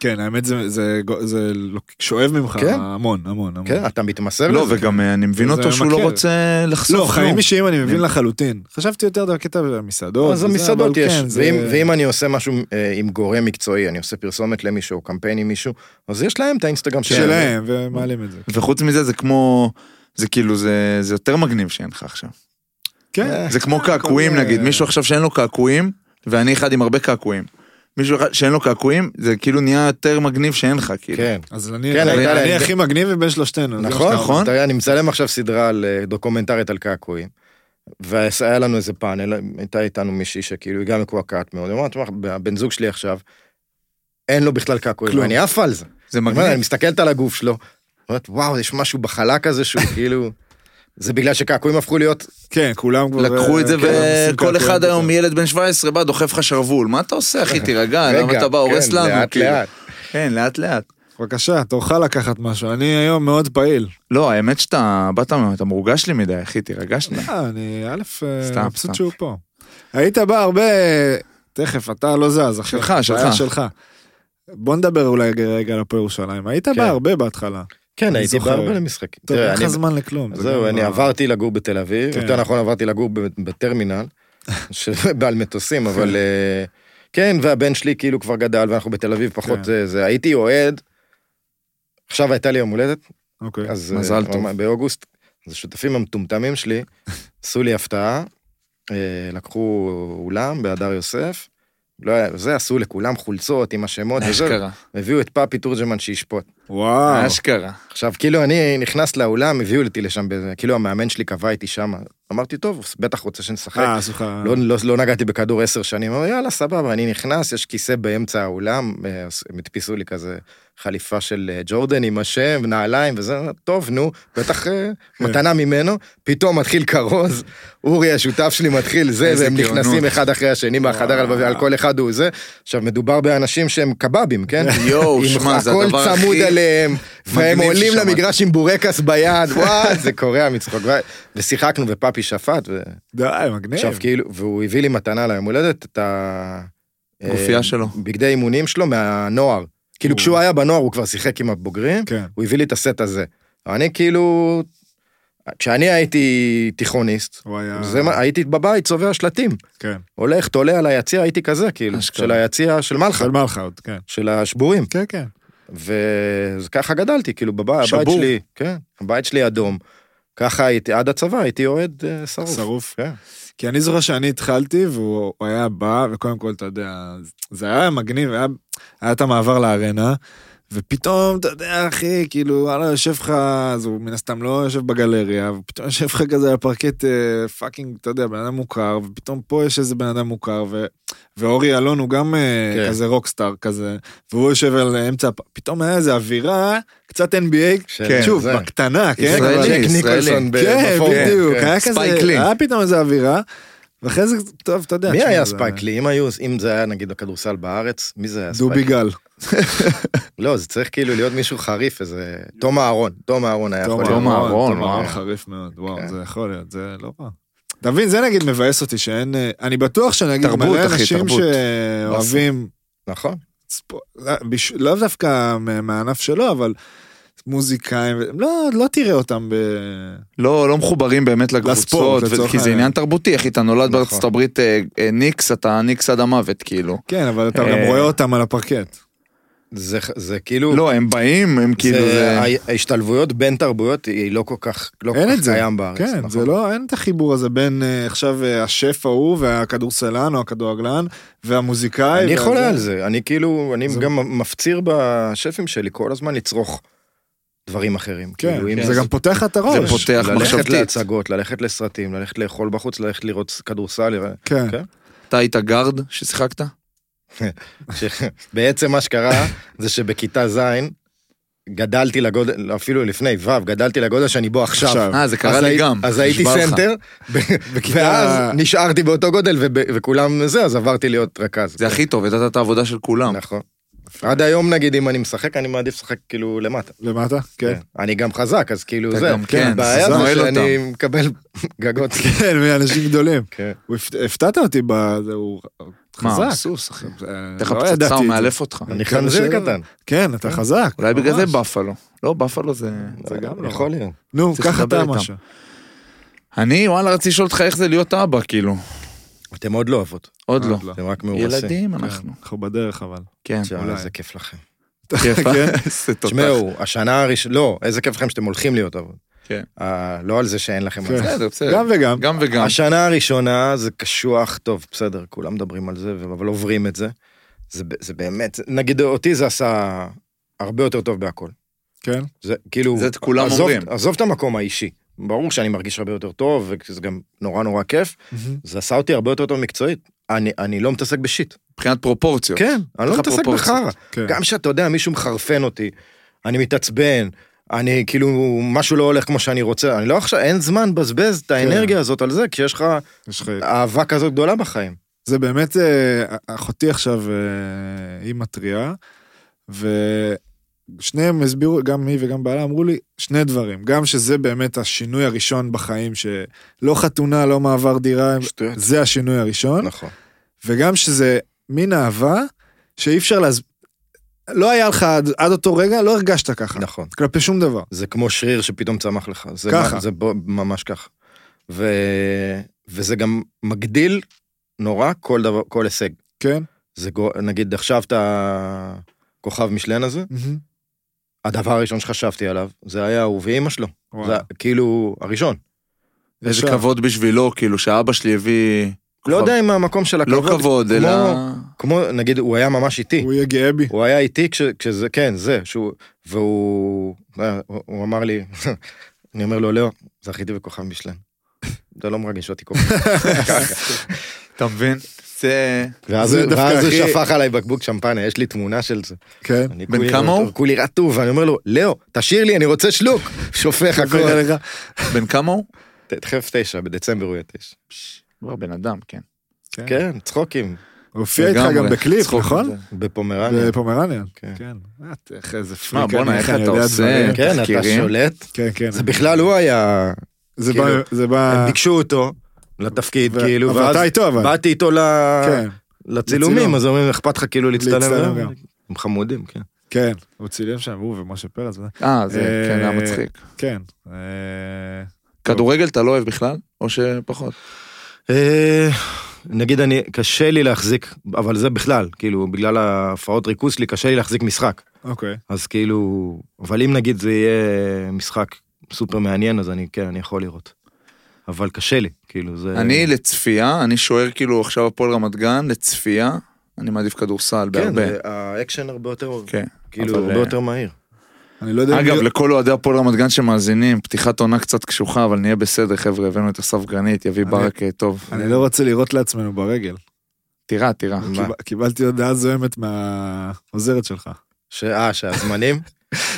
Speaker 2: כן, האמת זה, זה, זה, לוק- שואב ממך
Speaker 3: כן.
Speaker 2: המון, המון, המון.
Speaker 3: כן, אתה מתמסר
Speaker 1: לא,
Speaker 3: לזה.
Speaker 1: וגם אה, אני מבין
Speaker 2: זה
Speaker 1: אותו שהוא לא
Speaker 2: ממכר.
Speaker 1: רוצה לחשוף.
Speaker 2: לא, חיים
Speaker 1: כלום.
Speaker 2: אישיים אני מבין לחלוטין. חשבתי יותר בקטע המסעדות.
Speaker 3: כן. אז המסעדות יש,
Speaker 2: כן, זה-
Speaker 3: ואם- ואם אני עושה משהו אה, עם גורם מקצועי, אני עושה פרסומת למישהו, או קמפיין עם מישהו, אז יש להם את האינסטגרם שלהם.
Speaker 2: שלהם, ומעלים את זה.
Speaker 1: וחוץ מזה זה כמו, זה כאילו, זה זה יותר מגניב שאין לך עכשיו.
Speaker 3: אה.
Speaker 2: כן.
Speaker 1: זה כמו קעקועים
Speaker 2: כל מיני-
Speaker 1: נגיד, מישהו עכשיו שאין לו קעקועים, ואני אחד עם הרבה קעקועים. מישהו אחד שאין לו קעקועים, זה כאילו נהיה יותר מגניב שאין לך, כאילו.
Speaker 3: כן.
Speaker 2: אז אני
Speaker 3: כן,
Speaker 2: אני-
Speaker 3: הייתה
Speaker 2: אני
Speaker 3: להם-
Speaker 2: הכי מגניב מבין שלושתנו. זה
Speaker 3: נכון,
Speaker 2: מה שאתה אומר.
Speaker 1: נכון?
Speaker 3: אתה יודע, אני מצלם עכשיו סדרה על אה, דוקומנטרית על קעקועים. והיה לנו איזה פאנל, הייתה איתנו מישהי שכאילו היא גם מקועקעת מאוד, היא אומרת, "תשמע, הבן זוג שלי עכשיו, אין לו בכלל קעקועים,
Speaker 2: כלום.
Speaker 3: ואני עף על זה.
Speaker 1: זה
Speaker 3: אני אומר, אני
Speaker 1: מגניב.
Speaker 3: מסתכלת על הגוף שלו, אומרת, וואו, יש משהו בחלק הזה שהוא כאילו... זה בגלל שקעקועים הפכו להיות,
Speaker 2: כן, כולם כבר...
Speaker 1: לקחו את זה
Speaker 2: כן, עושים
Speaker 1: וכל
Speaker 2: קעקועים
Speaker 1: אחד
Speaker 2: כזה.
Speaker 1: היום ילד בן 17 בא דוחף לך שרוול מה אתה עושה אחי תירגע
Speaker 3: רגע,
Speaker 1: אה, למה אתה בא הורס
Speaker 3: כן,
Speaker 1: לנו
Speaker 3: לאט,
Speaker 1: כאילו.
Speaker 3: לאט.
Speaker 1: כן לאט לאט.
Speaker 2: בבקשה, תורך לקחת משהו. אני היום מאוד פעיל.
Speaker 1: לא האמת שאתה באת אתה מורגש לי מדי אחי תירגע שנייה.
Speaker 2: אה, אני א', אה,
Speaker 1: סתם, סתם.
Speaker 2: מבסוט שהוא פה. היית בא הרבה... תכף, אתה לא זז, אחי.
Speaker 1: שלך,
Speaker 2: בעיה
Speaker 1: שלך.
Speaker 2: שלך. בוא נדבר אולי רגע על הפועל ירושלים. היית בא הרבה בהתחלה.
Speaker 3: כן,
Speaker 2: אני
Speaker 3: הייתי
Speaker 2: זוכר.
Speaker 3: בהרבה למשחקים.
Speaker 2: טוב,
Speaker 3: תראה,
Speaker 2: אין לך
Speaker 3: אני-
Speaker 2: זמן לכלום. זה
Speaker 3: זהו,
Speaker 2: גם
Speaker 3: אני
Speaker 2: לא-
Speaker 3: עברתי לגור בתל אביב,
Speaker 2: כן.
Speaker 3: יותר נכון עברתי לגור ב- בטרמינל, שבעל מטוסים, אבל אה, כן, והבן שלי כאילו כבר גדל, ואנחנו בתל אביב פחות
Speaker 2: כן.
Speaker 3: אה, זה, הייתי אוהד, עכשיו הייתה לי יום הולדת,
Speaker 2: אוקיי.
Speaker 3: אז
Speaker 1: מזל
Speaker 3: אה,
Speaker 1: טוב.
Speaker 3: ממש באוגוסט, אז השותפים המטומטמים שלי עשו לי הפתעה, אה, לקחו אולם בהדר יוסף, לא היה, זה עשו לכולם חולצות עם השמות, וזה,
Speaker 1: אשכרה.
Speaker 3: הביאו את פאפי תורג'מן שישפוט. אה.
Speaker 2: וואו.
Speaker 1: אשכרה.
Speaker 3: עכשיו, כאילו, אני נכנס לאולם, הביאו אותי לשם, באיזה- כאילו, המאמן שלי קבע איתי שם. אמרתי, טוב, הוא בטח רוצה שנשחק.
Speaker 2: אה, סליחה.
Speaker 3: לא, לא, לא נגעתי בכדור עשר שנים, אבל יאללה, סבבה, אני נכנס, יש כיסא באמצע האולם, אה, אז הם הדפיסו לי כזה חליפה של אה, ג'ורדן עם השם, נעליים וזה, טוב, נו, בטח אה, מתנה ממנו, פתאום מתחיל כרוז, אורי השותף שלי מתחיל זה,
Speaker 1: איזה
Speaker 3: והם
Speaker 1: גאונות.
Speaker 3: נכנסים אחד אחרי השני מהחדר הלבבי, על כל אחד הוא זה. עכשיו, מדובר באנשים שהם קבבים, כן?
Speaker 1: יואו
Speaker 3: עם
Speaker 1: שמע זה
Speaker 3: הכל
Speaker 1: הדבר הכי.
Speaker 3: צמוד עליהם, והם
Speaker 1: מגניב
Speaker 3: עולים
Speaker 1: ששמעתי.
Speaker 3: למגרש עם בורקס ביד, וואי, זה קורע מצחוק. ו- ושיחקנו ופאפי שפט,
Speaker 1: כן.
Speaker 3: ועכשיו
Speaker 2: די, מגניב.
Speaker 3: כאילו, והוא הביא לי מתנה ליום הולדת את ה...
Speaker 1: גופייה
Speaker 3: אה,
Speaker 1: שלו.
Speaker 3: בגדי אימונים שלו מהנוער. כאילו,
Speaker 2: הוא-
Speaker 3: כשהוא היה בנוער הוא כבר שיחק עם הבוגרים,
Speaker 2: כן.
Speaker 3: הוא הביא לי את הסט הזה. אני כאילו... כשאני הייתי תיכוניסט,
Speaker 2: הוא היה...
Speaker 3: זה מה- הייתי בבית צובע שלטים.
Speaker 2: כן.
Speaker 3: הולך, תולה על היציע, הייתי כזה, כאילו,
Speaker 1: אשכרה.
Speaker 3: של היציע של מלחה,
Speaker 2: חל מלחה עוד, כן.
Speaker 3: של השבורים.
Speaker 2: כן, כן.
Speaker 3: וככה גדלתי, כאילו בבית הבית
Speaker 1: שבור.
Speaker 3: שלי, כן, הבית שלי אדום. ככה הייתי, עד הצבא הייתי אוהד אה, שרוף.
Speaker 2: שרוף.
Speaker 3: כן.
Speaker 2: כי אני זוכר שאני התחלתי והוא הוא היה בא, וקודם כל, אתה יודע, זה היה מגניב, היה, היה את המעבר לארנה, ופתאום, אתה יודע, אחי, כאילו, וואלה, יושב לך, אז הוא מן הסתם לא יושב בגלריה, ופתאום יושב לך כזה על הפרקט אה, פאקינג, אתה יודע, בן אדם מוכר, ופתאום פה יש איזה בן אדם מוכר, ו, ואורי אלון הוא גם כן.
Speaker 3: כן.
Speaker 2: כזה רוקסטאר כזה, והוא יושב על אמצע, הפ- פתאום היה איזה אווירה, קצת NBA,
Speaker 3: של-
Speaker 2: שוב,
Speaker 3: כן, זה.
Speaker 2: בקטנה, כן?
Speaker 1: ישראלי,
Speaker 2: אבל-
Speaker 3: ג'ק
Speaker 1: ישראלי.
Speaker 3: ניקולסון ב-
Speaker 2: כן,
Speaker 3: בפורום,
Speaker 2: בדיוק,
Speaker 3: כן.
Speaker 2: היה כזה,
Speaker 1: ספייק לי.
Speaker 2: היה פתאום איזה אווירה, ואחרי זה, טוב, אתה יודע.
Speaker 3: מי
Speaker 2: תשמע,
Speaker 3: היה
Speaker 2: אה, זה-
Speaker 3: ספייקלי? אם היו, אם זה היה נגיד הכדורסל בארץ, מי זה היה
Speaker 2: דובי
Speaker 3: ספייקלי?
Speaker 2: גל.
Speaker 3: לא, זה צריך כאילו להיות מישהו חריף, איזה... תום אהרון, תום אהרון היה יכול
Speaker 1: תום
Speaker 3: להיות.
Speaker 1: אהרון,
Speaker 2: תום
Speaker 1: וואו.
Speaker 2: אהרון חריף מאוד, וואו,
Speaker 3: כן.
Speaker 2: זה יכול להיות, זה לא רע. אתה מבין, זה נגיד מבאס אותי שאין... אה, אני בטוח שנגיד
Speaker 1: תרבות,
Speaker 2: מלא
Speaker 1: אחי,
Speaker 2: אנשים
Speaker 1: תרבות.
Speaker 2: שאוהבים,
Speaker 3: נכון.
Speaker 2: ספו- לא- בש- לאו דווקא מה- מהענף שלו, אבל מוזיקאים, ו- לא, לא תראה אותם ב...
Speaker 1: לא, לא מחוברים באמת לקבוצות,
Speaker 2: לספורט,
Speaker 1: ו-
Speaker 2: לצורך
Speaker 1: כי זה
Speaker 2: העניין.
Speaker 1: עניין תרבותי, אחי, אתה נולד
Speaker 3: נכון.
Speaker 1: בארצות הברית אה, אה, ניקס, אתה ניקס עד המוות, כאילו.
Speaker 2: כן, אבל אתה
Speaker 1: אה,
Speaker 2: גם רואה אותם על הפרקט.
Speaker 3: זה, זה כאילו...
Speaker 1: לא, הם באים, הם כאילו... זה-
Speaker 3: ה- ההשתלבויות בין תרבויות היא לא כל כך, לא כל
Speaker 2: אין
Speaker 3: כך
Speaker 2: את זה.
Speaker 3: קיים בארץ.
Speaker 2: כן,
Speaker 3: נכון?
Speaker 2: זה לא, אין את החיבור הזה בין אה, עכשיו אה, השף ההוא והכדורסלן או הכדורגלן והמוזיקאי.
Speaker 3: אני
Speaker 2: והזה.
Speaker 3: חולה על זה, אני כאילו, אני
Speaker 2: זה-
Speaker 3: גם מפציר בשפים שלי כל הזמן לצרוך דברים אחרים.
Speaker 2: כן,
Speaker 3: כאילו, אם
Speaker 1: כן.
Speaker 2: זה גם פותח לך את הראש.
Speaker 1: זה פותח
Speaker 3: ללכת
Speaker 1: מחשבתית.
Speaker 3: להצגות, ללכת לסרטים, ללכת לאכול בחוץ, ללכת לראות כדורסל. לרא-
Speaker 2: כן.
Speaker 3: כן.
Speaker 1: אתה היית גארד ששיחקת?
Speaker 3: ש- בעצם מה שקרה זה שבכיתה ז' גדלתי לגודל, אפילו לפני ו', גדלתי לגודל שאני בו עכשיו.
Speaker 2: עכשיו.
Speaker 1: אה, זה קרה
Speaker 3: אז
Speaker 1: לי
Speaker 3: הייתי-
Speaker 1: גם.
Speaker 3: אז הייתי
Speaker 1: נשבע לך.
Speaker 3: סנטר,
Speaker 2: בכיתה-
Speaker 3: ואז נשארתי באותו גודל וב- וכולם זה, אז עברתי להיות רכז.
Speaker 1: זה הכי טוב, ידעת את העבודה של כולם.
Speaker 3: נכון. עד היום נגיד אם אני משחק אני מעדיף לשחק כאילו למטה.
Speaker 2: למטה? כן.
Speaker 3: אני גם חזק אז כאילו
Speaker 1: אתה
Speaker 3: זה.
Speaker 1: גם כן,
Speaker 3: הבעיה
Speaker 1: זה
Speaker 3: זה
Speaker 1: נועל
Speaker 3: שאני מקבל גגות.
Speaker 2: כן, מאנשים גדולים.
Speaker 3: כן.
Speaker 2: הוא הפת- הפתעת אותי בזה, הוא
Speaker 1: מה, הוא
Speaker 2: חזק.
Speaker 1: סוס, אחי.
Speaker 2: אה,
Speaker 1: תכף
Speaker 2: לא
Speaker 1: פצצה,
Speaker 2: ידעתי
Speaker 1: הוא
Speaker 2: את זה.
Speaker 1: מאלף אותך.
Speaker 3: אני חנזיר
Speaker 2: מקווה שלא.
Speaker 3: קטן.
Speaker 2: כן, אתה חזק.
Speaker 1: אולי בגלל זה
Speaker 2: ממש.
Speaker 1: בפלו. לא, בפלו זה...
Speaker 2: זה גם לא
Speaker 3: יכול להיות.
Speaker 2: נו,
Speaker 1: צריך
Speaker 2: קח
Speaker 1: לדבר
Speaker 2: אתה
Speaker 1: איתם.
Speaker 2: משהו.
Speaker 1: אני, וואלה, רציתי לשאול אותך איך זה להיות אבא, כאילו.
Speaker 3: אתם עוד לא אבות.
Speaker 1: עוד לא.
Speaker 3: אתם רק מאורסים.
Speaker 2: כן.
Speaker 1: ילדים אנחנו.
Speaker 2: אנחנו בדרך אבל.
Speaker 1: כן.
Speaker 3: יאללה
Speaker 2: אולי.
Speaker 3: זה כיף לכם.
Speaker 1: כיף,
Speaker 2: כן?
Speaker 1: אה? איזה תותח.
Speaker 3: תשמעו השנה הראשונה לא איזה כיף לכם שאתם הולכים להיות אבות.
Speaker 1: כן.
Speaker 3: אה, לא על זה שאין לכם.
Speaker 2: כן.
Speaker 3: על זה.
Speaker 1: בסדר, בסדר.
Speaker 2: גם וגם.
Speaker 1: גם וגם.
Speaker 3: השנה הראשונה זה קשוח טוב בסדר כולם מדברים על זה אבל עוברים את זה. זה, ב- זה באמת נגיד אותי זה עשה הרבה יותר טוב בהכל.
Speaker 2: כן.
Speaker 3: זה כאילו,
Speaker 1: זה את כולם
Speaker 3: עזוב,
Speaker 1: אומרים.
Speaker 3: עזוב את המקום האישי, ברור שאני מרגיש הרבה יותר טוב, וזה גם נורא נורא כיף, זה עשה אותי הרבה יותר טוב מקצועית. אני, אני לא מתעסק בשיט.
Speaker 1: מבחינת פרופורציות.
Speaker 3: כן, אני לא
Speaker 1: לך
Speaker 3: מתעסק
Speaker 1: פרופורציות.
Speaker 3: בחרא.
Speaker 2: כן.
Speaker 3: גם שאתה יודע, מישהו מחרפן אותי, אני מתעצבן, אני כאילו, משהו לא הולך כמו שאני רוצה, אני לא עכשיו, אין זמן לבזבז את
Speaker 1: כן.
Speaker 3: האנרגיה הזאת על זה, כשיש לך
Speaker 2: יש לך...
Speaker 3: אהבה כזאת גדולה בחיים.
Speaker 2: זה באמת, אה, אחותי עכשיו, אה, היא מתריעה, ושניהם הסבירו, גם היא וגם בעלה אמרו לי שני דברים, גם שזה באמת השינוי הראשון בחיים, שלא חתונה, לא מעבר דירה,
Speaker 3: שטויות.
Speaker 2: זה השינוי הראשון,
Speaker 3: נכון.
Speaker 2: וגם שזה מין אהבה שאי אפשר להז... לא היה לך עד, עד אותו רגע, לא הרגשת ככה,
Speaker 3: נכון.
Speaker 2: כלפי שום דבר.
Speaker 3: זה כמו שריר שפתאום צמח לך. זה
Speaker 2: ככה.
Speaker 3: מה- זה בו- ממש ככה. ו... וזה גם מגדיל נורא כל דבר, כל הישג.
Speaker 2: כן?
Speaker 3: זה גו... נגיד עכשיו אתה כוכב משלן הזה,
Speaker 2: מהמם.
Speaker 3: הדבר הראשון שחשבתי עליו, זה היה הוא ואימא שלו.
Speaker 2: וואו.
Speaker 3: זה כאילו הראשון.
Speaker 1: איזה
Speaker 2: ישר.
Speaker 1: כבוד בשבילו, כאילו, שאבא שלי הביא...
Speaker 3: לא יודע אם המקום של
Speaker 1: לא
Speaker 3: הכבוד,
Speaker 1: כבוד,
Speaker 3: כמו-
Speaker 1: אלא...
Speaker 3: כמו נגיד הוא היה ממש איתי.
Speaker 2: הוא יהיה גאה בי.
Speaker 3: הוא היה איתי כש, כשזה, כן, זה, שהוא, והוא, אה, הוא הוא אמר לי, אני אומר לו, לאו, זכיתי בכוכב משלן. זה לא מרגש אותי כל כך.
Speaker 1: אתה מבין? זה...
Speaker 3: ואז
Speaker 2: זה
Speaker 3: הוא-
Speaker 2: דווקא
Speaker 3: ואז הוא
Speaker 2: הכי-
Speaker 3: שפך עליי בקבוק שמפניה, יש לי תמונה של זה.
Speaker 2: כן.
Speaker 3: אני
Speaker 1: בן
Speaker 3: כולי-
Speaker 1: כמה הוא?
Speaker 3: כולי רטוב, ואני אומר לו, לאו, תשאיר לי, אני רוצה שלוק. שופך הכל.
Speaker 2: רגע, רגע.
Speaker 1: בן כמה הוא?
Speaker 3: תכף תשע, בדצמבר הוא יהיה תשע.
Speaker 1: כבר בן אדם, כן.
Speaker 3: כן, צחוקים,
Speaker 2: הופיע איתך
Speaker 1: לגמרי.
Speaker 2: גם בקליפ,
Speaker 1: צחוק
Speaker 2: נכון?
Speaker 1: מזה.
Speaker 3: בפומרניה.
Speaker 2: בפומרניה.
Speaker 3: כן.
Speaker 2: כן. את, איך איזה
Speaker 1: מה,
Speaker 2: פריק.
Speaker 1: בואנה,
Speaker 2: אני,
Speaker 1: איך
Speaker 2: אני
Speaker 1: אתה
Speaker 2: יודע
Speaker 1: עושה?
Speaker 2: דברים.
Speaker 3: כן, אתה
Speaker 1: תחקירים.
Speaker 3: שולט.
Speaker 2: כן, כן.
Speaker 3: זה בכלל הוא היה,
Speaker 2: זה
Speaker 3: כאילו,
Speaker 2: בא... זה
Speaker 3: הם
Speaker 2: בא...
Speaker 3: ביקשו אותו לתפקיד,
Speaker 2: ו-
Speaker 3: כאילו,
Speaker 2: אבל
Speaker 3: ואז
Speaker 2: אתה איתו, אבל.
Speaker 3: באתי איתו ל-
Speaker 2: כן,
Speaker 3: לצילומים,
Speaker 2: לצילום.
Speaker 3: אז אומרים, אכפת לך כאילו
Speaker 2: להצטלם
Speaker 3: להצטלם?
Speaker 2: גם.
Speaker 3: הם חמודים, כן.
Speaker 2: כן. הוא צילם שם, הוא ומשה פרץ. וזה.
Speaker 1: אה, זה
Speaker 2: אה,
Speaker 1: כן, היה מצחיק.
Speaker 2: כן. אה,
Speaker 1: כדורגל אתה לא אוהב בכלל? או שפחות?
Speaker 3: אה, נגיד אני, קשה לי להחזיק, אבל זה בכלל, כאילו, בגלל ההפרעות ריכוז שלי, קשה לי להחזיק משחק.
Speaker 2: אוקיי.
Speaker 3: אז כאילו, אבל אם נגיד זה יהיה משחק סופר מעניין, אז אני, כן, אני יכול לראות. אבל קשה לי, כאילו, זה...
Speaker 1: אני לא לצפייה, אני שוער כאילו עכשיו הפועל רמת גן, לצפייה, אני מעדיף כדורסל
Speaker 3: כן,
Speaker 1: בהרבה.
Speaker 3: זה- האקשן הרבה יותר,
Speaker 1: כן.
Speaker 3: כאילו,
Speaker 1: אבל,
Speaker 3: הרבה
Speaker 1: אה,
Speaker 3: יותר מהיר.
Speaker 2: אני לא יודע... אם
Speaker 1: אגב,
Speaker 2: מי-
Speaker 1: לכל אוהדי הפועל רמת גן שמאזינים, פתיחת עונה קצת קשוחה, אבל נהיה בסדר, חבר'ה, הבאנו את אסף גרנית, יביא
Speaker 2: אני-
Speaker 1: ברק אה, טוב.
Speaker 2: אני לא רוצה לירות לעצמנו ברגל.
Speaker 1: תירה, תירה.
Speaker 3: מה?
Speaker 2: קיב- קיבלתי הודעה זוהמת מהעוזרת שלך.
Speaker 3: ש- אה, שהזמנים?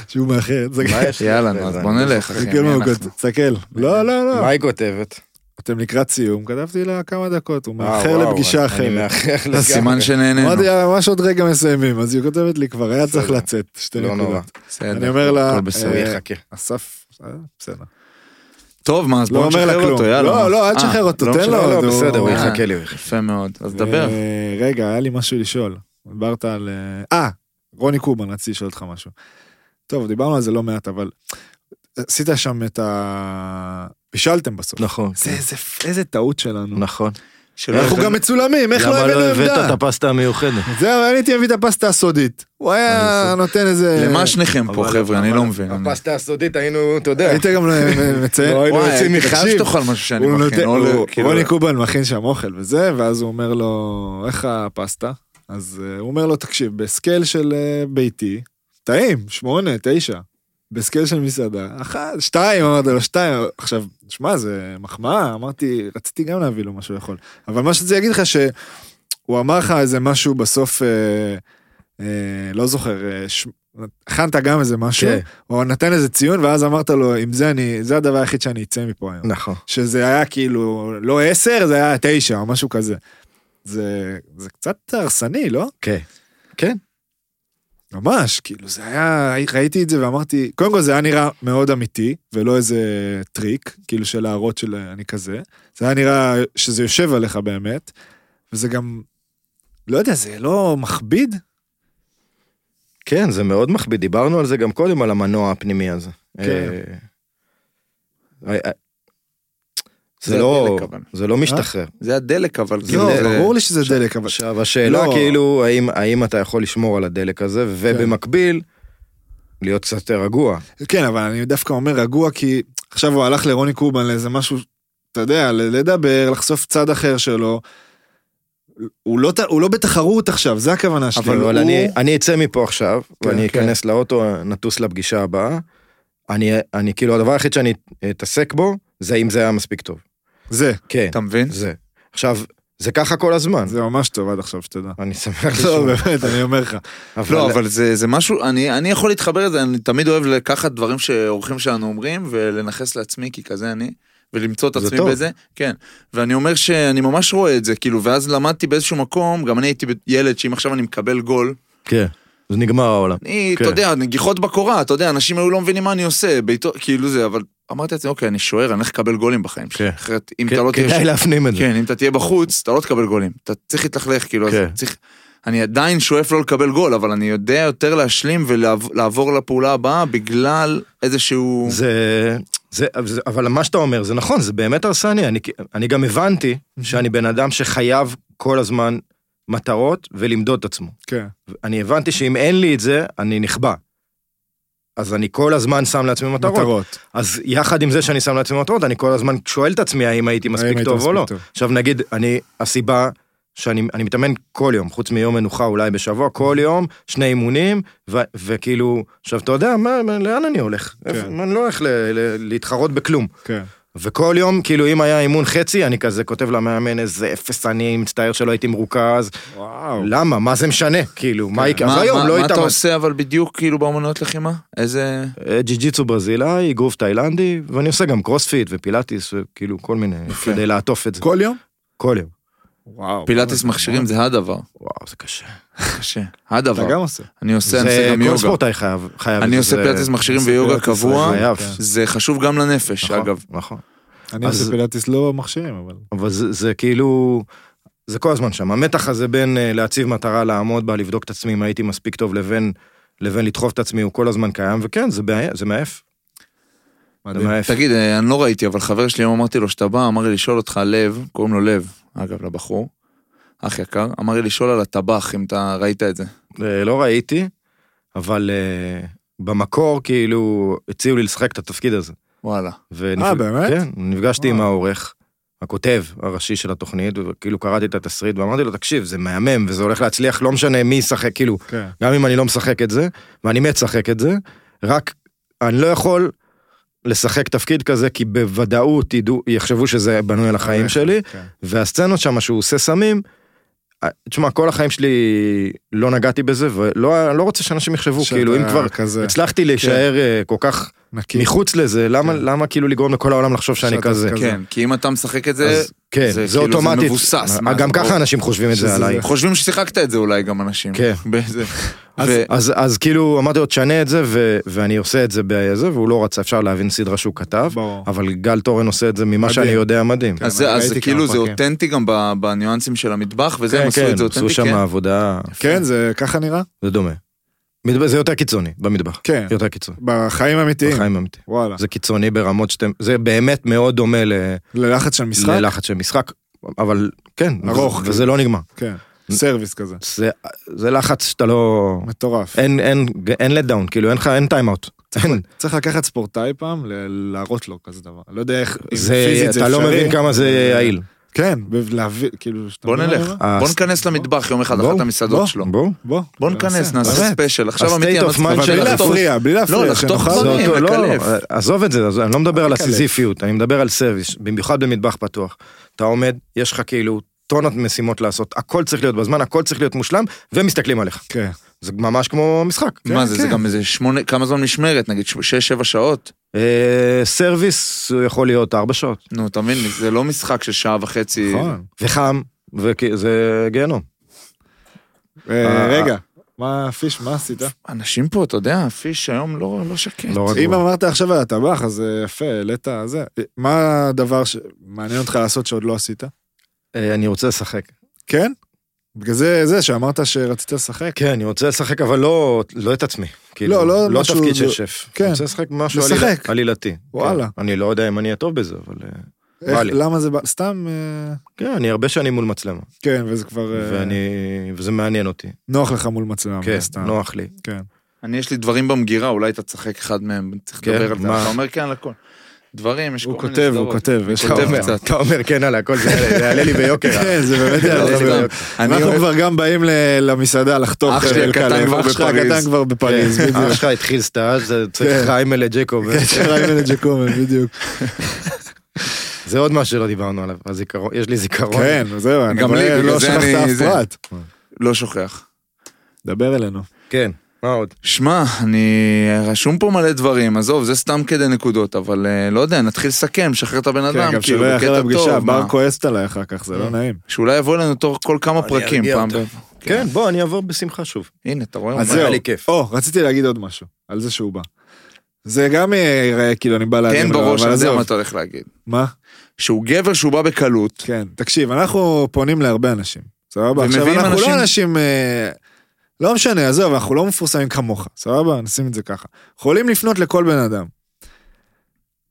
Speaker 2: שהוא מאחר. זה
Speaker 3: מה יש?
Speaker 1: יאללה, נו, אז
Speaker 3: זה-
Speaker 1: בוא
Speaker 3: אני לא
Speaker 1: נלך,
Speaker 3: זוכר.
Speaker 1: אחי.
Speaker 2: זה כאילו
Speaker 1: מי
Speaker 2: מה הוא
Speaker 1: אנחנו?
Speaker 2: כותב. תסתכל. לא, לא,
Speaker 3: אה, מה
Speaker 2: לא.
Speaker 3: היא כותבת?
Speaker 2: אתם לקראת סיום, כתבתי לה כמה דקות, הוא
Speaker 3: אה,
Speaker 2: מאחר
Speaker 3: וואו,
Speaker 2: לפגישה
Speaker 3: אני
Speaker 2: אחרת.
Speaker 3: מאחר לגמרי.
Speaker 1: סימן שנהנינו.
Speaker 2: אמרתי לה, ממש עוד רגע מסיימים, אז היא כותבת לי כבר, היה צריך
Speaker 3: כן. בסדר.
Speaker 2: לצאת, שתי
Speaker 3: לא נורא.
Speaker 2: נקודות.
Speaker 1: בסדר,
Speaker 2: אני אומר לה,
Speaker 1: הכל
Speaker 3: הוא
Speaker 1: בסדר.
Speaker 2: אה,
Speaker 3: יחכה.
Speaker 2: אסף, אה, בסדר.
Speaker 1: טוב, מה, אז
Speaker 2: לא
Speaker 1: בואו
Speaker 2: אומר לה
Speaker 1: נשחרר
Speaker 2: כלום.
Speaker 1: אותו, יאללה.
Speaker 2: לא,
Speaker 1: מה?
Speaker 2: לא, אל
Speaker 1: אה,
Speaker 2: תשחרר אותו,
Speaker 1: לא
Speaker 2: תן
Speaker 1: משחרר
Speaker 2: לו,
Speaker 1: אותו.
Speaker 3: לא,
Speaker 2: עוד הוא-
Speaker 3: בסדר, הוא
Speaker 1: אה.
Speaker 3: יחכה לי, הוא יחכה.
Speaker 1: יפה מאוד, אז דבר.
Speaker 2: אה, רגע, היה לי משהו לשאול. דיברת על... אה, אה, רוני קובן, רציתי לשאול אותך משהו. טוב, דיברנו על זה לא מעט, אבל עשית שם את ה... בישלתם בסוף.
Speaker 3: נכון.
Speaker 2: זה- זה- איזה טעות שלנו.
Speaker 3: נכון.
Speaker 1: שלא
Speaker 2: אנחנו
Speaker 1: הבאנו-
Speaker 2: גם מצולמים, איך לא
Speaker 3: למה
Speaker 2: הבאנו
Speaker 3: לא הבאת
Speaker 2: עמדה?
Speaker 3: את הפסטה המיוחדת?
Speaker 2: זהו, אני הייתי מביא את הפסטה הסודית. הוא היה
Speaker 3: אני
Speaker 2: נותן איזה...
Speaker 1: למה שניכם פה,
Speaker 3: אבל-
Speaker 1: חבר'ה? אני
Speaker 3: אבל
Speaker 1: לא מבין. אני-
Speaker 3: הפסטה הסודית היינו, אתה יודע.
Speaker 2: היית גם אה, מציין.
Speaker 3: לא, היינו
Speaker 2: וואי,
Speaker 3: יוצאים
Speaker 2: תקשיב,
Speaker 1: חייב שתאכל משהו שאני
Speaker 2: הוא
Speaker 1: מכין.
Speaker 2: נותן-
Speaker 1: או
Speaker 2: הוא-
Speaker 1: ל- כאילו-
Speaker 2: רוני קובן מכין שם אוכל וזה, ואז הוא אומר לו, איך הפסטה? אז אה, הוא אומר לו, תקשיב, בסקייל של אה, ביתי, טעים, שמונה, תשע. בסקייל של מסעדה, אחת, שתיים, אמרתי לו, שתיים. עכשיו, שמע, זה מחמאה, אמרתי, רציתי גם להביא לו משהו לאכול. אבל מה שרציתי להגיד לך, שהוא אמר לך איזה משהו בסוף, אה, אה, לא זוכר, אה, ש- הכנת גם איזה משהו,
Speaker 3: כן.
Speaker 2: או נתן איזה ציון, ואז אמרת לו, עם זה אני, זה הדבר היחיד שאני אצא מפה היום.
Speaker 3: נכון.
Speaker 2: שזה היה כאילו לא עשר, זה היה תשע או משהו כזה. זה, זה קצת הרסני, לא?
Speaker 3: כן. כן.
Speaker 2: ממש, כאילו זה היה, ראיתי את זה ואמרתי, קודם כל זה היה נראה מאוד אמיתי, ולא איזה טריק, כאילו של להראות של אני כזה. זה היה נראה שזה יושב עליך באמת, וזה גם, לא יודע, זה לא מכביד?
Speaker 3: כן, זה מאוד מכביד, דיברנו על זה גם קודם, על המנוע הפנימי הזה.
Speaker 2: כן.
Speaker 3: אה, אה,
Speaker 1: זה
Speaker 3: זה לא,
Speaker 1: הדלק, אבל.
Speaker 3: זה
Speaker 2: אה?
Speaker 3: לא משתחרר.
Speaker 1: זה הדלק, אבל
Speaker 2: לא,
Speaker 1: כאילו...
Speaker 3: זה-
Speaker 2: ברור לי שזה דלק, אבל...
Speaker 3: עכשיו, השאלה
Speaker 2: לא.
Speaker 3: כאילו, האם- האם אתה יכול לשמור על הדלק הזה, ובמקביל, להיות קצת יותר רגוע.
Speaker 2: כן, אבל אני דווקא אומר רגוע, כי עכשיו הוא הלך לרוני קובן לאיזה משהו, אתה יודע, ל- לדבר, לחשוף צד אחר שלו. הוא לא, ת- הוא לא בתחרות עכשיו, זה הכוונה שלי.
Speaker 3: כאילו, אבל לא,
Speaker 2: הוא...
Speaker 3: אני- אני אצא מפה עכשיו,
Speaker 2: כן,
Speaker 3: ואני
Speaker 2: כן.
Speaker 3: אכנס לאוטו, נטוס לפגישה הבאה. אני, אני כאילו, הדבר היחיד שאני אתעסק בו, זה אם זה היה מספיק טוב.
Speaker 2: זה,
Speaker 3: כן,
Speaker 1: אתה מבין?
Speaker 3: זה. עכשיו, זה ככה כל הזמן.
Speaker 2: זה ממש טוב עד עכשיו, שתדע.
Speaker 3: אני שמח
Speaker 2: לא,
Speaker 3: לשמוע.
Speaker 2: באמת, אני אומר לך.
Speaker 1: לא, אבל זה, זה משהו, אני, אני יכול להתחבר לזה, אני תמיד אוהב לקחת דברים שאורחים שלנו אומרים ולנכס לעצמי, כי כזה אני, ולמצוא את
Speaker 3: זה
Speaker 1: עצמי
Speaker 3: טוב.
Speaker 1: בזה, כן. ואני אומר שאני ממש רואה את זה, כאילו, ואז למדתי באיזשהו מקום, גם אני הייתי ילד שאם עכשיו אני מקבל גול,
Speaker 3: כן, זה נגמר העולם.
Speaker 1: אני,
Speaker 3: כן.
Speaker 1: אתה יודע, נגיחות בקורה, אתה יודע, אנשים היו לא מבינים מה אני עושה, בעיתו, כאילו זה, אבל אמרתי לעצמי, אוקיי, אני שוער, אני הולך לקבל גולים בחיים שלי,
Speaker 3: כן.
Speaker 1: אחרת אם אתה לא תהיה
Speaker 3: כדאי להפנים את זה.
Speaker 1: כן, אם אתה תהיה בחוץ, אתה לא תקבל גולים. אתה צריך להתלכלך, כאילו, אז
Speaker 3: כן.
Speaker 1: צריך... אני עדיין שואף לא לקבל גול, אבל אני יודע יותר להשלים ולעבור לפעולה הבאה בגלל איזשהו...
Speaker 3: זה, זה, זה, אבל מה שאתה אומר זה נכון, זה באמת הרסני. אני, אני גם הבנתי שאני בן אדם שחייב כל הזמן מטרות ולמדוד את עצמו.
Speaker 2: כן.
Speaker 3: אני הבנתי שאם אין לי את זה, אני נכבה. אז אני כל הזמן שם לעצמי מטרות.
Speaker 2: מטרות.
Speaker 3: אז יחד עם זה שאני שם לעצמי מטרות, אני כל הזמן שואל את עצמי האם הייתי
Speaker 2: האם
Speaker 3: מספיק
Speaker 2: היית
Speaker 3: טוב או לא.
Speaker 2: מספיק טוב.
Speaker 3: עכשיו נגיד, אני, הסיבה שאני אני מתאמן כל יום, חוץ מיום מנוחה אולי בשבוע, כל יום, שני אימונים, ו, וכאילו, עכשיו אתה יודע, מה, מה, לאן אני הולך?
Speaker 2: כן.
Speaker 3: איפה- אני לא הולך ל, ל, להתחרות בכלום.
Speaker 2: כן.
Speaker 3: וכל יום, כאילו, אם היה אימון חצי, אני כזה כותב למאמן איזה אפס אני, מצטער שלא הייתי מרוכז.
Speaker 2: וואו.
Speaker 3: למה? מה זה משנה? כאילו, מה יקרה? אז
Speaker 1: כן. מה,
Speaker 3: היום
Speaker 1: מה,
Speaker 3: לא
Speaker 1: מה אתה
Speaker 3: התאמן.
Speaker 1: עושה אבל בדיוק כאילו באמנויות לחימה? איזה...
Speaker 3: אה, ג'י-ג'יצו ברזילאי, אגרוף תאילנדי, ואני עושה גם קרוספיט ופילאטיס, וכאילו כל מיני,
Speaker 1: יפה.
Speaker 3: כדי לעטוף את זה.
Speaker 2: כל יום?
Speaker 3: כל יום.
Speaker 2: וואו.
Speaker 1: פילאטיס
Speaker 3: לא,
Speaker 1: מכשירים זה הדבר.
Speaker 3: וואו, זה קשה.
Speaker 1: קשה.
Speaker 2: אתה
Speaker 1: הדבר.
Speaker 2: גם עושה.
Speaker 1: אני עושה, אני
Speaker 3: זה
Speaker 1: עושה גם
Speaker 3: כל
Speaker 1: יוגה.
Speaker 3: ספורטאי חייב, חייב.
Speaker 1: אני
Speaker 3: את
Speaker 1: עושה
Speaker 3: זה.
Speaker 1: פילאטיס מכשירים
Speaker 2: עושה
Speaker 1: ויוגה
Speaker 2: פילאטיס,
Speaker 1: קבוע.
Speaker 2: זה
Speaker 3: חייב.
Speaker 1: זה חשוב גם לנפש,
Speaker 3: נכון,
Speaker 1: אגב.
Speaker 3: נכון.
Speaker 2: אני
Speaker 3: אז-
Speaker 2: עושה פילאטיס לא במכשירים, אבל...
Speaker 3: אבל זה זה כאילו, זה כל הזמן שם. המתח הזה בין אה, להציב מטרה, לעמוד בה, לבדוק את עצמי אם הייתי מספיק טוב, לבין... לבין לדחוף את עצמי הוא כל הזמן קיים וכן זה בעיה זה מעף. זה
Speaker 2: מדהים.
Speaker 3: מעף.
Speaker 1: תגיד, אה, אני לא ראיתי, אבל חבר שלי, היום אמרתי לו שאתה בא, אמר לי לשאול אותך, לב, קוראים לו לב, אגב, לבחור, אח יקר, אמר לי לשאול על הטבח, אם אתה ראית את זה.
Speaker 3: אה, לא ראיתי אבל אה, במקור כאילו הציעו לי לשחק את התפקיד הזה.
Speaker 1: וואלה.
Speaker 3: ונפ-
Speaker 2: אה, באמת?
Speaker 3: כן, נפגשתי עם
Speaker 2: וואו.
Speaker 3: העורך, הכותב הראשי של התוכנית, וכאילו קראתי את התסריט ואמרתי לו, תקשיב, זה מהמם וזה הולך להצליח, לא משנה מי ישחק, כאילו,
Speaker 2: כן.
Speaker 3: גם אם אני לא משחק את זה, ואני מת לשחק את זה, רק אני לא יכול לשחק תפקיד כזה, כי בוודאות ידעו, יחשבו שזה בנוי על החיים שלי,
Speaker 2: כן.
Speaker 3: והסצנות שם שהוא עושה סמים, אה, תשמע, כל החיים שלי לא נגעתי בזה, ולא לא רוצה שאנשים יחשבו, כאילו, אם
Speaker 2: שאתה כן.
Speaker 3: כבר
Speaker 2: כזה
Speaker 3: הצלחתי להישאר אה, כל כך...
Speaker 2: נקי.
Speaker 3: מחוץ לזה, למה,
Speaker 2: כן.
Speaker 3: למה כאילו לגרום לכל העולם לחשוב שאני
Speaker 2: שאתה
Speaker 3: כזה?
Speaker 2: כזה.
Speaker 1: כן, כי אם אתה משחק את זה,
Speaker 3: אז כן,
Speaker 1: זה
Speaker 3: זה
Speaker 1: כאילו, זה
Speaker 3: אוטומטית. אה,
Speaker 1: מבוסס, מה,
Speaker 3: גם
Speaker 1: זה ברור.
Speaker 3: ככה אנשים חושבים את זה
Speaker 2: שזה-
Speaker 3: עליי.
Speaker 1: חושבים ששיחקת את זה אולי גם אנשים.
Speaker 3: כן.
Speaker 1: באיזה-
Speaker 2: אז-
Speaker 1: ו-
Speaker 3: אז, אז כאילו אמרתי לו תשנה את זה ו, ואני עושה את זה בזה והוא לא רצה אפשר להבין סדרה שהוא כתב
Speaker 2: ברור.
Speaker 3: אבל גל תורן עושה את זה ממה
Speaker 2: מדהים.
Speaker 3: שאני יודע מדהים.
Speaker 1: אז
Speaker 2: כן,
Speaker 1: זה-
Speaker 2: אני
Speaker 1: אז זה
Speaker 2: ראיתי
Speaker 1: כאילו
Speaker 2: כמה
Speaker 1: זה
Speaker 2: פרקים.
Speaker 1: אותנטי גם ב- בניואנסים של המטבח וזה, הם עשו את זה
Speaker 3: כן, עשו
Speaker 1: אותנטי,
Speaker 3: שם
Speaker 1: כן.
Speaker 3: עבודה
Speaker 2: כן, זה ככה נראה?
Speaker 3: זה דומה. מד- זה יותר קיצוני במטבח
Speaker 2: כן.
Speaker 3: יותר קיצוני.
Speaker 2: בחיים אמיתיים.
Speaker 3: בחיים אמיתי.
Speaker 2: וואלה.
Speaker 3: זה קיצוני ברמות שאתם זה באמת מאוד דומה ל-
Speaker 2: ללחץ של משחק?
Speaker 3: ללחץ של משחק אבל כן
Speaker 2: ארוך,
Speaker 1: כאילו.
Speaker 3: וזה לא נגמר.
Speaker 2: כן. סרוויס כזה.
Speaker 3: זה, זה לחץ שאתה לא
Speaker 2: מטורף.
Speaker 3: אין אין אין let down כאילו אין לך אין טיים אאוט.
Speaker 2: צריך לקחת ספורטאי פעם, ל- להראות לו כזה דבר. לא יודע איך, אם
Speaker 3: זה
Speaker 2: פיזית זה
Speaker 3: אתה לא
Speaker 2: אפשרי.
Speaker 3: מבין כמה זה
Speaker 1: אה,
Speaker 3: יעיל.
Speaker 2: כן, ב- להביא, כאילו... שאתה
Speaker 1: בוא
Speaker 2: מבין מה אני
Speaker 1: נלך,
Speaker 2: אומר?
Speaker 3: אה,
Speaker 1: בוא ניכנס למטבח יום אחד,
Speaker 3: בואו,
Speaker 1: אחת המסעדות
Speaker 2: בואו,
Speaker 1: שלו.
Speaker 3: בוא.
Speaker 2: בוא.
Speaker 1: בוא ניכנס,
Speaker 2: נעשה.
Speaker 1: נעשה
Speaker 3: באמת.
Speaker 1: ספיישל,
Speaker 3: ה-state
Speaker 1: עכשיו אמיתי,
Speaker 3: of
Speaker 1: אני מצליח
Speaker 3: mind
Speaker 2: אבל
Speaker 3: של
Speaker 2: בלי
Speaker 1: לחטוף.
Speaker 2: להפריע, בלי להפריע.
Speaker 1: לא, לחתוך
Speaker 2: שנוכל-
Speaker 1: דברים.
Speaker 3: זה אותו, לא,
Speaker 1: לקלף.
Speaker 3: עזוב את זה, עזוב, אני לא מדבר על
Speaker 2: לקלף.
Speaker 3: הסיזיפיות, אני מדבר על סרוויס, במיוחד במטבח פתוח. אתה עומד, יש לך כאילו טונות משימות לעשות, הכל צריך להיות בזמן, הכל צריך להיות מושלם, ומסתכלים עליך.
Speaker 2: כן.
Speaker 3: זה ממש כמו משחק.
Speaker 1: מה זה, זה גם איזה שמונה, כמה זמן משמרת, נגיד שש, שבע שעות?
Speaker 3: אה, סרוויס הוא יכול להיות ארבע שעות,
Speaker 1: נו, אתה מבין, זה לא משחק של שעה
Speaker 3: אה,
Speaker 1: וחצי.
Speaker 2: נכון.
Speaker 3: וחם, וזה גיהנום.
Speaker 2: אה,
Speaker 3: אה,
Speaker 2: רגע, מה, פיש, מה עשית?
Speaker 1: אנשים פה, אתה יודע, פיש היום לא לא שקט.
Speaker 3: לא רגוע.
Speaker 2: אם אמרת עכשיו על הטבח, אז אה, יפה, העלית זה. אה, מה הדבר שמעניין אותך לעשות שעוד לא עשית?
Speaker 3: אה, אני רוצה לשחק.
Speaker 2: כן? בגלל זה, זה שאמרת שרצית לשחק.
Speaker 3: כן, אני רוצה לשחק, אבל לא, לא את עצמי. כאילו,
Speaker 2: לא, לא
Speaker 3: לא
Speaker 2: משהו-
Speaker 3: תפקיד של
Speaker 2: לא-
Speaker 3: שף.
Speaker 2: כן.
Speaker 3: אני רוצה לשחק משהו
Speaker 2: לשחק.
Speaker 3: עליל- עלילתי. כן.
Speaker 2: וואלה.
Speaker 3: אני לא יודע אם אני אהיה טוב בזה, אבל... אה,
Speaker 2: איך,
Speaker 3: בא לי.
Speaker 2: למה זה בא? סתם, אה,
Speaker 3: כן, אני הרבה שנים מול מצלמה.
Speaker 2: כן, וזה כבר... אה,
Speaker 3: ואני... וזה מעניין אותי.
Speaker 2: נוח לך מול מצלמה,
Speaker 3: כן,
Speaker 2: אבל סתם.
Speaker 3: נוח לי.
Speaker 2: כן.
Speaker 1: אני, יש לי דברים במגירה, אולי אתה תשחק אחד מהם, צריך
Speaker 3: כן,
Speaker 1: לדבר על זה.
Speaker 3: מה?
Speaker 1: אתה אומר כן על הכל. דברים, יש כל
Speaker 2: הוא
Speaker 1: מיני
Speaker 2: כותב, הוא כותב, יש לך...
Speaker 1: כותב
Speaker 3: אתה אומר-
Speaker 1: קצת.
Speaker 3: אתה אומר כן על הכל, זה יעלה- זה יעלה לי ביוקר.
Speaker 2: כן, זה באמת
Speaker 1: לא,
Speaker 3: זה יעלה לי
Speaker 2: יעלה.
Speaker 3: ביוקר.
Speaker 1: אני
Speaker 2: אנחנו
Speaker 1: אוהב-
Speaker 2: כבר גם באים ל- למסעדה לחתוך אה,
Speaker 1: אח שלי
Speaker 2: חבל
Speaker 1: הקטן
Speaker 2: קלב.
Speaker 1: כבר
Speaker 2: אח שלך
Speaker 1: בפריז.
Speaker 2: הקטן כבר בפריז,
Speaker 3: כן, אח
Speaker 2: בדיוק.
Speaker 3: שלך התחיל סטאז', זה
Speaker 2: כן.
Speaker 3: צריך חיים אלה ג'קוב.
Speaker 2: ריימן ג'קומן, בדיוק.
Speaker 3: זה עוד משהו שלא דיברנו עליו, הזיכרון, יש לי זיכרון.
Speaker 2: כן, זהו, אני
Speaker 1: גם לי,
Speaker 2: רואה,
Speaker 1: בגלל
Speaker 2: לא
Speaker 1: זה
Speaker 2: שכחת
Speaker 1: אני-
Speaker 2: אף
Speaker 1: זה.
Speaker 2: פרט.
Speaker 1: לא שוכח.
Speaker 2: דבר אלינו.
Speaker 3: כן, מה עוד?
Speaker 1: שמע, אני רשום פה מלא דברים, עזוב, זה סתם כדי נקודות, אבל אה, לא יודע, נתחיל לסכם, שחרר את הבן
Speaker 2: כן,
Speaker 1: אדם,
Speaker 2: גם
Speaker 1: כאילו,
Speaker 2: שלא יאחר
Speaker 1: בקטע
Speaker 2: לפגישה,
Speaker 1: טוב, מה? אה.
Speaker 2: בר כועסת עליי אחר כך, זה לא נעים.
Speaker 1: שאולי יבוא אלינו תוך כל כמה
Speaker 3: אני
Speaker 1: פרקים
Speaker 3: ארגיע
Speaker 1: פעם.
Speaker 3: אותו.
Speaker 1: ב-
Speaker 3: כן, בוא, אני אעבור בשמחה שוב.
Speaker 1: הנה, אתה רואה?
Speaker 2: אז
Speaker 1: הוא אומר
Speaker 2: זהו.
Speaker 3: לי כיף.
Speaker 2: או, רציתי להגיד עוד משהו, על זה שהוא בא. זה גם יראה כאילו אני בא להגיד
Speaker 1: תן כן, בראש,
Speaker 2: אבל
Speaker 1: אני יודע
Speaker 2: עזוב.
Speaker 1: מה אתה הולך להגיד.
Speaker 2: מה?
Speaker 1: שהוא גבר שהוא בא בקלות,
Speaker 2: כן, תקשיב, אנחנו פונים להרבה אנשים, סבבה? עכשיו,
Speaker 1: ומביאים
Speaker 2: אנחנו
Speaker 1: אנשים-
Speaker 2: לא אנשים... אה, לא משנה, עזוב, אנחנו לא מפורסמים כמוך, סבבה? נשים את זה ככה. יכולים לפנות לכל בן אדם.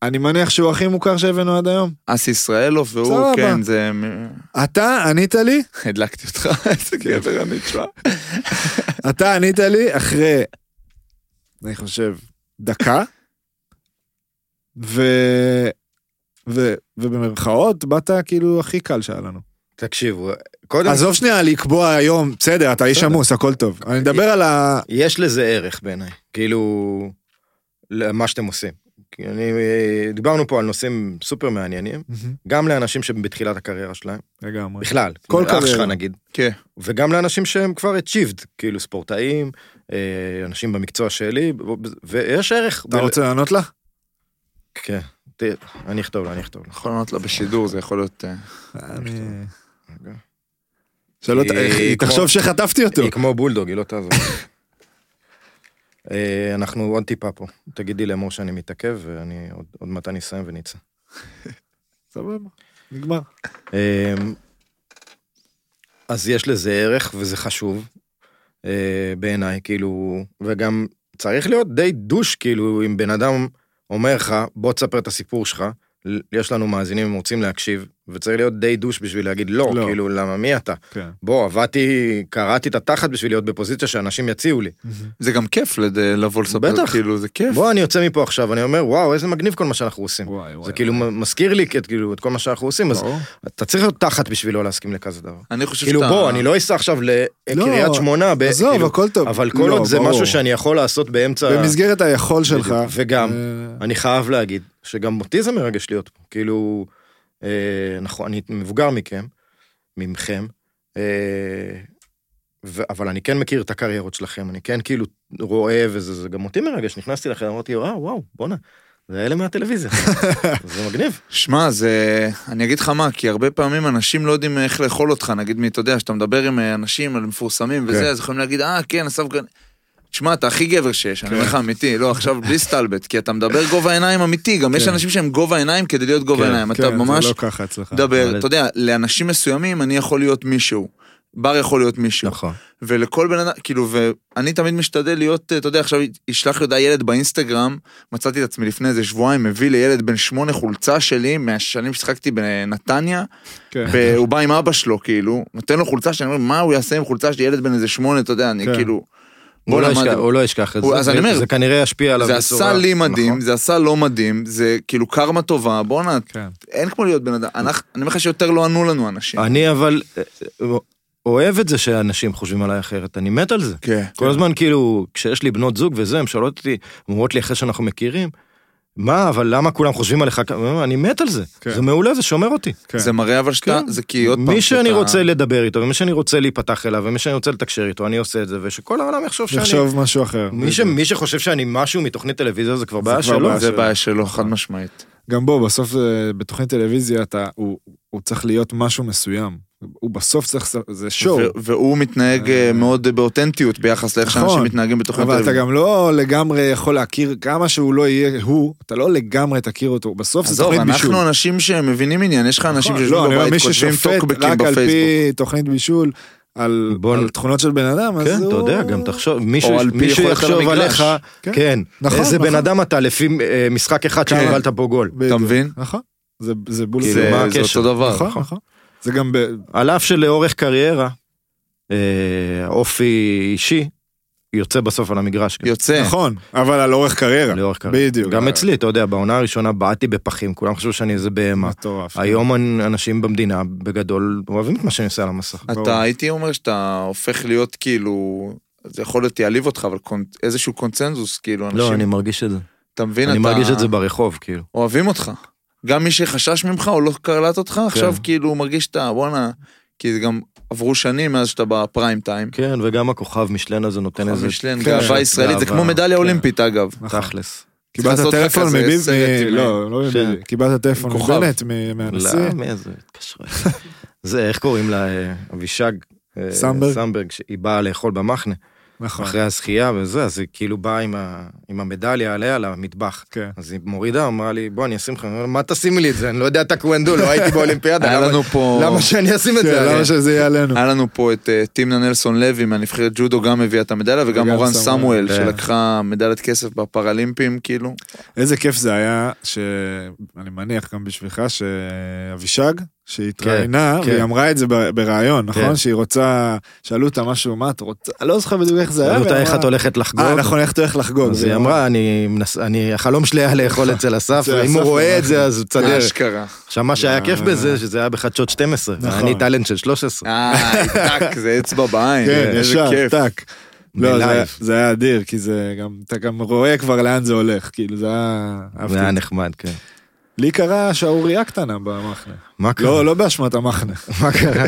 Speaker 2: אני מניח שהוא הכי מוכר שהבאנו עד היום.
Speaker 1: אס ישראלוף, והוא,
Speaker 2: סבבה.
Speaker 1: כן, זה... מ-
Speaker 2: אתה ענית לי,
Speaker 1: הדלקתי אותך, איזה
Speaker 2: כן.
Speaker 1: גבר אני, תשמע.
Speaker 2: אתה ענית לי אחרי, אני חושב, דקה, ו... ו... ובמרכאות באת כאילו הכי קל שהיה לנו.
Speaker 3: תקשיבו, קודם
Speaker 2: עזוב שנייה לקבוע היום, בסדר, אתה איש
Speaker 3: בסדר.
Speaker 2: עמוס, הכל טוב. אני מדבר על ה...
Speaker 3: יש לזה ערך בעיניי, כאילו, למה שאתם עושים. כי אני, דיברנו פה על נושאים סופר מעניינים, גם לאנשים שבתחילת הקריירה שלהם,
Speaker 2: לגמרי.
Speaker 3: בכלל,
Speaker 2: כל
Speaker 3: אח שלך
Speaker 2: קריירה.
Speaker 3: נגיד,
Speaker 1: כן.
Speaker 3: וגם לאנשים שהם כבר achieved, כאילו ספורטאים, אה, אנשים במקצוע שלי, ויש ערך.
Speaker 2: אתה
Speaker 3: ב-
Speaker 2: רוצה לענות לה?
Speaker 3: כן, ת- אני אכתוב לה, אני אכתוב לה.
Speaker 1: יכול לענות לה בשידור, זה יכול להיות... אה, אוקיי.
Speaker 2: שלא, ת-
Speaker 3: היא-
Speaker 2: אה, היא
Speaker 3: כמו-
Speaker 2: תחשוב שחטפתי אותו.
Speaker 3: היא כמו בולדוג, היא לא תעזוב. אה, אנחנו עוד טיפה פה, תגידי לאמור שאני מתעכב, ואני עוד- עוד מעט אני אסיים ונצא.
Speaker 2: סבבה, נגמר.
Speaker 3: אמ, אז יש לזה ערך וזה חשוב אה, בעיניי, כאילו, וגם צריך להיות די דוש, כאילו, אם בן אדם אומר לך, בוא תספר את הסיפור שלך, ל- יש לנו מאזינים, הם רוצים להקשיב, וצריך להיות די דוש בשביל להגיד לא,
Speaker 2: לא.
Speaker 3: לא. כאילו, למה, מי אתה?
Speaker 2: כן.
Speaker 3: בוא, עבדתי, קרעתי את התחת בשביל להיות בפוזיציה שאנשים יציעו לי.
Speaker 1: זה גם כיף לד- לבוא לספר,
Speaker 3: בטח.
Speaker 1: כאילו, זה כיף.
Speaker 3: בוא, אני יוצא מפה עכשיו, אני אומר, וואו, איזה מגניב כל מה שאנחנו עושים.
Speaker 2: וואי, וואי.
Speaker 3: זה כאילו מזכיר לי את- כאילו, את כל מה שאנחנו עושים, אז
Speaker 2: ברור.
Speaker 3: אתה צריך להיות תחת בשביל לא להסכים לכזה דבר.
Speaker 1: אני חושב
Speaker 3: כאילו
Speaker 1: שאתה...
Speaker 3: בוא, אני לא אסע עכשיו לקריית שמונה, ב-
Speaker 2: עזוב,
Speaker 3: כאילו,
Speaker 2: הכל טוב.
Speaker 3: אבל כל
Speaker 2: לא,
Speaker 3: עוד זה
Speaker 2: ברור.
Speaker 3: משהו שאני יכול לעשות באמצע,
Speaker 2: במסגרת היכול שלך.
Speaker 3: וגם,
Speaker 2: אה,
Speaker 3: אני חייב להגיד, שגם אותי זה מרגש להיות פה, כאילו, אה, נכון, אני מבוגר מכם, ממכם, אה, ו- אבל אני כן מכיר את הקריירות שלכם, אני כן כאילו רואה, וזה זה גם אותי מרגש, נכנסתי לכם, אמרתי, וואו, וואו, בואנה, זה אלה מהטלוויזיה. זה מגניב.
Speaker 1: שמע, זה... אני אגיד לך מה, כי הרבה פעמים אנשים לא יודעים איך לאכול אותך, נגיד, מי, אתה יודע, שאתה מדבר עם אה, אנשים על מפורסמים וזה,
Speaker 3: כן.
Speaker 1: אז יכולים להגיד, אה, כן, אסף גן... תשמע, אתה הכי גבר שיש, אני
Speaker 3: כן.
Speaker 1: אומר לך אמיתי, לא, עכשיו בלי סטלבט, כי אתה מדבר גובה עיניים אמיתי, גם יש
Speaker 2: כן.
Speaker 1: אנשים שהם גובה עיניים כדי להיות גובה
Speaker 3: כן,
Speaker 1: עיניים, אתה
Speaker 2: כן,
Speaker 1: ממש
Speaker 2: זה לא ככה אצלך.
Speaker 1: דבר,
Speaker 3: אבל-
Speaker 1: אתה יודע, לאנשים מסוימים אני יכול להיות מישהו, בר יכול להיות מישהו,
Speaker 3: נכון.
Speaker 1: ולכל בן אדם, כאילו, ואני תמיד משתדל להיות, אה, אתה יודע, עכשיו ישלח לי הודעה ילד באינסטגרם, מצאתי את עצמי לפני איזה שבועיים, מביא לילד בן שמונה חולצה שלי, מהשנים ששיחקתי בנתניה,
Speaker 2: כן.
Speaker 1: והוא בא עם אבא שלו, כאילו, נותן לו חולצה שאני אומר, מה הוא יעשה עם חולצה של ילד בן איזה שמונה, אתה יודע, אני
Speaker 2: כן.
Speaker 1: כאילו...
Speaker 3: הוא לא
Speaker 1: בואנה, מה
Speaker 3: ישכח-
Speaker 1: זה-
Speaker 3: הוא לא ישכח את
Speaker 1: הוא-
Speaker 3: זה.
Speaker 1: אז אני
Speaker 3: זה-
Speaker 1: אומר,
Speaker 3: זה כנראה ישפיע עליו
Speaker 1: זה
Speaker 3: בצורה...
Speaker 1: עשה לי מדהים,
Speaker 3: נכון.
Speaker 1: זה עשה לא מדהים, זה כאילו קרמה טובה, בואנה,
Speaker 2: כן.
Speaker 1: אין כמו להיות בן אדם, אנחנו- אני אומר לך שיותר לא ענו לנו אנשים.
Speaker 3: אני אבל אה, אוהב את זה שאנשים חושבים עליי אחרת, אני מת על זה.
Speaker 1: כן.
Speaker 3: כל הזמן כאילו, כשיש לי בנות זוג וזה, הן שואלות אותי, אומרות לי אחרי שאנחנו מכירים, מה, אבל למה כולם חושבים עליך ככה? אני מת על זה.
Speaker 2: כן.
Speaker 3: זה מעולה, זה שומר אותי.
Speaker 2: כן.
Speaker 1: זה מראה אבל שאתה,
Speaker 3: כן.
Speaker 1: זה כי עוד פעם,
Speaker 3: מי שאני
Speaker 1: שאתה-
Speaker 3: רוצה לדבר איתו, ומי שאני רוצה להיפתח אליו, ומי שאני רוצה לתקשר איתו, אני עושה את זה, ושכל העולם יחשוב שאני...
Speaker 2: יחשוב משהו אחר.
Speaker 3: מי ש- מי שחושב שאני משהו מתוכנית טלוויזיה, זה כבר בעיה
Speaker 2: כבר
Speaker 3: שלו.
Speaker 2: בעיה
Speaker 1: זה בעיה שלו, חד משמעית.
Speaker 2: גם בו, בסוף אה, בתוכנית טלוויזיה אתה, הוא, הוא צריך להיות משהו מסוים. הוא בסוף צריך, זה שואו.
Speaker 1: ו- והוא מתנהג אה, מאוד באותנטיות ביחס לאיך
Speaker 2: נכון,
Speaker 1: שאנשים מתנהגים בתוכנית
Speaker 2: אבל אתה
Speaker 1: טלוויזיה.
Speaker 2: גם לא לגמרי יכול להכיר, כמה שהוא לא יהיה הוא, אתה לא לגמרי תכיר אותו. בסוף זה
Speaker 1: עזוב,
Speaker 2: תוכנית בישול.
Speaker 1: אנחנו אנשים שמבינים עניין, יש לך אנשים
Speaker 2: נכון,
Speaker 1: שיושבים
Speaker 2: לא, אני אומר,
Speaker 1: בבית,
Speaker 2: מי
Speaker 1: כותבים
Speaker 2: ששופט
Speaker 1: טוקבקים
Speaker 2: רק על
Speaker 1: בפייסבוק.
Speaker 2: פי תוכנית בישול, על
Speaker 3: בוא נ-
Speaker 2: על תכונות של בן אדם, אז
Speaker 3: כן,
Speaker 2: הוא...
Speaker 3: אתה יודע, גם תחשוב, מישהו
Speaker 1: או על פי
Speaker 3: מישהו
Speaker 1: יכולת על
Speaker 3: יחשוב
Speaker 1: המגרש.
Speaker 3: עליך,
Speaker 2: כן.
Speaker 3: כן,
Speaker 2: נכון,
Speaker 3: איזה
Speaker 2: נכון.
Speaker 3: בן אדם אתה לפי אה, משחק אחד
Speaker 1: כן.
Speaker 3: שקיבלת בו גול.
Speaker 2: בדיוק.
Speaker 1: מבין?
Speaker 2: נכון. זה- זה בול...
Speaker 1: כאילו,
Speaker 3: זה- מה
Speaker 1: זה
Speaker 3: הקשר?
Speaker 1: אותו דבר.
Speaker 2: נכון, נכון. זה גם ב...
Speaker 3: על אף שלאורך קריירה, אה, אופי אישי, יוצא בסוף על המגרש. גם.
Speaker 1: יוצא.
Speaker 2: נכון, אבל על אורך קריירה.
Speaker 3: לאורך קריירה.
Speaker 2: בדיוק. אה,
Speaker 3: גם אצלי, אתה יודע, בעונה הראשונה בעטתי בפחים, כולם חשבו שאני איזה בהמה.
Speaker 2: מטורף.
Speaker 3: היום אנ- אנשים במדינה, בגדול, אוהבים את מה שאני עושה על המסך.
Speaker 2: ברור.
Speaker 1: אתה הייתי אומר שאתה הופך להיות כאילו, זה יכול להיות יעליב אותך, אבל קונ- איזשהו קונצנזוס, כאילו,
Speaker 3: לא, אני
Speaker 1: אנשים,
Speaker 3: מרגיש את זה.
Speaker 1: אתה מבין,
Speaker 3: אני
Speaker 1: אתה-
Speaker 3: מרגיש את זה ברחוב, כאילו.
Speaker 1: אוהבים אותך. גם מי שחשש ממך או לא קלט אותך, עכשיו כאילו הוא מרגיש שאתה, וואלה, כי זה גם עברו שנים מאז שאתה בפריים טיים.
Speaker 3: כן, וגם הכוכב משלן הזה נותן איזה...
Speaker 1: משלן,
Speaker 2: כן.
Speaker 1: גאווה ישראלית, זה
Speaker 3: גאווה,
Speaker 1: כמו מדליה
Speaker 3: כן.
Speaker 1: אולימפית אגב.
Speaker 2: נכון.
Speaker 3: תכלס.
Speaker 2: קיבלת
Speaker 1: לעשות לך
Speaker 2: טלפון
Speaker 1: כזה
Speaker 2: מביב,
Speaker 1: סרט
Speaker 2: מ-
Speaker 1: עם-
Speaker 2: לא, לא
Speaker 3: כן.
Speaker 2: מביב, קיבלת טלפון
Speaker 1: כוכב.
Speaker 2: מבנט, מ- מהנשיא,
Speaker 3: לא, מי זה? התקשרה. זה, איך קוראים לה? אה, אבישג. אה,
Speaker 2: סמברג.
Speaker 3: סמברג, שהיא באה לאכול במחנה.
Speaker 2: נכון,
Speaker 3: אחרי הזכייה וזה, אז היא כאילו באה עם, ה... עם המדליה עליה למטבח.
Speaker 2: כן.
Speaker 3: אז היא מורידה, אמרה לי, בוא, אני אשים לך, אני אומר, מה תשימי לי את זה? אני לא יודע טקוונדו, לא הייתי באולימפיאדה,
Speaker 1: היה
Speaker 3: למה-
Speaker 1: לנו פה...
Speaker 3: למה שאני אשים את
Speaker 2: כן,
Speaker 3: זה?
Speaker 2: למה
Speaker 3: הרי?"
Speaker 2: שזה יהיה עלינו?
Speaker 1: היה לנו פה את אה, טימנה נלסון לוי מהנבחרת ג'ודו גם הביאה את המדליה וגם
Speaker 2: וגם
Speaker 1: אורן
Speaker 2: סמואל,
Speaker 1: סמואל
Speaker 3: כן.
Speaker 1: שלקחה מדליית כסף בפראלימפים כאילו.
Speaker 2: איזה כיף זה היה, שאני מניח גם בשבילך, שאבישג, שהתראיינה,
Speaker 3: כן.
Speaker 2: והיא אמרה את זה ב- בריאיון, נכון?
Speaker 3: כן.
Speaker 2: שהיא רוצה, שאלו אותה משהו, מה את רוצה? אני לא זוכר בדיוק איך זה היה.
Speaker 3: שאלו אותה
Speaker 2: והיא
Speaker 3: איך
Speaker 2: אמרה-
Speaker 3: את הולכת לחגוג.
Speaker 2: אה, נכון, איך את הולכת לחגוג.
Speaker 3: אז היא אמרה, "אני מנס- אני, החלום שלי היה לאכול אצל אסף,
Speaker 2: אצל
Speaker 3: ואם הוא
Speaker 2: אסף,
Speaker 3: רואה
Speaker 2: הוא
Speaker 3: את זה אז הוא צדר.
Speaker 1: אשכרה.
Speaker 3: עכשיו, מה שהיה כיף
Speaker 2: אה.
Speaker 3: בזה, שזה היה בחדשות 12,
Speaker 2: נכון.
Speaker 3: ואני טאלנט של 13.
Speaker 1: אה, טאק, זה אצבע בעין.
Speaker 2: כן,
Speaker 1: איזה
Speaker 2: ישר,
Speaker 1: כיף.
Speaker 2: טאק. לא, זה היה-
Speaker 3: בלייב.
Speaker 2: זה היה אדיר, כי זה גם, אתה גם רואה כבר לאן זה הולך, כאילו, זה היה... אהבתי
Speaker 3: זה היה
Speaker 2: את זה.
Speaker 3: נחמד, כן.
Speaker 2: לי קרה שערורייה קטנה במחנה.
Speaker 3: מה קרה?
Speaker 2: לא, לא באשמת המחנה.
Speaker 3: כן. מה קרה?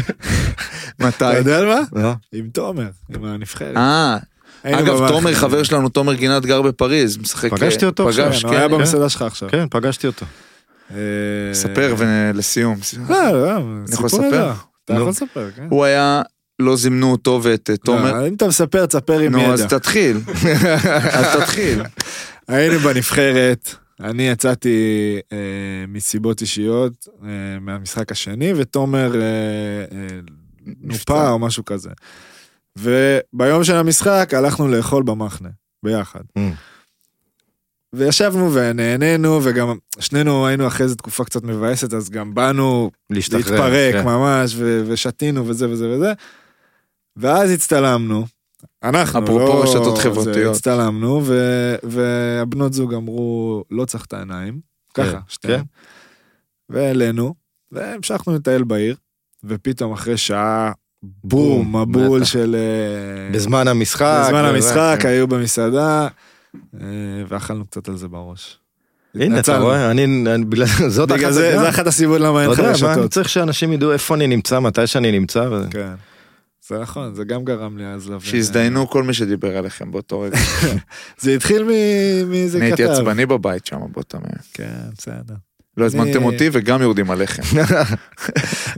Speaker 1: מתי?
Speaker 2: אתה יודע על מה?
Speaker 3: לא.
Speaker 2: עם תומר, עם הנבחרת.
Speaker 1: אה,
Speaker 2: היינו
Speaker 1: אגב,
Speaker 2: במחנה.
Speaker 1: תומר, חבר שלנו, תומר גינת גר בפריז, משחק...
Speaker 3: פגשתי אותו
Speaker 1: פגש,
Speaker 2: כן,
Speaker 3: עכשיו,
Speaker 2: הוא היה
Speaker 1: כן.
Speaker 2: במסעדה שלך עכשיו.
Speaker 3: כן, פגשתי אותו.
Speaker 2: אה,
Speaker 1: ספר ולסיום.
Speaker 2: לא, לא,
Speaker 1: יכול
Speaker 2: סיפור
Speaker 1: לספר?
Speaker 2: ידוע. אתה
Speaker 3: נו.
Speaker 2: יכול לספר, כן.
Speaker 1: הוא היה, לא זימנו אותו ואת אה, תומר.
Speaker 2: לא, אם אתה מספר, תספר עם
Speaker 1: נו, אז
Speaker 2: ידע.
Speaker 1: תתחיל. אז תתחיל.
Speaker 2: היינו בנבחרת, אני יצאתי אה, מסיבות אישיות אה, מהמשחק השני, ותומר אה, אה, נופה
Speaker 1: נפצע.
Speaker 2: או משהו כזה. וביום של המשחק הלכנו לאכול במחנה, ביחד.
Speaker 3: Mm.
Speaker 2: וישבנו ונהנינו, וגם שנינו היינו אחרי איזו תקופה קצת מבאסת, אז גם באנו
Speaker 3: להשתחרר.
Speaker 2: להתפרק
Speaker 3: כן.
Speaker 2: ממש, ו- ושתינו וזה וזה וזה. ואז הצטלמנו, אנחנו,
Speaker 1: אפרופו
Speaker 2: לא-
Speaker 1: רשתות
Speaker 2: זה,
Speaker 1: חברתיות.
Speaker 2: הצטלמנו, ו- והבנות זוג אמרו, לא צריך את העיניים, ככה,
Speaker 3: כן,
Speaker 2: שתיהן.
Speaker 3: כן.
Speaker 2: והעלינו, והמשכנו לטייל בעיר, ופתאום אחרי שעה, בום, מבול
Speaker 3: בטח.
Speaker 2: של... אה,
Speaker 3: בזמן המשחק.
Speaker 2: בזמן
Speaker 3: וזה. כן.
Speaker 2: המשחק, היו במסעדה, אה, ואכלנו קצת על זה בראש.
Speaker 3: הנה, אתה
Speaker 2: התנצלנו.
Speaker 3: רואה, אני, אני- בגלל זאת
Speaker 2: בגלל
Speaker 3: אחת
Speaker 2: זה,
Speaker 3: הסיבות.
Speaker 2: זה אחת הסיבות למה אין לך
Speaker 3: אתה יודע, מה, אני
Speaker 2: רשתות.
Speaker 3: צריך שאנשים ידעו איפה אני נמצא, מתי שאני נמצא. וזה.
Speaker 2: כן. זה נכון, זה גם גרם לי אז להבין.
Speaker 1: שהזדיינו כל מי שדיבר עליכם באותו רגע.
Speaker 2: זה התחיל מ- מאיזה
Speaker 1: אני
Speaker 2: כתב.
Speaker 1: הייתי עצבני בבית שם באותם ימים.
Speaker 2: כן, בסדר.
Speaker 1: לא הזמנתם אותי וגם יורדים עליכם.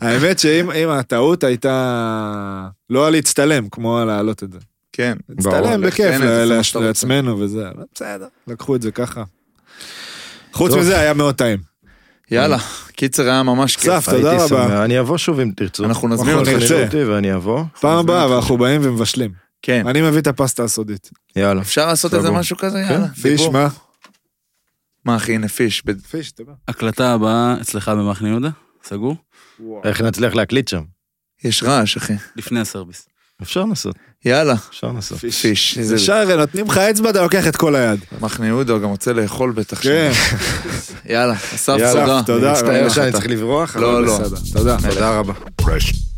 Speaker 2: האמת שאם אם הטעות הייתה לא על להצטלם, כמו על להעלות את זה.
Speaker 1: כן.
Speaker 2: להצטלם
Speaker 1: ברור,
Speaker 2: בכיף
Speaker 1: כן,
Speaker 2: ל-
Speaker 1: זה מה
Speaker 2: לעצ-
Speaker 1: שאתה רוצה.
Speaker 2: לעצמנו וזה, אבל בסדר, לקחו את זה ככה. חוץ
Speaker 3: טוב.
Speaker 2: מזה היה מאוד טעים.
Speaker 1: יאללה, קיצר היה ממש כיף.
Speaker 2: סף, תודה
Speaker 3: הייתי
Speaker 2: רבה.
Speaker 3: שמח. אני אבוא שוב אם תרצו.
Speaker 1: אנחנו נזמין
Speaker 2: נכון,
Speaker 1: אותך.
Speaker 2: נרצה.
Speaker 3: תכננו אותי ואני אבוא.
Speaker 2: פעם הבאה, אבל אנחנו באים ומבשלים.
Speaker 1: כן.
Speaker 2: אני מביא את הפסטה הסודית.
Speaker 3: יאללה.
Speaker 1: אפשר לעשות איזה
Speaker 3: סגור.
Speaker 1: משהו כזה? יאללה.
Speaker 2: כן. פיש,
Speaker 1: דיבור.
Speaker 2: מה?
Speaker 1: מה אחי, הנה פיש. ב-
Speaker 2: פיש, אתה בא.
Speaker 4: הקלטה הבאה אצלך במחנה יהודה, סגור?
Speaker 1: אה,
Speaker 3: איך נצליח להקליט שם?
Speaker 1: יש רעש, אחי.
Speaker 4: לפני הסרוויס.
Speaker 3: אפשר לנסות,
Speaker 1: יאללה.
Speaker 3: אפשר לנסות.
Speaker 1: פיש. זה- לא,
Speaker 2: זה שער, אה, נותנים לך אצבע, אתה לוקח את כל היד.
Speaker 1: מחנה יהודה גם רוצה לאכול בטח.
Speaker 2: כן,
Speaker 1: שם. יאללה, אסף,
Speaker 2: יאללה,
Speaker 1: תודה.
Speaker 2: תודה
Speaker 1: אני מצטער
Speaker 2: רבה.
Speaker 1: שאתה-
Speaker 3: שאני צריך לברוח?
Speaker 1: לא,
Speaker 3: אבל
Speaker 1: לא.
Speaker 3: בסדר.
Speaker 2: תודה.
Speaker 3: תודה רבה.